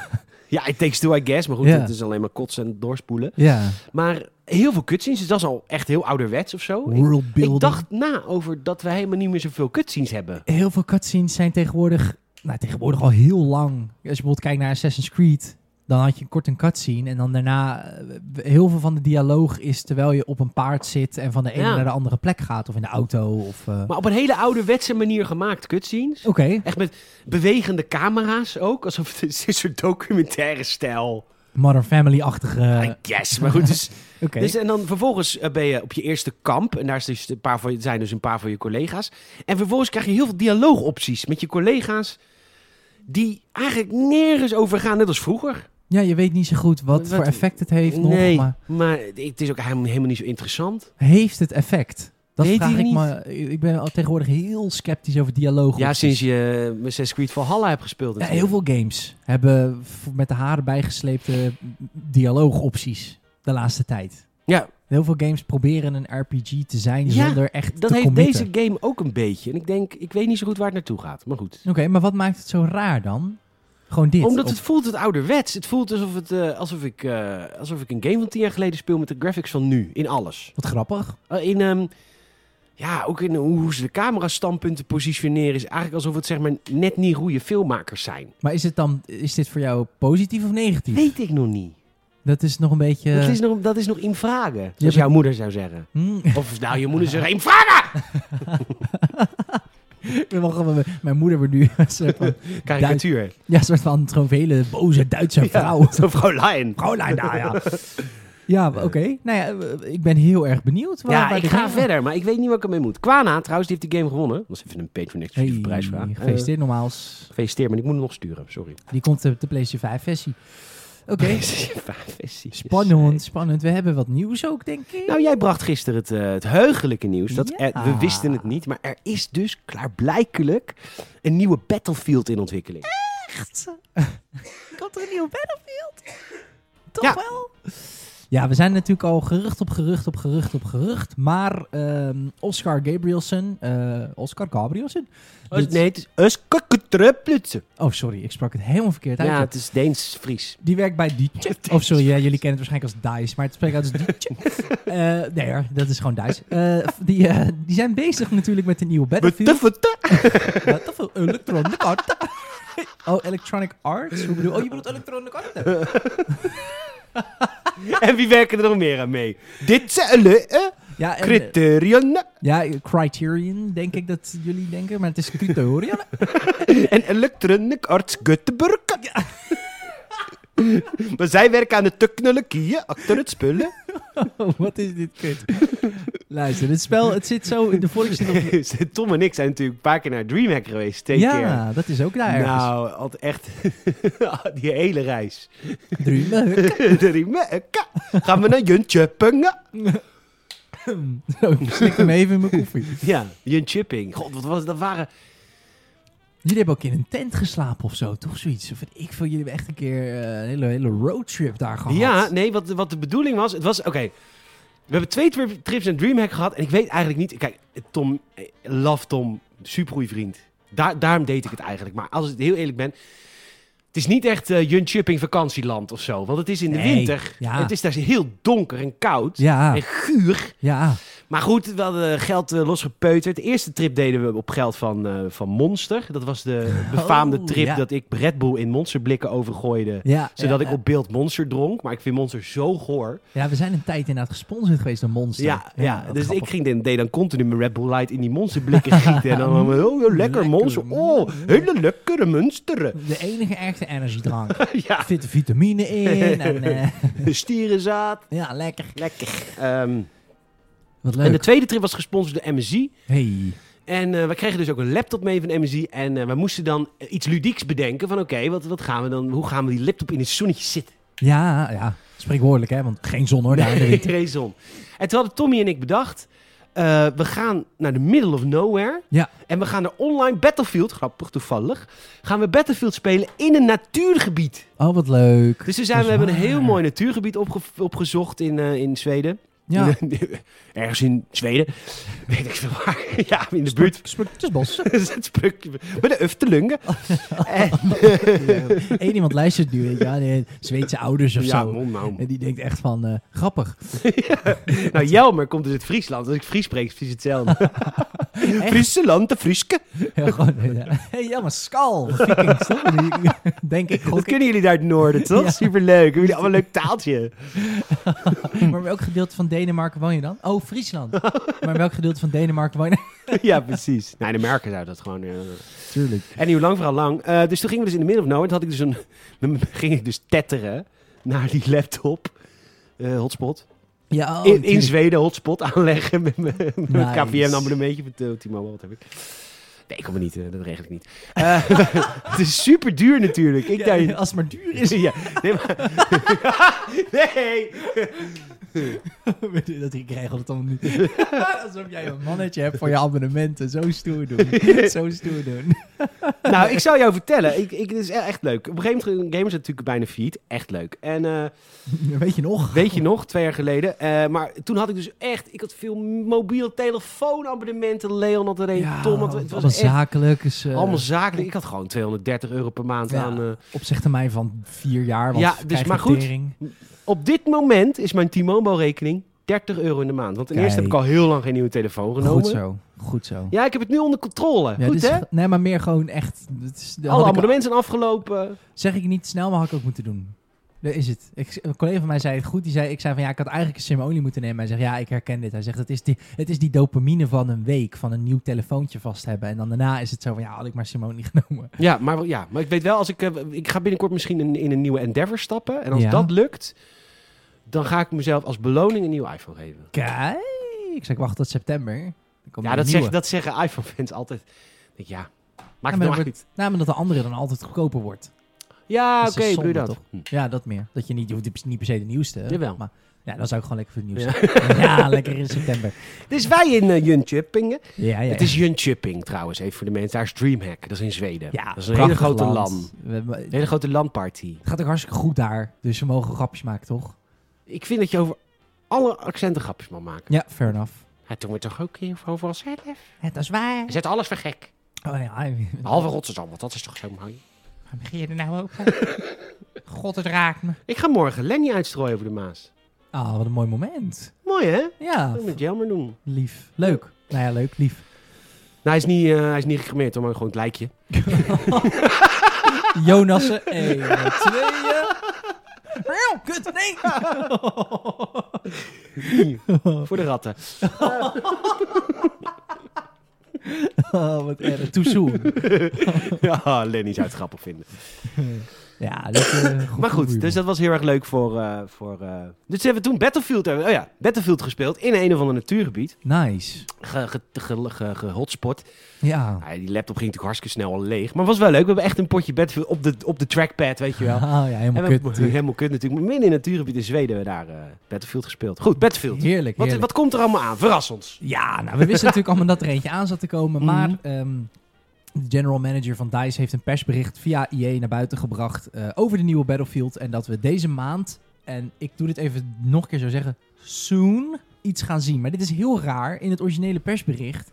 [SPEAKER 1] Ja, it takes two, I guess. Maar goed,
[SPEAKER 2] Ja.
[SPEAKER 1] het is alleen maar kotsen en doorspoelen.
[SPEAKER 2] [laughs] ja.
[SPEAKER 1] Maar heel veel cutscenes, dus dat is al echt heel ouderwets of zo. Ik-
[SPEAKER 2] World building.
[SPEAKER 1] Ik dacht na over dat we helemaal niet meer zoveel cutscenes hebben.
[SPEAKER 2] heel veel cutscenes zijn tegenwoordig, nou, tegenwoordig al heel lang. Als je bijvoorbeeld kijkt naar Assassin's Creed, dan had je kort een cutscene. En dan daarna, eh, heel veel van de dialoog is terwijl je op een paard zit en van de ene
[SPEAKER 1] Ja.
[SPEAKER 2] naar de andere plek gaat. Of in de auto. Of, eh,
[SPEAKER 1] Maar op een hele ouderwetse manier gemaakt, cutscenes.
[SPEAKER 2] Oké,
[SPEAKER 1] Echt met bewegende camera's ook. Alsof het is een soort documentaire stijl.
[SPEAKER 2] Modern Family-achtige.
[SPEAKER 1] I guess. Maar goed, dus,
[SPEAKER 2] Eh. [laughs] Oké,
[SPEAKER 1] dus en dan vervolgens eh, ben je op je eerste kamp. En daar is dus een paar van, je- zijn dus een paar van je collega's. En vervolgens krijg je heel veel dialoogopties met je collega's. Die eigenlijk nergens over gaan, net als vroeger.
[SPEAKER 2] ja, je weet niet zo goed wat,
[SPEAKER 1] Wat-
[SPEAKER 2] voor effect het heeft
[SPEAKER 1] nee,
[SPEAKER 2] nog, maar
[SPEAKER 1] maar het is ook helemaal helemaal niet zo interessant.
[SPEAKER 2] heeft het effect? Dat
[SPEAKER 1] Weet
[SPEAKER 2] vraag
[SPEAKER 1] ik
[SPEAKER 2] ik
[SPEAKER 1] niet.
[SPEAKER 2] me. Ik ben al tegenwoordig heel sceptisch over dialoog.
[SPEAKER 1] Ja, sinds je eh, Assassin's Creed Valhalla hebt gespeeld.
[SPEAKER 2] Ja, heel veel games hebben v- met de haren bijgesleepte dialoogopties de laatste tijd.
[SPEAKER 1] Ja,
[SPEAKER 2] Heel veel games proberen een RPG te zijn
[SPEAKER 1] Ja,
[SPEAKER 2] zonder echt
[SPEAKER 1] dat
[SPEAKER 2] te
[SPEAKER 1] heeft
[SPEAKER 2] committen.
[SPEAKER 1] deze game ook een beetje. En ik denk, ik weet niet zo goed waar het naartoe gaat. Maar goed.
[SPEAKER 2] Oké, maar wat maakt het zo raar dan? Gewoon dit.
[SPEAKER 1] Omdat
[SPEAKER 2] of-
[SPEAKER 1] het voelt het ouderwets. Het voelt alsof, het, eh, alsof, ik, eh, alsof ik een game van tien jaar geleden speel met de graphics van nu. In alles.
[SPEAKER 2] Wat grappig.
[SPEAKER 1] Eh, in, ehm, ja, ook in hoe ze de camera-standpunten positioneren. Is eigenlijk alsof het zeg maar net niet goede filmmakers zijn.
[SPEAKER 2] Maar is, het dan, is dit voor jou positief of negatief?
[SPEAKER 1] Weet ik nog niet.
[SPEAKER 2] Dat is nog een beetje...
[SPEAKER 1] Dat, is nog, dat is nog in vragen. Zoals
[SPEAKER 2] hebt-
[SPEAKER 1] jouw moeder zou zeggen.
[SPEAKER 2] Hmm, [laughs]
[SPEAKER 1] Of nou, je moeder zegt in vragen!
[SPEAKER 2] ik ben wel gewoon- mijn moeder wordt nu een soort van,
[SPEAKER 1] Karikatuur.
[SPEAKER 2] ja, een soort van gewoon een hele boze Duitse vrouw.
[SPEAKER 1] [laughs] Zo'n vrouw Lion.
[SPEAKER 2] Fräulein
[SPEAKER 1] nou
[SPEAKER 2] daar, ja. [laughs] Ja, oké. Nou ja, eh, ik ben heel erg benieuwd. Waar,
[SPEAKER 1] ja,
[SPEAKER 2] waar
[SPEAKER 1] ik
[SPEAKER 2] dit
[SPEAKER 1] ga
[SPEAKER 2] heen gaat.
[SPEAKER 1] verder, maar ik weet niet waar ik ermee moet. Kwana, trouwens, die heeft die game gewonnen. Dat was even een Patreon exclusieve
[SPEAKER 2] Hey,
[SPEAKER 1] prijsvraag. Eh,
[SPEAKER 2] Gefeliciteerd nogmaals.
[SPEAKER 1] gefeliciteerd, maar ik moet hem nog sturen,
[SPEAKER 2] [laughs]
[SPEAKER 1] sorry.
[SPEAKER 2] Die komt op de PlayStation 5 versie.
[SPEAKER 1] [laughs]
[SPEAKER 2] Oké.
[SPEAKER 1] Spannend.
[SPEAKER 2] Spannend, spannend. We hebben wat nieuws ook, denk ik.
[SPEAKER 1] Nou, jij bracht gisteren het, eh, het heugelijke nieuws. Dat,
[SPEAKER 2] Ja.
[SPEAKER 1] eh, we wisten het niet, maar er is dus klaarblijkelijk een nieuwe Battlefield in ontwikkeling.
[SPEAKER 2] komt er een nieuwe Battlefield? Toch
[SPEAKER 1] Ja.
[SPEAKER 2] wel? Ja, we zijn natuurlijk al gerucht op gerucht op gerucht op gerucht. Maar ehm, Oscar Gabrielson... eh, Oscar Gabrielson?
[SPEAKER 1] Dus,
[SPEAKER 2] Dit-
[SPEAKER 1] nee, het is Uskakketrupplutse.
[SPEAKER 2] Oh, sorry. Ik sprak het helemaal verkeerd uit.
[SPEAKER 1] Ja, het is Deens-Fries.
[SPEAKER 2] Die werkt bij Dietje. [laughs] Of sorry, ja, jullie kennen het waarschijnlijk als DICE, maar het spreekt uit als Dietje. [laughs] Eh, nee hoor, dat is gewoon DICE. Eh, die, eh, die zijn bezig natuurlijk met de nieuwe Battlefield. Wat de fuck? Electronic Arts. [laughs] Oh, Electronic Arts? Hoe bedoel Oh, je bedoelt Electronic Arts?
[SPEAKER 1] En wie werken er nog meer aan mee? Dit zijn alle
[SPEAKER 2] Ja, en, eh,
[SPEAKER 1] criterion
[SPEAKER 2] ja, Criterion denk ik dat jullie denken, maar het is Criterion.
[SPEAKER 1] en Electronic Arts Göteborg. [laughs] maar zij werken aan de technologieën achter het spullen. [laughs]
[SPEAKER 2] Oh, [laughs] Wat is dit kut? Luister, dit spel, het zit zo in de [laughs] volksstijl.
[SPEAKER 1] Tom en ik zijn natuurlijk een paar keer naar DreamHack geweest, twee keer.
[SPEAKER 2] Ja, dat is ook daar Ah, ergens.
[SPEAKER 1] Nou, had echt [laughs] die hele reis. [laughs]
[SPEAKER 2] Drumen.
[SPEAKER 1] DreamHack. Gaan we naar Jönköping?
[SPEAKER 2] [laughs] Zo, ik slik hem even in mijn koffie.
[SPEAKER 1] Ja, Jönköping. God, wat was dat waren?
[SPEAKER 2] Jullie hebben ook in een tent geslapen of zo, toch zoiets? Of weet ik veel, jullie hebben echt een keer eh, een hele, hele roadtrip daar gehad.
[SPEAKER 1] Ja, nee, wat, wat de bedoeling was, het was, oké. we hebben twee tri- trips naar DreamHack gehad en ik weet eigenlijk niet, kijk, Tom, eh, love Tom, supergoeie vriend. Daar, daarom deed ik het eigenlijk, maar als ik heel eerlijk ben, het is niet echt eh Jönköping vakantieland of zo, want het is in de
[SPEAKER 2] Nee,
[SPEAKER 1] winter.
[SPEAKER 2] ja.
[SPEAKER 1] Het is daar heel donker en koud.
[SPEAKER 2] Ja,
[SPEAKER 1] En guur.
[SPEAKER 2] ja.
[SPEAKER 1] Maar goed, we hadden geld eh, losgepeuterd. De eerste trip deden we op geld van, eh, van Monster. Dat was
[SPEAKER 2] [laughs]
[SPEAKER 1] de befaamde
[SPEAKER 2] Oh,
[SPEAKER 1] trip
[SPEAKER 2] ja.
[SPEAKER 1] dat ik Red Bull in monsterblikken overgooide.
[SPEAKER 2] ja
[SPEAKER 1] Zodat
[SPEAKER 2] ja, eh,
[SPEAKER 1] ik op beeld Monster dronk. Maar ik vind Monster zo goor.
[SPEAKER 2] Ja, we zijn een tijd inderdaad gesponsord geweest door Monster.
[SPEAKER 1] Ja, ja,
[SPEAKER 2] wat
[SPEAKER 1] dus
[SPEAKER 2] grappig.
[SPEAKER 1] ik ging dan, deed dan continu mijn Red Bull Light in die
[SPEAKER 2] [laughs]
[SPEAKER 1] Monsterblikken gieten. en dan, oh, oh, lekker,
[SPEAKER 2] Lekker
[SPEAKER 1] Monster. Oh, hele lekkere
[SPEAKER 2] [laughs]
[SPEAKER 1] Munsteren.
[SPEAKER 2] De enige echte energiedrank.
[SPEAKER 1] ja,
[SPEAKER 2] Er zitten vitamine in
[SPEAKER 1] [laughs]
[SPEAKER 2] en eh,
[SPEAKER 1] stierenzaad.
[SPEAKER 2] ja, lekker.
[SPEAKER 1] Lekker. Ehm,
[SPEAKER 2] Wat
[SPEAKER 1] en de
[SPEAKER 2] leuk.
[SPEAKER 1] tweede trip was gesponsord door MSI.
[SPEAKER 2] Hey.
[SPEAKER 1] En eh, we kregen dus ook een laptop mee van MSI. En eh, we moesten dan iets ludieks bedenken van oké, wat, wat gaan we dan, hoe gaan we die laptop in het zonnetje zitten?
[SPEAKER 2] Ja, ja. Spreekwoordelijk, hè? Want geen
[SPEAKER 1] [laughs]
[SPEAKER 2] zon hoor, daar in de
[SPEAKER 1] Nee,
[SPEAKER 2] winter.
[SPEAKER 1] geen zon. En toen hadden Tommy en ik bedacht... eh, we gaan naar de middle of nowhere.
[SPEAKER 2] Ja.
[SPEAKER 1] En we gaan naar online Battlefield, grappig toevallig. Gaan we Battlefield spelen in een natuurgebied.
[SPEAKER 2] Oh, wat leuk.
[SPEAKER 1] Dus toen zijn we
[SPEAKER 2] Dat is
[SPEAKER 1] hebben een heel
[SPEAKER 2] waar.
[SPEAKER 1] mooi natuurgebied opge- opgezocht in, eh, in Zweden.
[SPEAKER 2] Ja.
[SPEAKER 1] [laughs] Ergens in Zweden. [laughs] Weet ik veel waar. [laughs] Ja, in de buurt.
[SPEAKER 2] Sport- Het is bos. [laughs]
[SPEAKER 1] Dat is het spreukje. Bij de Uftelungen. En-
[SPEAKER 2] Eén iemand luistert nu, weet je wel, die Zweedse ouders of
[SPEAKER 1] ja,
[SPEAKER 2] zo.
[SPEAKER 1] mond nou.
[SPEAKER 2] En die denkt echt van, eh, grappig.
[SPEAKER 1] Nou, Jelmer komt dus uit Friesland. Als ik Fries spreek, is het
[SPEAKER 2] [laughs]
[SPEAKER 1] hetzelfde. Friesland, de Frieske.
[SPEAKER 2] Ja, gewoon, ja. [laughs] Hey, ja, maar skal.
[SPEAKER 1] [laughs]
[SPEAKER 2] Vikings, toch? Die- Denk ik.
[SPEAKER 1] Dat
[SPEAKER 2] gok ik.
[SPEAKER 1] kunnen jullie daar uit het noorden, toch?
[SPEAKER 2] Ja.
[SPEAKER 1] Superleuk. Hebben jullie allemaal een
[SPEAKER 2] [laughs]
[SPEAKER 1] leuk taaltje?
[SPEAKER 2] Maar welk gedeelte van Denemarken woon je dan? Oh, Friesland. Maar welk gedeelte van Denemarken woon je? [laughs]
[SPEAKER 1] ja, precies. Nou, in Amerika zou dat gewoon... eh,
[SPEAKER 2] Tuurlijk.
[SPEAKER 1] En hoe lang vooral lang. Eh, dus toen gingen we dus in de middle of nowhere. Toen had ik dus een, [laughs] dan ging ik dus tetteren naar die laptop. eh, hotspot.
[SPEAKER 2] Ja, oh,
[SPEAKER 1] in, in
[SPEAKER 2] tuurlijk.
[SPEAKER 1] Zweden hotspot aanleggen met mijn met mijn
[SPEAKER 2] Nice.
[SPEAKER 1] KPN abonnementje van eh, T-Mobile. Wat heb ik? Nee, ik kom er niet. eh, dat regel ik
[SPEAKER 2] [laughs]
[SPEAKER 1] niet. Eh, [laughs] het is super duur natuurlijk. Ik
[SPEAKER 2] Ja,
[SPEAKER 1] daar,
[SPEAKER 2] als het maar duur is. [laughs]
[SPEAKER 1] ja, nee, maar- [laughs] nee.
[SPEAKER 2] dat ik regel het allemaal niet. [laughs] Alsof jij een mannetje hebt voor je abonnementen. Zo stoer
[SPEAKER 1] [laughs]
[SPEAKER 2] doen. Zo stoer doen. [laughs]
[SPEAKER 1] Nou, ik zou jou vertellen. Ik, ik, het is e- echt leuk. Op een gegeven moment, gamers zijn natuurlijk bijna failliet. Echt leuk. En eh,
[SPEAKER 2] Weet je nog?
[SPEAKER 1] Weet je nog, twee jaar geleden. Eh, maar toen had ik dus echt... Ik had veel mobiel telefoonabonnementen. Leon had er een, Tom had er een. Het was
[SPEAKER 2] allemaal
[SPEAKER 1] echt
[SPEAKER 2] zakelijk. Is, eh,
[SPEAKER 1] allemaal zakelijk. Ik had gewoon 230 euro per maand
[SPEAKER 2] Ja.
[SPEAKER 1] aan... eh.
[SPEAKER 2] Opzichte mij van vier jaar. Want
[SPEAKER 1] Ja, dus
[SPEAKER 2] krijg je
[SPEAKER 1] maar goed.
[SPEAKER 2] tering.
[SPEAKER 1] op dit moment is mijn T-Mobile-rekening 30 euro in de maand. Want ten eerste heb ik al
[SPEAKER 2] Kijk.
[SPEAKER 1] heel lang geen nieuwe telefoon genomen.
[SPEAKER 2] Goed zo. Goed zo.
[SPEAKER 1] Ja, ik heb het nu onder controle.
[SPEAKER 2] Ja,
[SPEAKER 1] Goed,
[SPEAKER 2] dit is
[SPEAKER 1] hè?
[SPEAKER 2] ge- Nee, maar meer gewoon echt. dit is- dat
[SPEAKER 1] Alle
[SPEAKER 2] had ik-
[SPEAKER 1] abonnementen zijn afgelopen.
[SPEAKER 2] zeg ik niet snel, maar had ik ook moeten doen. Daar is het. Ik, een collega van mij zei het goed. Die zei, ik zei van ja, ik had eigenlijk een sim-only moeten nemen. Hij zegt ja, ik herken dit. Hij zegt het is, die, het is die dopamine van een week, van een nieuw telefoontje vast hebben. En dan daarna is het zo van ja, had ik maar sim-only [laughs] genomen.
[SPEAKER 1] Ja maar, ja, maar ik weet wel, als ik, eh, ik ga binnenkort misschien in, in een nieuwe Endeavor stappen. En als
[SPEAKER 2] Ja.
[SPEAKER 1] dat lukt, dan ga ik mezelf als beloning een nieuwe iPhone geven.
[SPEAKER 2] Kijk, ik zei ik wacht tot september. Dan komt
[SPEAKER 1] Ja,
[SPEAKER 2] er
[SPEAKER 1] dat,
[SPEAKER 2] een
[SPEAKER 1] zeg,
[SPEAKER 2] nieuwe.
[SPEAKER 1] dat zeggen iPhone-fans altijd. Ik denk, ja, maakt
[SPEAKER 2] Ja,
[SPEAKER 1] het
[SPEAKER 2] maar
[SPEAKER 1] nou
[SPEAKER 2] dan
[SPEAKER 1] uit.
[SPEAKER 2] Nou, maar dat de andere dan altijd goedkoper wordt.
[SPEAKER 1] Ja,
[SPEAKER 2] dat
[SPEAKER 1] oké,
[SPEAKER 2] is zonde,
[SPEAKER 1] bedoel je dat?
[SPEAKER 2] toch?
[SPEAKER 1] Hm.
[SPEAKER 2] Ja, dat meer. Dat je niet, je hoeft niet per se de nieuwste.
[SPEAKER 1] Jawel.
[SPEAKER 2] Maar ja, dan zou ik gewoon lekker voor het nieuws. [laughs] Ja. ja, lekker in september.
[SPEAKER 1] Dus wij in eh, Jönköping.
[SPEAKER 2] Ja, ja.
[SPEAKER 1] Het is Jönköping trouwens, even voor de mensen. Daar is Dreamhack, dat is in Zweden.
[SPEAKER 2] ja,
[SPEAKER 1] dat is een hele
[SPEAKER 2] prachtig
[SPEAKER 1] grote
[SPEAKER 2] land.
[SPEAKER 1] LAN.
[SPEAKER 2] We- we-
[SPEAKER 1] Een hele grote landparty.
[SPEAKER 2] Het gaat ook hartstikke goed daar. Dus ze mogen grapjes maken, toch?
[SPEAKER 1] Ik vind dat je over alle accenten grapjes mag maken.
[SPEAKER 2] Ja, fair enough.
[SPEAKER 1] Ja, toen we toch ook hier overal zelf.
[SPEAKER 2] Het is waar.
[SPEAKER 1] Zet alles voor gek.
[SPEAKER 2] Oh ja, I-
[SPEAKER 1] Behalve Rotterdam, want dat is toch zo mooi.
[SPEAKER 2] Waarom begin je er nou ook aan? [laughs] God, het raakt me.
[SPEAKER 1] Ik ga morgen Lenny uitstrooien over de Maas.
[SPEAKER 2] Ah, wat een mooi moment.
[SPEAKER 1] Mooi hè?
[SPEAKER 2] Ja,
[SPEAKER 1] Dat moet Jelmer doen. Nou,
[SPEAKER 2] lief. Leuk. Nou ja, leuk, lief.
[SPEAKER 1] hij is niet, eh, hij is niet gecremeerd, hoor, maar gewoon het lijkje. [laughs]
[SPEAKER 2] Jonassen. Eén, tweeën. Meeuw, Kut, nee.
[SPEAKER 1] voor de ratten. [laughs]
[SPEAKER 2] Oh, wat erg. Too soon.
[SPEAKER 1] ja, Lenny zou het grappig vinden.
[SPEAKER 2] Ja, dat, eh,
[SPEAKER 1] Maar goed,
[SPEAKER 2] humor.
[SPEAKER 1] dus dat was heel erg leuk voor... eh, voor eh, Dus hebben we toen Battlefield... hebben- Oh ja, Battlefield gespeeld in een of ander natuurgebied.
[SPEAKER 2] Nice.
[SPEAKER 1] Ge, ge, ge, ge- gehotspot.
[SPEAKER 2] Ja.
[SPEAKER 1] Nou ja, die laptop ging natuurlijk hartstikke snel al leeg. Maar het was wel leuk. We hebben echt een potje Battlefield op de, op de trackpad, weet je wel.
[SPEAKER 2] Ah, ja,
[SPEAKER 1] En
[SPEAKER 2] helemaal
[SPEAKER 1] we
[SPEAKER 2] kut.
[SPEAKER 1] hebben
[SPEAKER 2] natuurlijk.
[SPEAKER 1] helemaal kut natuurlijk. Maar midden in het natuurgebied in Zweden hebben we daar eh, Battlefield gespeeld. Goed, Battlefield.
[SPEAKER 2] Heerlijk,
[SPEAKER 1] Wat,
[SPEAKER 2] heerlijk.
[SPEAKER 1] wat komt er allemaal aan? Verras ons.
[SPEAKER 2] Ja, nou, we wisten natuurlijk allemaal dat er eentje aan zat te komen. Maar
[SPEAKER 1] Mhm.
[SPEAKER 2] ehm, de general manager van DICE heeft een persbericht via EA naar buiten gebracht eh, over de nieuwe Battlefield. En dat we deze maand, en ik doe dit even nog een keer zo zeggen, soon iets gaan zien. Maar dit is heel raar. In het originele persbericht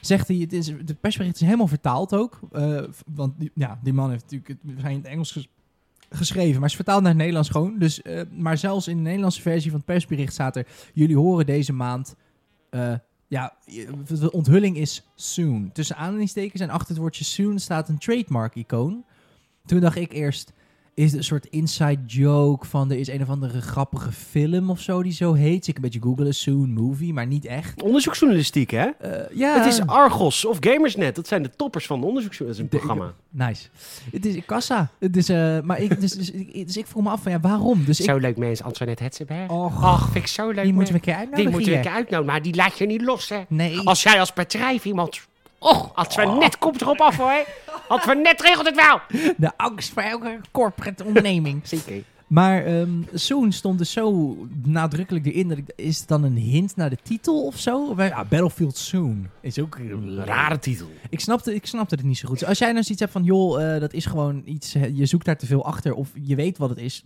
[SPEAKER 2] zegt hij, het is, de persbericht is helemaal vertaald ook. eh, v- want die, ja, die man heeft natuurlijk het waarschijnlijk in het Engels ges- geschreven, maar is vertaald naar het Nederlands gewoon. Dus, eh, maar zelfs in de Nederlandse versie van het persbericht staat er, jullie horen deze maand... eh, ja, de onthulling is soon. Tussen aanhalingstekens en achter het woordje soon staat een trademark-icoon. Toen dacht ik eerst, is het een soort inside joke van er is een of andere grappige film of zo die zo heet. Dus ik een beetje googelen, soon movie, maar niet echt.
[SPEAKER 1] Onderzoeksjournalistiek, hè?
[SPEAKER 2] Eh, ja,
[SPEAKER 1] Het is Argos of Gamersnet. Dat zijn de toppers van de onderzoeksjournalistiek. Dat is een
[SPEAKER 2] De-
[SPEAKER 1] programma.
[SPEAKER 2] nice. Het is kassa. Het is, eh, maar ik, dus, dus, ik- dus ik vroeg me af van ja, waarom? Dus ik,
[SPEAKER 1] Zo leuk mens, Antoinette Hetzenberg.
[SPEAKER 2] och,
[SPEAKER 1] Ach, vind ik zo leuk.
[SPEAKER 2] die moeten
[SPEAKER 1] mens.
[SPEAKER 2] we een keer
[SPEAKER 1] die
[SPEAKER 2] uitnodigen.
[SPEAKER 1] moeten we een
[SPEAKER 2] hier.
[SPEAKER 1] keer uitnodigen, maar die laat je niet los, hè.
[SPEAKER 2] Nee.
[SPEAKER 1] Als Oh. jij als bedrijf iemand... Och,
[SPEAKER 2] Oh.
[SPEAKER 1] Antoinette komt erop af, hoor. Antoinette regelt het wel. [laughs]
[SPEAKER 2] De angst voor elke corporate onderneming.
[SPEAKER 1] Zeker.
[SPEAKER 2] Maar ehm Soon stond dus zo nadrukkelijk erin. Dat ik, is het dan een hint naar de titel of zo? Of, eh, ja, Battlefield Soon is ook een rare.
[SPEAKER 1] titel.
[SPEAKER 2] Ik snapte, ik snapte het niet zo goed. Dus als jij nou zoiets hebt van, joh, eh, dat is gewoon iets, hè, je zoekt daar te veel achter. Of je weet wat het is.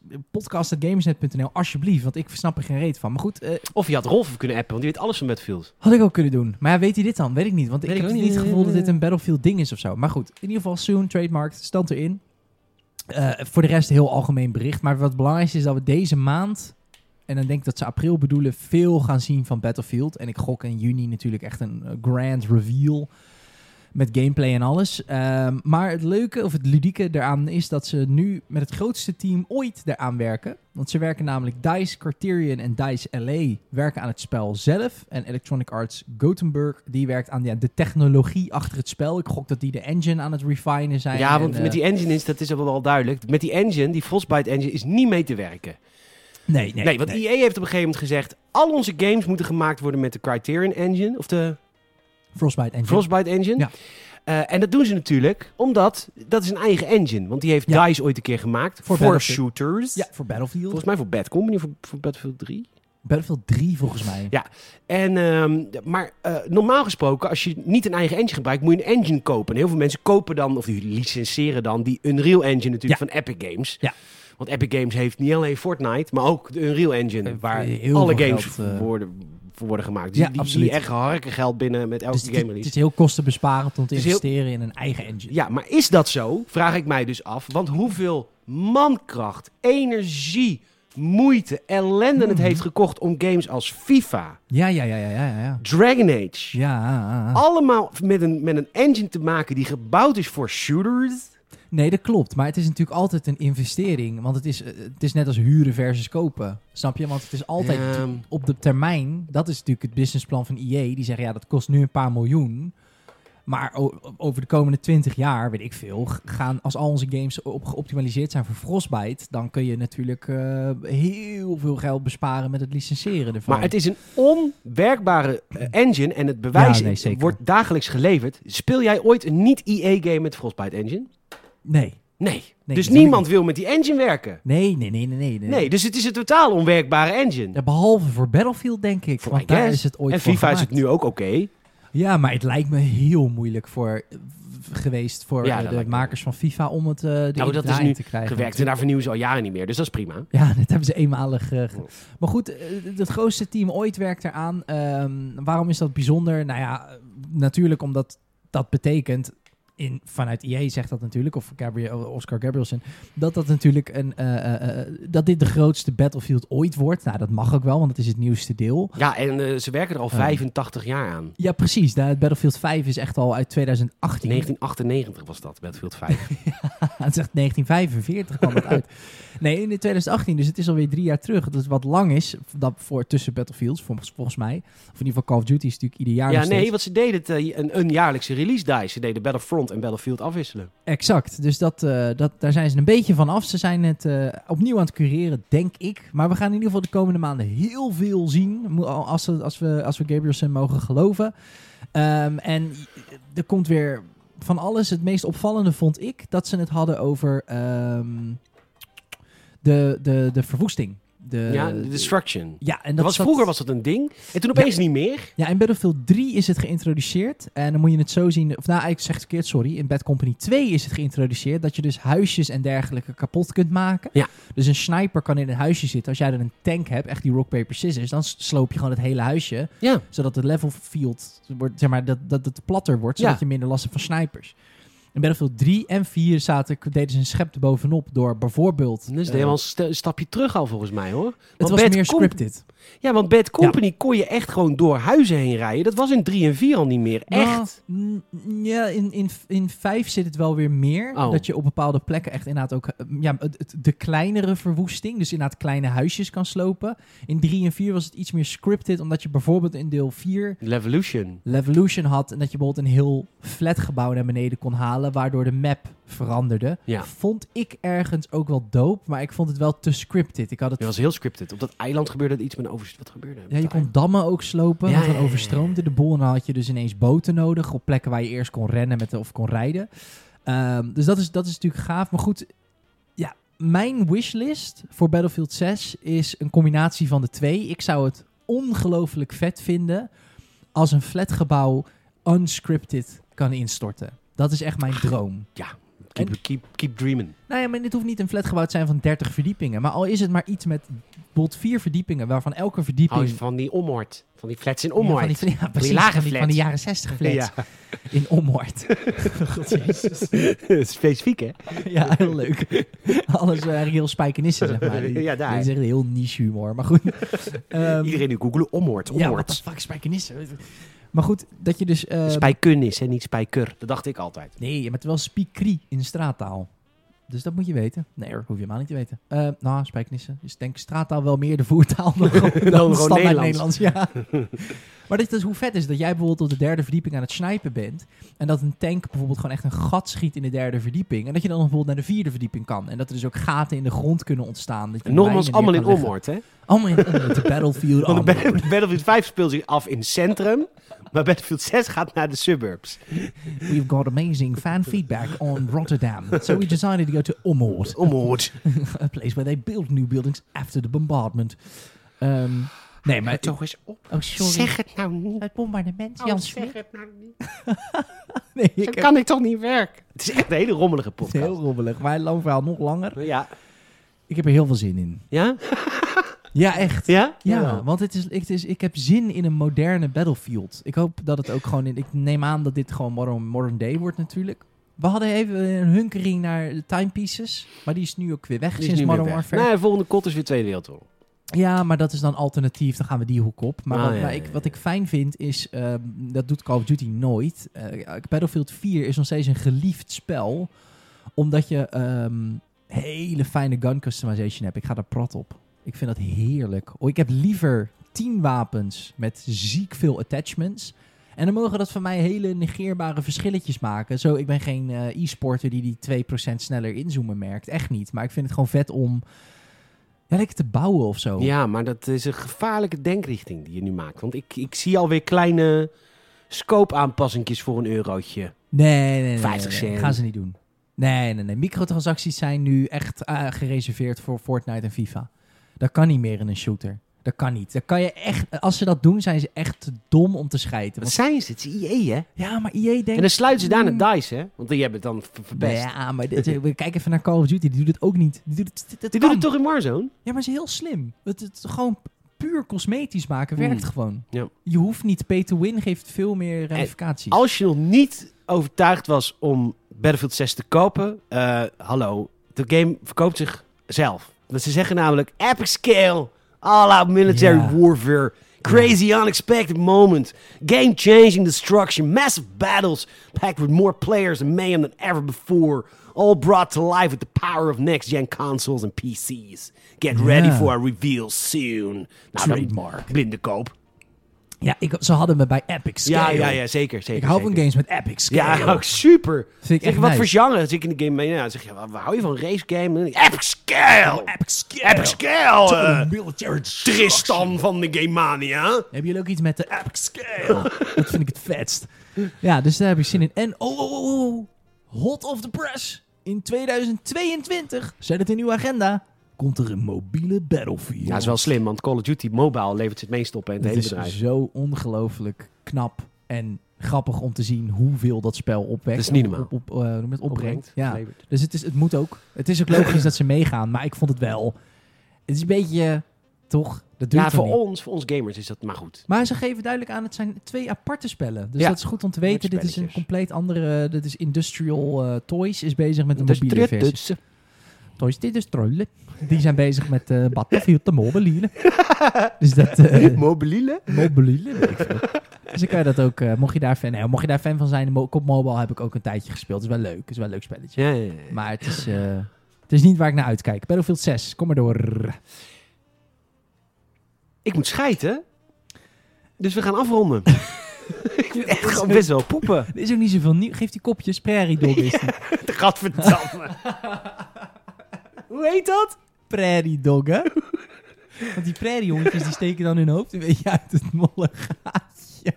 [SPEAKER 2] Podcast.gamesnet.nl, alsjeblieft. Want ik snap er geen reet van. Maar goed, eh,
[SPEAKER 1] Of je had Rolf kunnen appen, want die weet alles van Battlefield.
[SPEAKER 2] had ik ook kunnen doen. Maar ja, weet hij dit dan? Weet ik niet. Want
[SPEAKER 1] Weet
[SPEAKER 2] ik
[SPEAKER 1] ik
[SPEAKER 2] heb
[SPEAKER 1] ook
[SPEAKER 2] niet
[SPEAKER 1] niet.
[SPEAKER 2] het gevoel dat dit een Battlefield ding is of zo. Maar goed, in ieder geval Soon, trademark, stand erin. Eh, voor de rest heel algemeen bericht. Maar wat belangrijk is dat we deze maand, en dan denk ik dat ze april bedoelen, veel gaan zien van Battlefield. En ik gok in juni natuurlijk echt een eh, grand reveal met gameplay en alles. Ehm, maar het leuke of het ludieke daaraan is dat ze nu met het grootste team ooit daaraan werken. Want ze werken namelijk DICE Criterion en DICE LA werken aan het spel zelf. En Electronic Arts Gothenburg, die werkt aan ja, de technologie achter het spel. Ik gok dat die de engine aan het refinen zijn.
[SPEAKER 1] Ja,
[SPEAKER 2] en,
[SPEAKER 1] want
[SPEAKER 2] eh,
[SPEAKER 1] met die engine is, dat is wel al duidelijk. Met die engine, die Frostbite engine, is niet mee te werken.
[SPEAKER 2] Nee,
[SPEAKER 1] Nee,
[SPEAKER 2] nee,
[SPEAKER 1] want EA heeft op een gegeven moment gezegd... al onze games moeten gemaakt worden met de Criterion Engine... of de
[SPEAKER 2] Frostbite engine.
[SPEAKER 1] Frostbite Engine.
[SPEAKER 2] Mhm. Ja.
[SPEAKER 1] Eh, en dat doen ze natuurlijk omdat... dat is een eigen engine. Want die heeft
[SPEAKER 2] Ja.
[SPEAKER 1] DICE ooit een keer gemaakt.
[SPEAKER 2] Voor
[SPEAKER 1] Voor,
[SPEAKER 2] Battlefield.
[SPEAKER 1] shooters.
[SPEAKER 2] ja, voor Battlefield.
[SPEAKER 1] Volgens mij voor Bad Company, voor, voor Battlefield 3.
[SPEAKER 2] Battlefield 3 volgens mij.
[SPEAKER 1] Ja. En, ehm, d- maar eh, normaal gesproken, als je niet een eigen engine gebruikt, moet je een engine kopen. En heel veel mensen kopen dan, of die licenseren dan, die Unreal Engine natuurlijk van Epic Games.
[SPEAKER 2] Ja.
[SPEAKER 1] Want Epic Games heeft niet alleen Fortnite, maar ook de Unreal Engine, waar
[SPEAKER 2] heel
[SPEAKER 1] alle
[SPEAKER 2] veel
[SPEAKER 1] games
[SPEAKER 2] geld, eh,
[SPEAKER 1] worden, voor worden gemaakt. Dus
[SPEAKER 2] Ja,
[SPEAKER 1] die- die,
[SPEAKER 2] absoluut.
[SPEAKER 1] echt harken geld binnen met elke
[SPEAKER 2] Dus het,
[SPEAKER 1] game
[SPEAKER 2] het
[SPEAKER 1] release.
[SPEAKER 2] is heel kostenbesparend om te
[SPEAKER 1] Het is heel-
[SPEAKER 2] investeren in een eigen engine.
[SPEAKER 1] Ja, maar is dat zo? Vraag ik mij dus af. Want hoeveel mankracht, energie, moeite, ellende het
[SPEAKER 2] Mhm.
[SPEAKER 1] heeft gekocht om games als FIFA,
[SPEAKER 2] Ja, ja, ja, ja, ja, ja. ja.
[SPEAKER 1] Dragon Age,
[SPEAKER 2] Ja, ah, ah.
[SPEAKER 1] allemaal met een, met een engine te maken die gebouwd is voor shooters.
[SPEAKER 2] nee, dat klopt. Maar het is natuurlijk altijd een investering. Want het is, eh, het is net als huren versus kopen. Snap je? Want het is altijd
[SPEAKER 1] Ja.
[SPEAKER 2] tu- op de termijn. Dat is natuurlijk het businessplan van IE. Die zeggen, ja, dat kost nu een paar miljoen. Maar o- over de komende 20 jaar, weet ik veel, g- gaan als al onze games op geoptimaliseerd zijn voor Frostbite, dan kun je natuurlijk eh, heel veel geld besparen met het licenseren ervan.
[SPEAKER 1] Maar het is een onwerkbare eh, engine en het bewijs
[SPEAKER 2] Ja, nee, zeker.
[SPEAKER 1] wordt dagelijks geleverd. Speel jij ooit een niet-EA-game met Frostbite Engine?
[SPEAKER 2] Nee.
[SPEAKER 1] Nee. dus
[SPEAKER 2] natuurlijk
[SPEAKER 1] niemand wil met die engine werken.
[SPEAKER 2] Nee, nee, nee, nee, nee. nee.
[SPEAKER 1] Nee, dus het is een totaal onwerkbare engine.
[SPEAKER 2] Ja, behalve voor Battlefield, denk ik.
[SPEAKER 1] Voor
[SPEAKER 2] want
[SPEAKER 1] I guess.
[SPEAKER 2] daar is het ooit
[SPEAKER 1] en
[SPEAKER 2] voor
[SPEAKER 1] FIFA is het
[SPEAKER 2] gemaakt.
[SPEAKER 1] nu ook oké.
[SPEAKER 2] Ja, maar het lijkt me heel moeilijk voor, v- geweest voor
[SPEAKER 1] Ja,
[SPEAKER 2] eh,
[SPEAKER 1] dat
[SPEAKER 2] de
[SPEAKER 1] lijkt me
[SPEAKER 2] makers van FIFA om het eh erin
[SPEAKER 1] Nou, dat is
[SPEAKER 2] draaien
[SPEAKER 1] nu
[SPEAKER 2] te krijgen.
[SPEAKER 1] Gewerkt en daar vernieuwen ze al jaren niet meer, dus dat is prima.
[SPEAKER 2] Ja, [laughs] dat hebben ze eenmalig. eh,
[SPEAKER 1] Oh.
[SPEAKER 2] ge- maar goed, eh, het grootste team ooit werkt eraan. Ehm, waarom is dat bijzonder? Nou ja, eh, natuurlijk omdat dat betekent. In, vanuit IE zegt dat natuurlijk, of Gabriel, eh, Oscar Gabrielsen, dat dat natuurlijk een. eh, eh, eh, dat dit de grootste Battlefield ooit wordt. Nou, dat mag ook wel, want het is het nieuwste deel.
[SPEAKER 1] Ja, en eh, ze werken er al
[SPEAKER 2] Ja.
[SPEAKER 1] 85 jaar aan.
[SPEAKER 2] Ja, precies. Nou, Battlefield 5 is echt al uit 2018.
[SPEAKER 1] 1998 was dat, Battlefield 5.
[SPEAKER 2] [laughs] Het zegt 1945 kwam het
[SPEAKER 1] [laughs]
[SPEAKER 2] uit. Nee, in 2018, dus het is alweer drie jaar terug. Dat is wat lang is dat voor tussen Battlefields, volgens, volgens mij. Of in ieder geval Call of Duty is natuurlijk ieder jaar
[SPEAKER 1] ja,
[SPEAKER 2] nog steeds.
[SPEAKER 1] nee, want ze deden het, eh, een, een jaarlijkse release die. Ze deden Battlefront en Battlefield afwisselen.
[SPEAKER 2] Exact. Dus dat, eh, dat, daar zijn ze een beetje van af. Ze zijn het eh, opnieuw aan het cureren, denk ik. Maar we gaan in ieder geval de komende maanden heel veel zien. mo- Als we, als we, als we Gabrielsen mogen geloven. Ehm, en er komt weer van alles. Het meest opvallende vond ik dat ze het hadden over ehm, de, de, de verwoesting. De,
[SPEAKER 1] ja, de Destruction.
[SPEAKER 2] ja, en
[SPEAKER 1] Dat
[SPEAKER 2] Eh, dat
[SPEAKER 1] was,
[SPEAKER 2] zat-
[SPEAKER 1] vroeger was dat een ding. En toen opeens niet meer.
[SPEAKER 2] ja, in Battlefield 3 is het geïntroduceerd. En dan moet je het zo zien. Of nou, eigenlijk zeg ik het verkeerd, sorry. In Bad Company 2 is het geïntroduceerd. Dat je dus huisjes en dergelijke kapot kunt maken.
[SPEAKER 1] Ja.
[SPEAKER 2] Dus een sniper kan in een huisje zitten. Als jij dan een tank hebt, echt die rock, paper, scissors. Dan s- sloop je gewoon het hele huisje.
[SPEAKER 1] Ja.
[SPEAKER 2] Zodat het level field, wordt, zeg maar, dat, dat het platter wordt. Zodat
[SPEAKER 1] Ja.
[SPEAKER 2] je minder last hebt van snipers. In Battlefield 3 en 4 zaten, deden ze een schep erbovenop. Door bijvoorbeeld...
[SPEAKER 1] Dus
[SPEAKER 2] eh,
[SPEAKER 1] helemaal een st- stapje terug al volgens mij hoor.
[SPEAKER 2] het
[SPEAKER 1] Want
[SPEAKER 2] was
[SPEAKER 1] Bad
[SPEAKER 2] meer
[SPEAKER 1] Com-
[SPEAKER 2] scripted.
[SPEAKER 1] Ja, want Bad Company kon je echt gewoon door huizen heen rijden. Dat was in 3 en 4 al niet meer. Echt.
[SPEAKER 2] Nou, mm, ja, in, in, in vijf zit het wel weer meer.
[SPEAKER 1] Oh.
[SPEAKER 2] Dat je op bepaalde plekken echt inderdaad ook eh, ja, het, het- de kleinere verwoesting, dus inderdaad kleine huisjes kan slopen. In drie en vier was het iets meer scripted, omdat je bijvoorbeeld in deel vier
[SPEAKER 1] Levolution.
[SPEAKER 2] Levolution had en dat je bijvoorbeeld een heel flat gebouw naar beneden kon halen, waardoor de map veranderde.
[SPEAKER 1] Ja.
[SPEAKER 2] Vond ik ergens ook wel dope, maar ik vond het wel te scripted. Ik had het
[SPEAKER 1] Dat was heel scripted. Op dat eiland gebeurde er iets met een overzicht. Wat gebeurde er?
[SPEAKER 2] Ja, je kon dammen ook slopen,
[SPEAKER 1] Ja,
[SPEAKER 2] want
[SPEAKER 1] ja,
[SPEAKER 2] dan
[SPEAKER 1] ja, ja.
[SPEAKER 2] overstroomde de boel en dan had je dus ineens boten nodig op plekken waar je eerst kon rennen met, of kon rijden. Ehm, dus dat is, dat is natuurlijk gaaf, maar goed, ja, mijn wishlist voor Battlefield 6 is een combinatie van de twee. Ik zou het ongelooflijk vet vinden als een flatgebouw unscripted kan instorten. Dat is echt mijn droom.
[SPEAKER 1] Keep,
[SPEAKER 2] En-
[SPEAKER 1] keep, keep dreaming.
[SPEAKER 2] Nou ja, maar dit hoeft niet een flatgebouw te zijn van 30 verdiepingen. Maar al is het maar iets met bijvoorbeeld vier verdiepingen, waarvan elke
[SPEAKER 1] Hou
[SPEAKER 2] verdieping...
[SPEAKER 1] je van die omhoord. Van die flats in
[SPEAKER 2] Ja, van
[SPEAKER 1] omhoord.
[SPEAKER 2] die, ja, precies,
[SPEAKER 1] lage
[SPEAKER 2] van die, van
[SPEAKER 1] flats.
[SPEAKER 2] die jaren 60 flats [laughs] in Ommoord. God jezus.
[SPEAKER 1] [laughs] Specifiek, hè?
[SPEAKER 2] [laughs] Ja, heel leuk. [laughs] Alles eh, eigenlijk heel spijkenissen, zeg maar.
[SPEAKER 1] [laughs]
[SPEAKER 2] Die-
[SPEAKER 1] Ja, daar.
[SPEAKER 2] Dit is echt heel niche humor, maar goed.
[SPEAKER 1] [laughs]
[SPEAKER 2] Ehm,
[SPEAKER 1] Iedereen nu googelen omhoord.
[SPEAKER 2] Ja, what the
[SPEAKER 1] Omhoord.
[SPEAKER 2] fuck, spijkenissen? Maar goed, dat je dus... eh,
[SPEAKER 1] Spijkun is, hè? Niet spijker. Dat dacht ik altijd.
[SPEAKER 2] nee, maar terwijl spiekrie in straattaal. Dus dat moet je weten. Nee hoor, hoef je helemaal niet te weten. Eh, nou, spijkenissen. Dus ik denk straattaal wel meer de
[SPEAKER 1] [laughs]
[SPEAKER 2] voertaal dan, dan,
[SPEAKER 1] gewoon
[SPEAKER 2] standaard
[SPEAKER 1] Nederlands.
[SPEAKER 2] Nederlands.
[SPEAKER 1] [laughs]
[SPEAKER 2] ja. maar dit is hoe vet is dat jij bijvoorbeeld op de derde verdieping aan het snipen bent. En dat een tank bijvoorbeeld gewoon echt een gat schiet in de derde verdieping. En dat je dan bijvoorbeeld naar de vierde verdieping kan. En dat er dus ook gaten in de grond kunnen ontstaan. Dat je
[SPEAKER 1] En nogmaals,
[SPEAKER 2] mijnen neer
[SPEAKER 1] allemaal in
[SPEAKER 2] kan leggen.
[SPEAKER 1] omhoord, hè?
[SPEAKER 2] Allemaal in omhoort. De
[SPEAKER 1] [laughs]
[SPEAKER 2] battlefield.
[SPEAKER 1] Want
[SPEAKER 2] allemaal.
[SPEAKER 1] Battle- Battlefield 5 speelt zich af in het centrum. Maar Battlefield 6 gaat naar de suburbs.
[SPEAKER 2] We've got amazing fan feedback on Rotterdam, so we decided to go to Ommoord,
[SPEAKER 1] Omhoord.
[SPEAKER 2] [laughs] a place where they build new buildings after the bombardment. Ehm, nee, maar...
[SPEAKER 1] toch eens op.
[SPEAKER 2] Oh, sorry.
[SPEAKER 1] Zeg het nou niet.
[SPEAKER 2] het bombardement,
[SPEAKER 1] Oh,
[SPEAKER 2] Jan
[SPEAKER 1] zeg
[SPEAKER 2] Smit.
[SPEAKER 1] het nou niet.
[SPEAKER 2] Nee,
[SPEAKER 1] Zo
[SPEAKER 2] ik heb
[SPEAKER 1] kan ik toch niet werken? Het is echt een hele rommelige
[SPEAKER 2] het heel
[SPEAKER 1] podcast.
[SPEAKER 2] rommelig, maar lang verhaal nog langer.
[SPEAKER 1] Ja.
[SPEAKER 2] Ik heb er heel veel zin in.
[SPEAKER 1] Ja?
[SPEAKER 2] Ja, echt.
[SPEAKER 1] Ja?
[SPEAKER 2] Ja, want het is, het is, ik heb zin in een moderne Battlefield. Ik hoop dat het ook gewoon in. Ik neem aan dat dit gewoon modern, modern day wordt, natuurlijk. We hadden even een hunkering naar de timepieces, maar die is nu ook weer weg
[SPEAKER 1] Die is
[SPEAKER 2] sinds
[SPEAKER 1] nu
[SPEAKER 2] Modern
[SPEAKER 1] weer weg.
[SPEAKER 2] Warfare.
[SPEAKER 1] Nee, volgende kot is weer Tweede Wereldoorlog.
[SPEAKER 2] Ja, maar dat is dan alternatief. Dan gaan we die hoek op. Maar
[SPEAKER 1] Ah,
[SPEAKER 2] wat,
[SPEAKER 1] ja,
[SPEAKER 2] maar
[SPEAKER 1] ja,
[SPEAKER 2] ik,
[SPEAKER 1] ja.
[SPEAKER 2] wat ik fijn vind is... ehm, dat doet Call of Duty nooit. Eh, Battlefield 4 is nog steeds een geliefd spel. Omdat je ehm, hele fijne gun customization hebt. Ik ga daar prat op. Ik vind dat heerlijk. Oh, ik heb liever 10 wapens met ziek veel attachments... En dan mogen dat van mij hele negeerbare verschilletjes maken. Zo, ik ben geen eh, e-sporter die die 2% sneller inzoomen merkt. Echt niet. Maar ik vind het gewoon vet om ja, lekker te bouwen of zo.
[SPEAKER 1] Ja, maar dat is een gevaarlijke denkrichting die je nu maakt. Want ik, ik zie alweer kleine scope-aanpassingjes voor een eurotje.
[SPEAKER 2] Nee, nee, nee.
[SPEAKER 1] 50
[SPEAKER 2] nee, nee.
[SPEAKER 1] cent.
[SPEAKER 2] Gaan ze niet doen. Nee, nee, nee. Microtransacties zijn nu echt eh, gereserveerd voor Fortnite en FIFA. Dat kan niet meer in een shooter. Dat kan niet. Dat kan je echt, als ze dat doen, zijn ze echt te dom om te
[SPEAKER 1] Wat
[SPEAKER 2] scheiden. Want-
[SPEAKER 1] zijn ze? Het is IE, hè? Mm.
[SPEAKER 2] ja, maar EA denkt...
[SPEAKER 1] En dan sluiten ze daarna DICE, hè? Want die hebben het dan ver- verpest.
[SPEAKER 2] Ja, maar dit, eh, we kijken even naar Call of Duty. Die doet het ook niet. Die doet het, dit- dit
[SPEAKER 1] Die
[SPEAKER 2] kan.
[SPEAKER 1] doen het toch in Warzone?
[SPEAKER 2] Ja, maar ze is heel slim. Het, het gewoon puur cosmetisch maken
[SPEAKER 1] Hmm.
[SPEAKER 2] werkt gewoon.
[SPEAKER 1] Ja.
[SPEAKER 2] Je hoeft niet. Pay to win geeft veel meer ramificaties.
[SPEAKER 1] Eh, Als je nog niet overtuigd was om Battlefield 6 te kopen, eh, hallo, de game verkoopt zichzelf. Want ze zeggen namelijk epic scale, all-out military
[SPEAKER 2] Ja.
[SPEAKER 1] warfare, crazy unexpected moment, game-changing destruction, massive battles packed with more players and mayhem than ever before, all brought to life with the power of next-gen consoles and PCs. Get ready
[SPEAKER 2] Ja.
[SPEAKER 1] for a reveal soon. Nou,
[SPEAKER 2] Trademark.
[SPEAKER 1] dan blinde koop.
[SPEAKER 2] Ja, ik, ze hadden me bij Epic
[SPEAKER 1] Ja,
[SPEAKER 2] Scale.
[SPEAKER 1] ja, ja, zeker, zeker.
[SPEAKER 2] Ik hou
[SPEAKER 1] zeker.
[SPEAKER 2] van games met
[SPEAKER 1] [laughs]
[SPEAKER 2] epic scale.
[SPEAKER 1] Ja, ook super.
[SPEAKER 2] Vind ik
[SPEAKER 1] zeg,
[SPEAKER 2] echt
[SPEAKER 1] wat
[SPEAKER 2] nice.
[SPEAKER 1] voor genre zit ik in de game mee? Nou, zeg je, waar waar hou je van race game? Epic scale!
[SPEAKER 2] epic scale.
[SPEAKER 1] Epic scale! eh,
[SPEAKER 2] military
[SPEAKER 1] Tristan van de Game Mania.
[SPEAKER 2] Hebben jullie ook iets met de epic scale? dat vind ik het vetst. Ja, dus daar heb ik zin in. En oh, oh, oh, oh, hot off the press. In 2022, zet het in uw agenda, komt er een mobiele Battlefield.
[SPEAKER 1] Ja, is wel slim, want Call of Duty Mobile levert het meest op hè, in het
[SPEAKER 2] Het
[SPEAKER 1] hele
[SPEAKER 2] is
[SPEAKER 1] bedrijf.
[SPEAKER 2] zo ongelooflijk knap en grappig om te zien hoeveel dat spel opwekt.
[SPEAKER 1] Dat is niet normaal.
[SPEAKER 2] Op, op, eh, hoe noem je het? opbrengt. Ja.
[SPEAKER 1] Levert.
[SPEAKER 2] Dus het, is, het moet ook. Het is ook
[SPEAKER 1] [clears throat]
[SPEAKER 2] logisch dat ze meegaan, maar ik vond het wel. Het is een beetje, eh, toch? Dat duurt
[SPEAKER 1] Ja,
[SPEAKER 2] wel
[SPEAKER 1] voor
[SPEAKER 2] niet.
[SPEAKER 1] ons, voor ons gamers is dat maar goed.
[SPEAKER 2] Maar ze geven duidelijk aan, het zijn twee aparte spellen. Dus
[SPEAKER 1] Ja.
[SPEAKER 2] dat is goed om te weten. Dit is een
[SPEAKER 1] spelletjes.
[SPEAKER 2] compleet andere... eh, Dit is Industrial eh, Toys, is bezig met een
[SPEAKER 1] Dus
[SPEAKER 2] mobiele
[SPEAKER 1] trit-
[SPEAKER 2] versie.
[SPEAKER 1] tutsen.
[SPEAKER 2] Toys, dit is trollen. Die zijn bezig met [laughs] eh Battlefield, de [laughs] mobiele. dus dat... eh,
[SPEAKER 1] Mobiele?
[SPEAKER 2] Mobiele, weet ik veel. Dus dan kan je dat ook, eh, mocht, je daar fan, nee, mocht je daar fan van zijn, Mo- Cop Mobile heb ik ook een tijdje gespeeld. is wel leuk, is wel een leuk spelletje.
[SPEAKER 1] Ja, ja, ja.
[SPEAKER 2] Maar het is, eh, het is niet waar ik naar uitkijk. Battlefield 6, kom maar door.
[SPEAKER 1] Ik moet schijten. Dus we gaan
[SPEAKER 2] [laughs]
[SPEAKER 1] afronden. ik moet echt gewoon best wel poepen.
[SPEAKER 2] Er is ook niet zoveel nieuw. Geef die kopjes, Prairie Dog is die.
[SPEAKER 1] [laughs] Gadverdamme. Hoe heet dat?
[SPEAKER 2] Prairie Dog, hè? Want die prairie hondjes die steken dan hun hoofd een beetje uit het molle gaatje.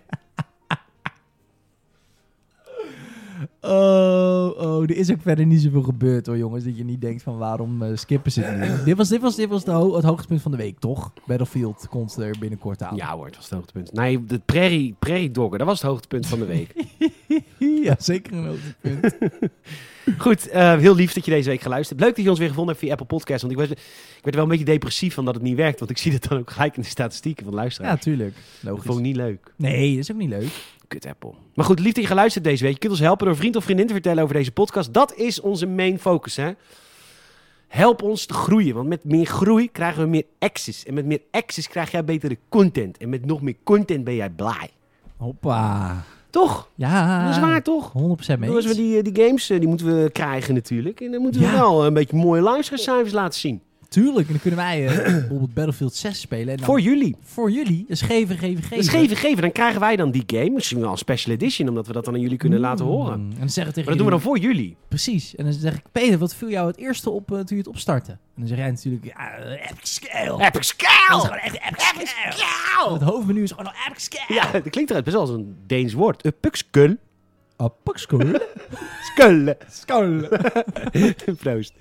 [SPEAKER 2] Oh, oh, Oh, er is ook verder niet zoveel gebeurd hoor, jongens. Dat je niet denkt van waarom eh, skippen ze het nu. dit was, dit was, dit was de ho- het hoogtepunt van de week, toch? Battlefield komt er binnenkort aan.
[SPEAKER 1] Ja hoor, dat was het hoogtepunt. Nee, de prairie, prairie doggen, dat was het hoogtepunt [laughs] van de week.
[SPEAKER 2] ja zeker een hoogtepunt.
[SPEAKER 1] Goed, eh, heel lief dat je deze week geluisterd hebt. Leuk dat je ons weer gevonden hebt via Apple Podcasts. Want ik, was, ik werd er wel een beetje depressief van dat het niet werkt. Want ik zie dat dan ook gelijk in de statistieken van
[SPEAKER 2] ja,
[SPEAKER 1] luisteraars.
[SPEAKER 2] tuurlijk.
[SPEAKER 1] dat vond
[SPEAKER 2] Logisch.
[SPEAKER 1] ik niet leuk.
[SPEAKER 2] Nee, dat is ook niet leuk.
[SPEAKER 1] Kut Apple. Maar goed, lief dat je geluisterd hebt deze week. Je kunt ons helpen door een vriend of vriendin te vertellen over deze podcast. Dat is onze main focus, hè. Help ons te groeien, want met meer groei krijgen we meer access. En met meer access krijg jij betere content. En met nog meer content ben jij blij.
[SPEAKER 2] Hoppa.
[SPEAKER 1] Toch?
[SPEAKER 2] Ja.
[SPEAKER 1] Dat is waar, toch?
[SPEAKER 2] 100% mee.
[SPEAKER 1] Dan moeten we die, eh, die games eh, die moeten we krijgen natuurlijk. En dan moeten we
[SPEAKER 2] Ja.
[SPEAKER 1] wel eh, een beetje mooie luistercijfers laten zien.
[SPEAKER 2] Tuurlijk. En dan kunnen wij eh, bijvoorbeeld Battlefield 6 spelen. En dan
[SPEAKER 1] Voor jullie.
[SPEAKER 2] voor jullie. Dus geven, geven, geven.
[SPEAKER 1] Dus geven, geven. Dan krijgen wij dan die game. Misschien wel een special edition, omdat we dat dan aan jullie kunnen laten
[SPEAKER 2] Mm.
[SPEAKER 1] horen. Maar
[SPEAKER 2] En dan zeggen we tegen
[SPEAKER 1] dat doen we
[SPEAKER 2] jullie-
[SPEAKER 1] dan voor jullie.
[SPEAKER 2] Precies. En dan zeg ik, Peter, wat viel jou het eerste op eh, toen je het opstartte? En dan zeg jij natuurlijk, ja, eh, epic scale.
[SPEAKER 1] Epic
[SPEAKER 2] Dat is
[SPEAKER 1] scale!
[SPEAKER 2] gewoon echt epic
[SPEAKER 1] Epic
[SPEAKER 2] scale.
[SPEAKER 1] scale!
[SPEAKER 2] Het hoofdmenu is gewoon al epic scale.
[SPEAKER 1] Ja, [laughs] dat klinkt eruit best wel als een Deens woord. [laughs] Een pukskull. [laughs]
[SPEAKER 2] Epic scale.
[SPEAKER 1] Skullen.
[SPEAKER 2] Scale.
[SPEAKER 1] Proost.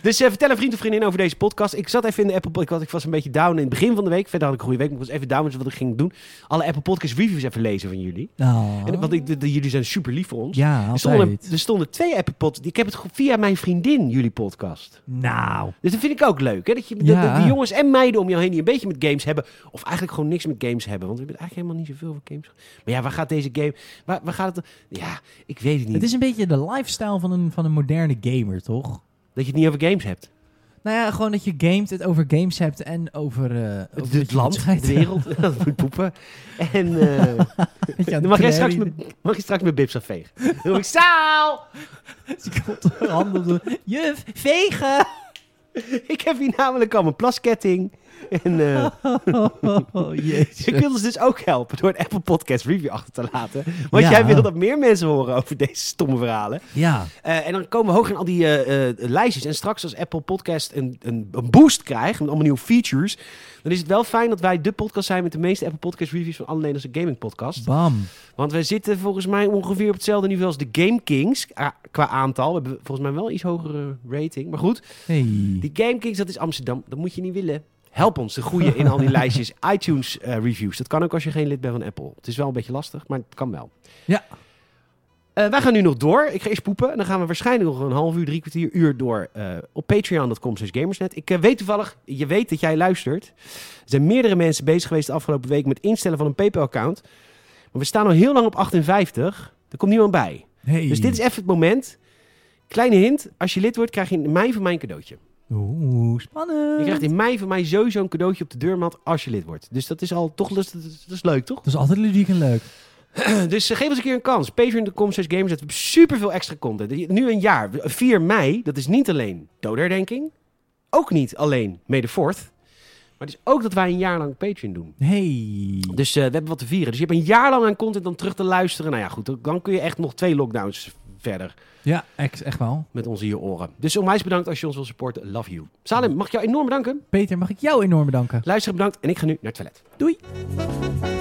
[SPEAKER 1] Dus eh, vertel een vriend of vriendin over deze podcast. Ik zat even in de Apple Podcast. Ik was een beetje down in het begin van de week. Verder had ik een goede week. Maar ik was even down met wat ik ging doen. Alle Apple Podcast reviews even lezen van jullie.
[SPEAKER 2] Nou.
[SPEAKER 1] En, want ik, de- de- jullie zijn super lief voor ons.
[SPEAKER 2] Ja,
[SPEAKER 1] er, stonden,
[SPEAKER 2] altijd.
[SPEAKER 1] er stonden twee Apple Podcasts. Ik heb het ge- via mijn vriendin, jullie podcast.
[SPEAKER 2] Nou.
[SPEAKER 1] Dus dat vind ik ook leuk. Hè? Dat, je, dat-
[SPEAKER 2] Ja.
[SPEAKER 1] dat die jongens en meiden om jou heen die een beetje met games hebben. Of eigenlijk gewoon niks met games hebben. Want we hebben eigenlijk helemaal niet zoveel van games. Maar ja, waar gaat deze game... Waar, waar gaat het... Ja, ik weet het niet.
[SPEAKER 2] Het is een beetje de lifestyle van een, van een moderne gamer, toch?
[SPEAKER 1] Dat je het niet over games hebt.
[SPEAKER 2] Nou ja, gewoon dat je gamet, het over games hebt en over... eh, over [laughs] dat
[SPEAKER 1] Het, het
[SPEAKER 2] je moet
[SPEAKER 1] land, de
[SPEAKER 2] scheiden.
[SPEAKER 1] wereld. [laughs] dat moet poepen. En [laughs] eh,
[SPEAKER 2] Dat je aan
[SPEAKER 1] dan mag, jij
[SPEAKER 2] het
[SPEAKER 1] straks
[SPEAKER 2] kleren-
[SPEAKER 1] mijn, mag je straks mijn bibs afvegen. Dan hoor ik zaal!
[SPEAKER 2] Die komt op de handen doen. Juf, vegen!
[SPEAKER 1] Ik heb hier namelijk al mijn plasketting. En... eh,
[SPEAKER 2] Oh,
[SPEAKER 1] [laughs]
[SPEAKER 2] jezus.
[SPEAKER 1] Je kunt ons dus ook helpen door een Apple Podcast review achter te laten. Want
[SPEAKER 2] Ja.
[SPEAKER 1] jij wil dat meer mensen horen over deze stomme verhalen.
[SPEAKER 2] Ja.
[SPEAKER 1] Eh, en dan komen we hoog in al die eh, eh, lijstjes. En straks als Apple Podcast een, een, een boost krijgt met allemaal nieuwe features... dan is het wel fijn dat wij de podcast zijn met de meeste Apple Podcast reviews van alle Nederlandse gaming podcasts.
[SPEAKER 2] Bam.
[SPEAKER 1] Want wij zitten volgens mij ongeveer op hetzelfde niveau als de Game Kings ah, qua aantal. We hebben volgens mij wel een iets hogere rating. Maar goed,
[SPEAKER 2] Hey.
[SPEAKER 1] die Game Kings, dat is Amsterdam. Dat moet je niet willen. Help ons te groeien in al die lijstjes. iTunes eh, reviews. Dat kan ook als je geen lid bent van Apple. Het is wel een beetje lastig, maar het kan wel.
[SPEAKER 2] Ja.
[SPEAKER 1] Eh, wij gaan nu nog door. Ik ga eerst poepen. En dan gaan we waarschijnlijk nog een half uur, drie kwartier uur door eh, op patreon.com slash gamersnet. Ik eh, weet toevallig, je weet dat jij luistert. Er zijn meerdere mensen bezig geweest de afgelopen week met instellen van een PayPal-account. Maar we staan al heel lang op 58. Er komt niemand bij.
[SPEAKER 2] Hey.
[SPEAKER 1] Dus dit is even het moment. Kleine hint, als je lid wordt, krijg je in mei van mij een cadeautje.
[SPEAKER 2] Oeh, spannend.
[SPEAKER 1] Je krijgt in mei van mij sowieso een cadeautje op de deurmat als je lid wordt. Dus dat is al toch dat is, dat is leuk, toch?
[SPEAKER 2] Dat is altijd ludiek en leuk.
[SPEAKER 1] [clears throat] Dus eh, geef ons een keer een kans. Patreon.com slash gamers. We hebben superveel extra content. Nu een jaar. 4 mei, dat is niet alleen doodherdenking. Ook niet alleen mede fourth. Maar het is ook dat wij een jaar lang Patreon doen.
[SPEAKER 2] Hey.
[SPEAKER 1] Dus eh, we hebben wat te vieren. Dus je hebt een jaar lang aan content om terug te luisteren. Nou ja, goed. Dan kun je echt nog twee lockdowns verder
[SPEAKER 2] Ja, ex, echt wel.
[SPEAKER 1] met onze hier oren. Dus onwijs bedankt als je ons wil supporten. Love you. Salem, mag ik jou enorm bedanken?
[SPEAKER 2] Peter, mag ik jou enorm bedanken.
[SPEAKER 1] Luisteren bedankt. En ik ga nu naar het toilet.
[SPEAKER 2] Doei.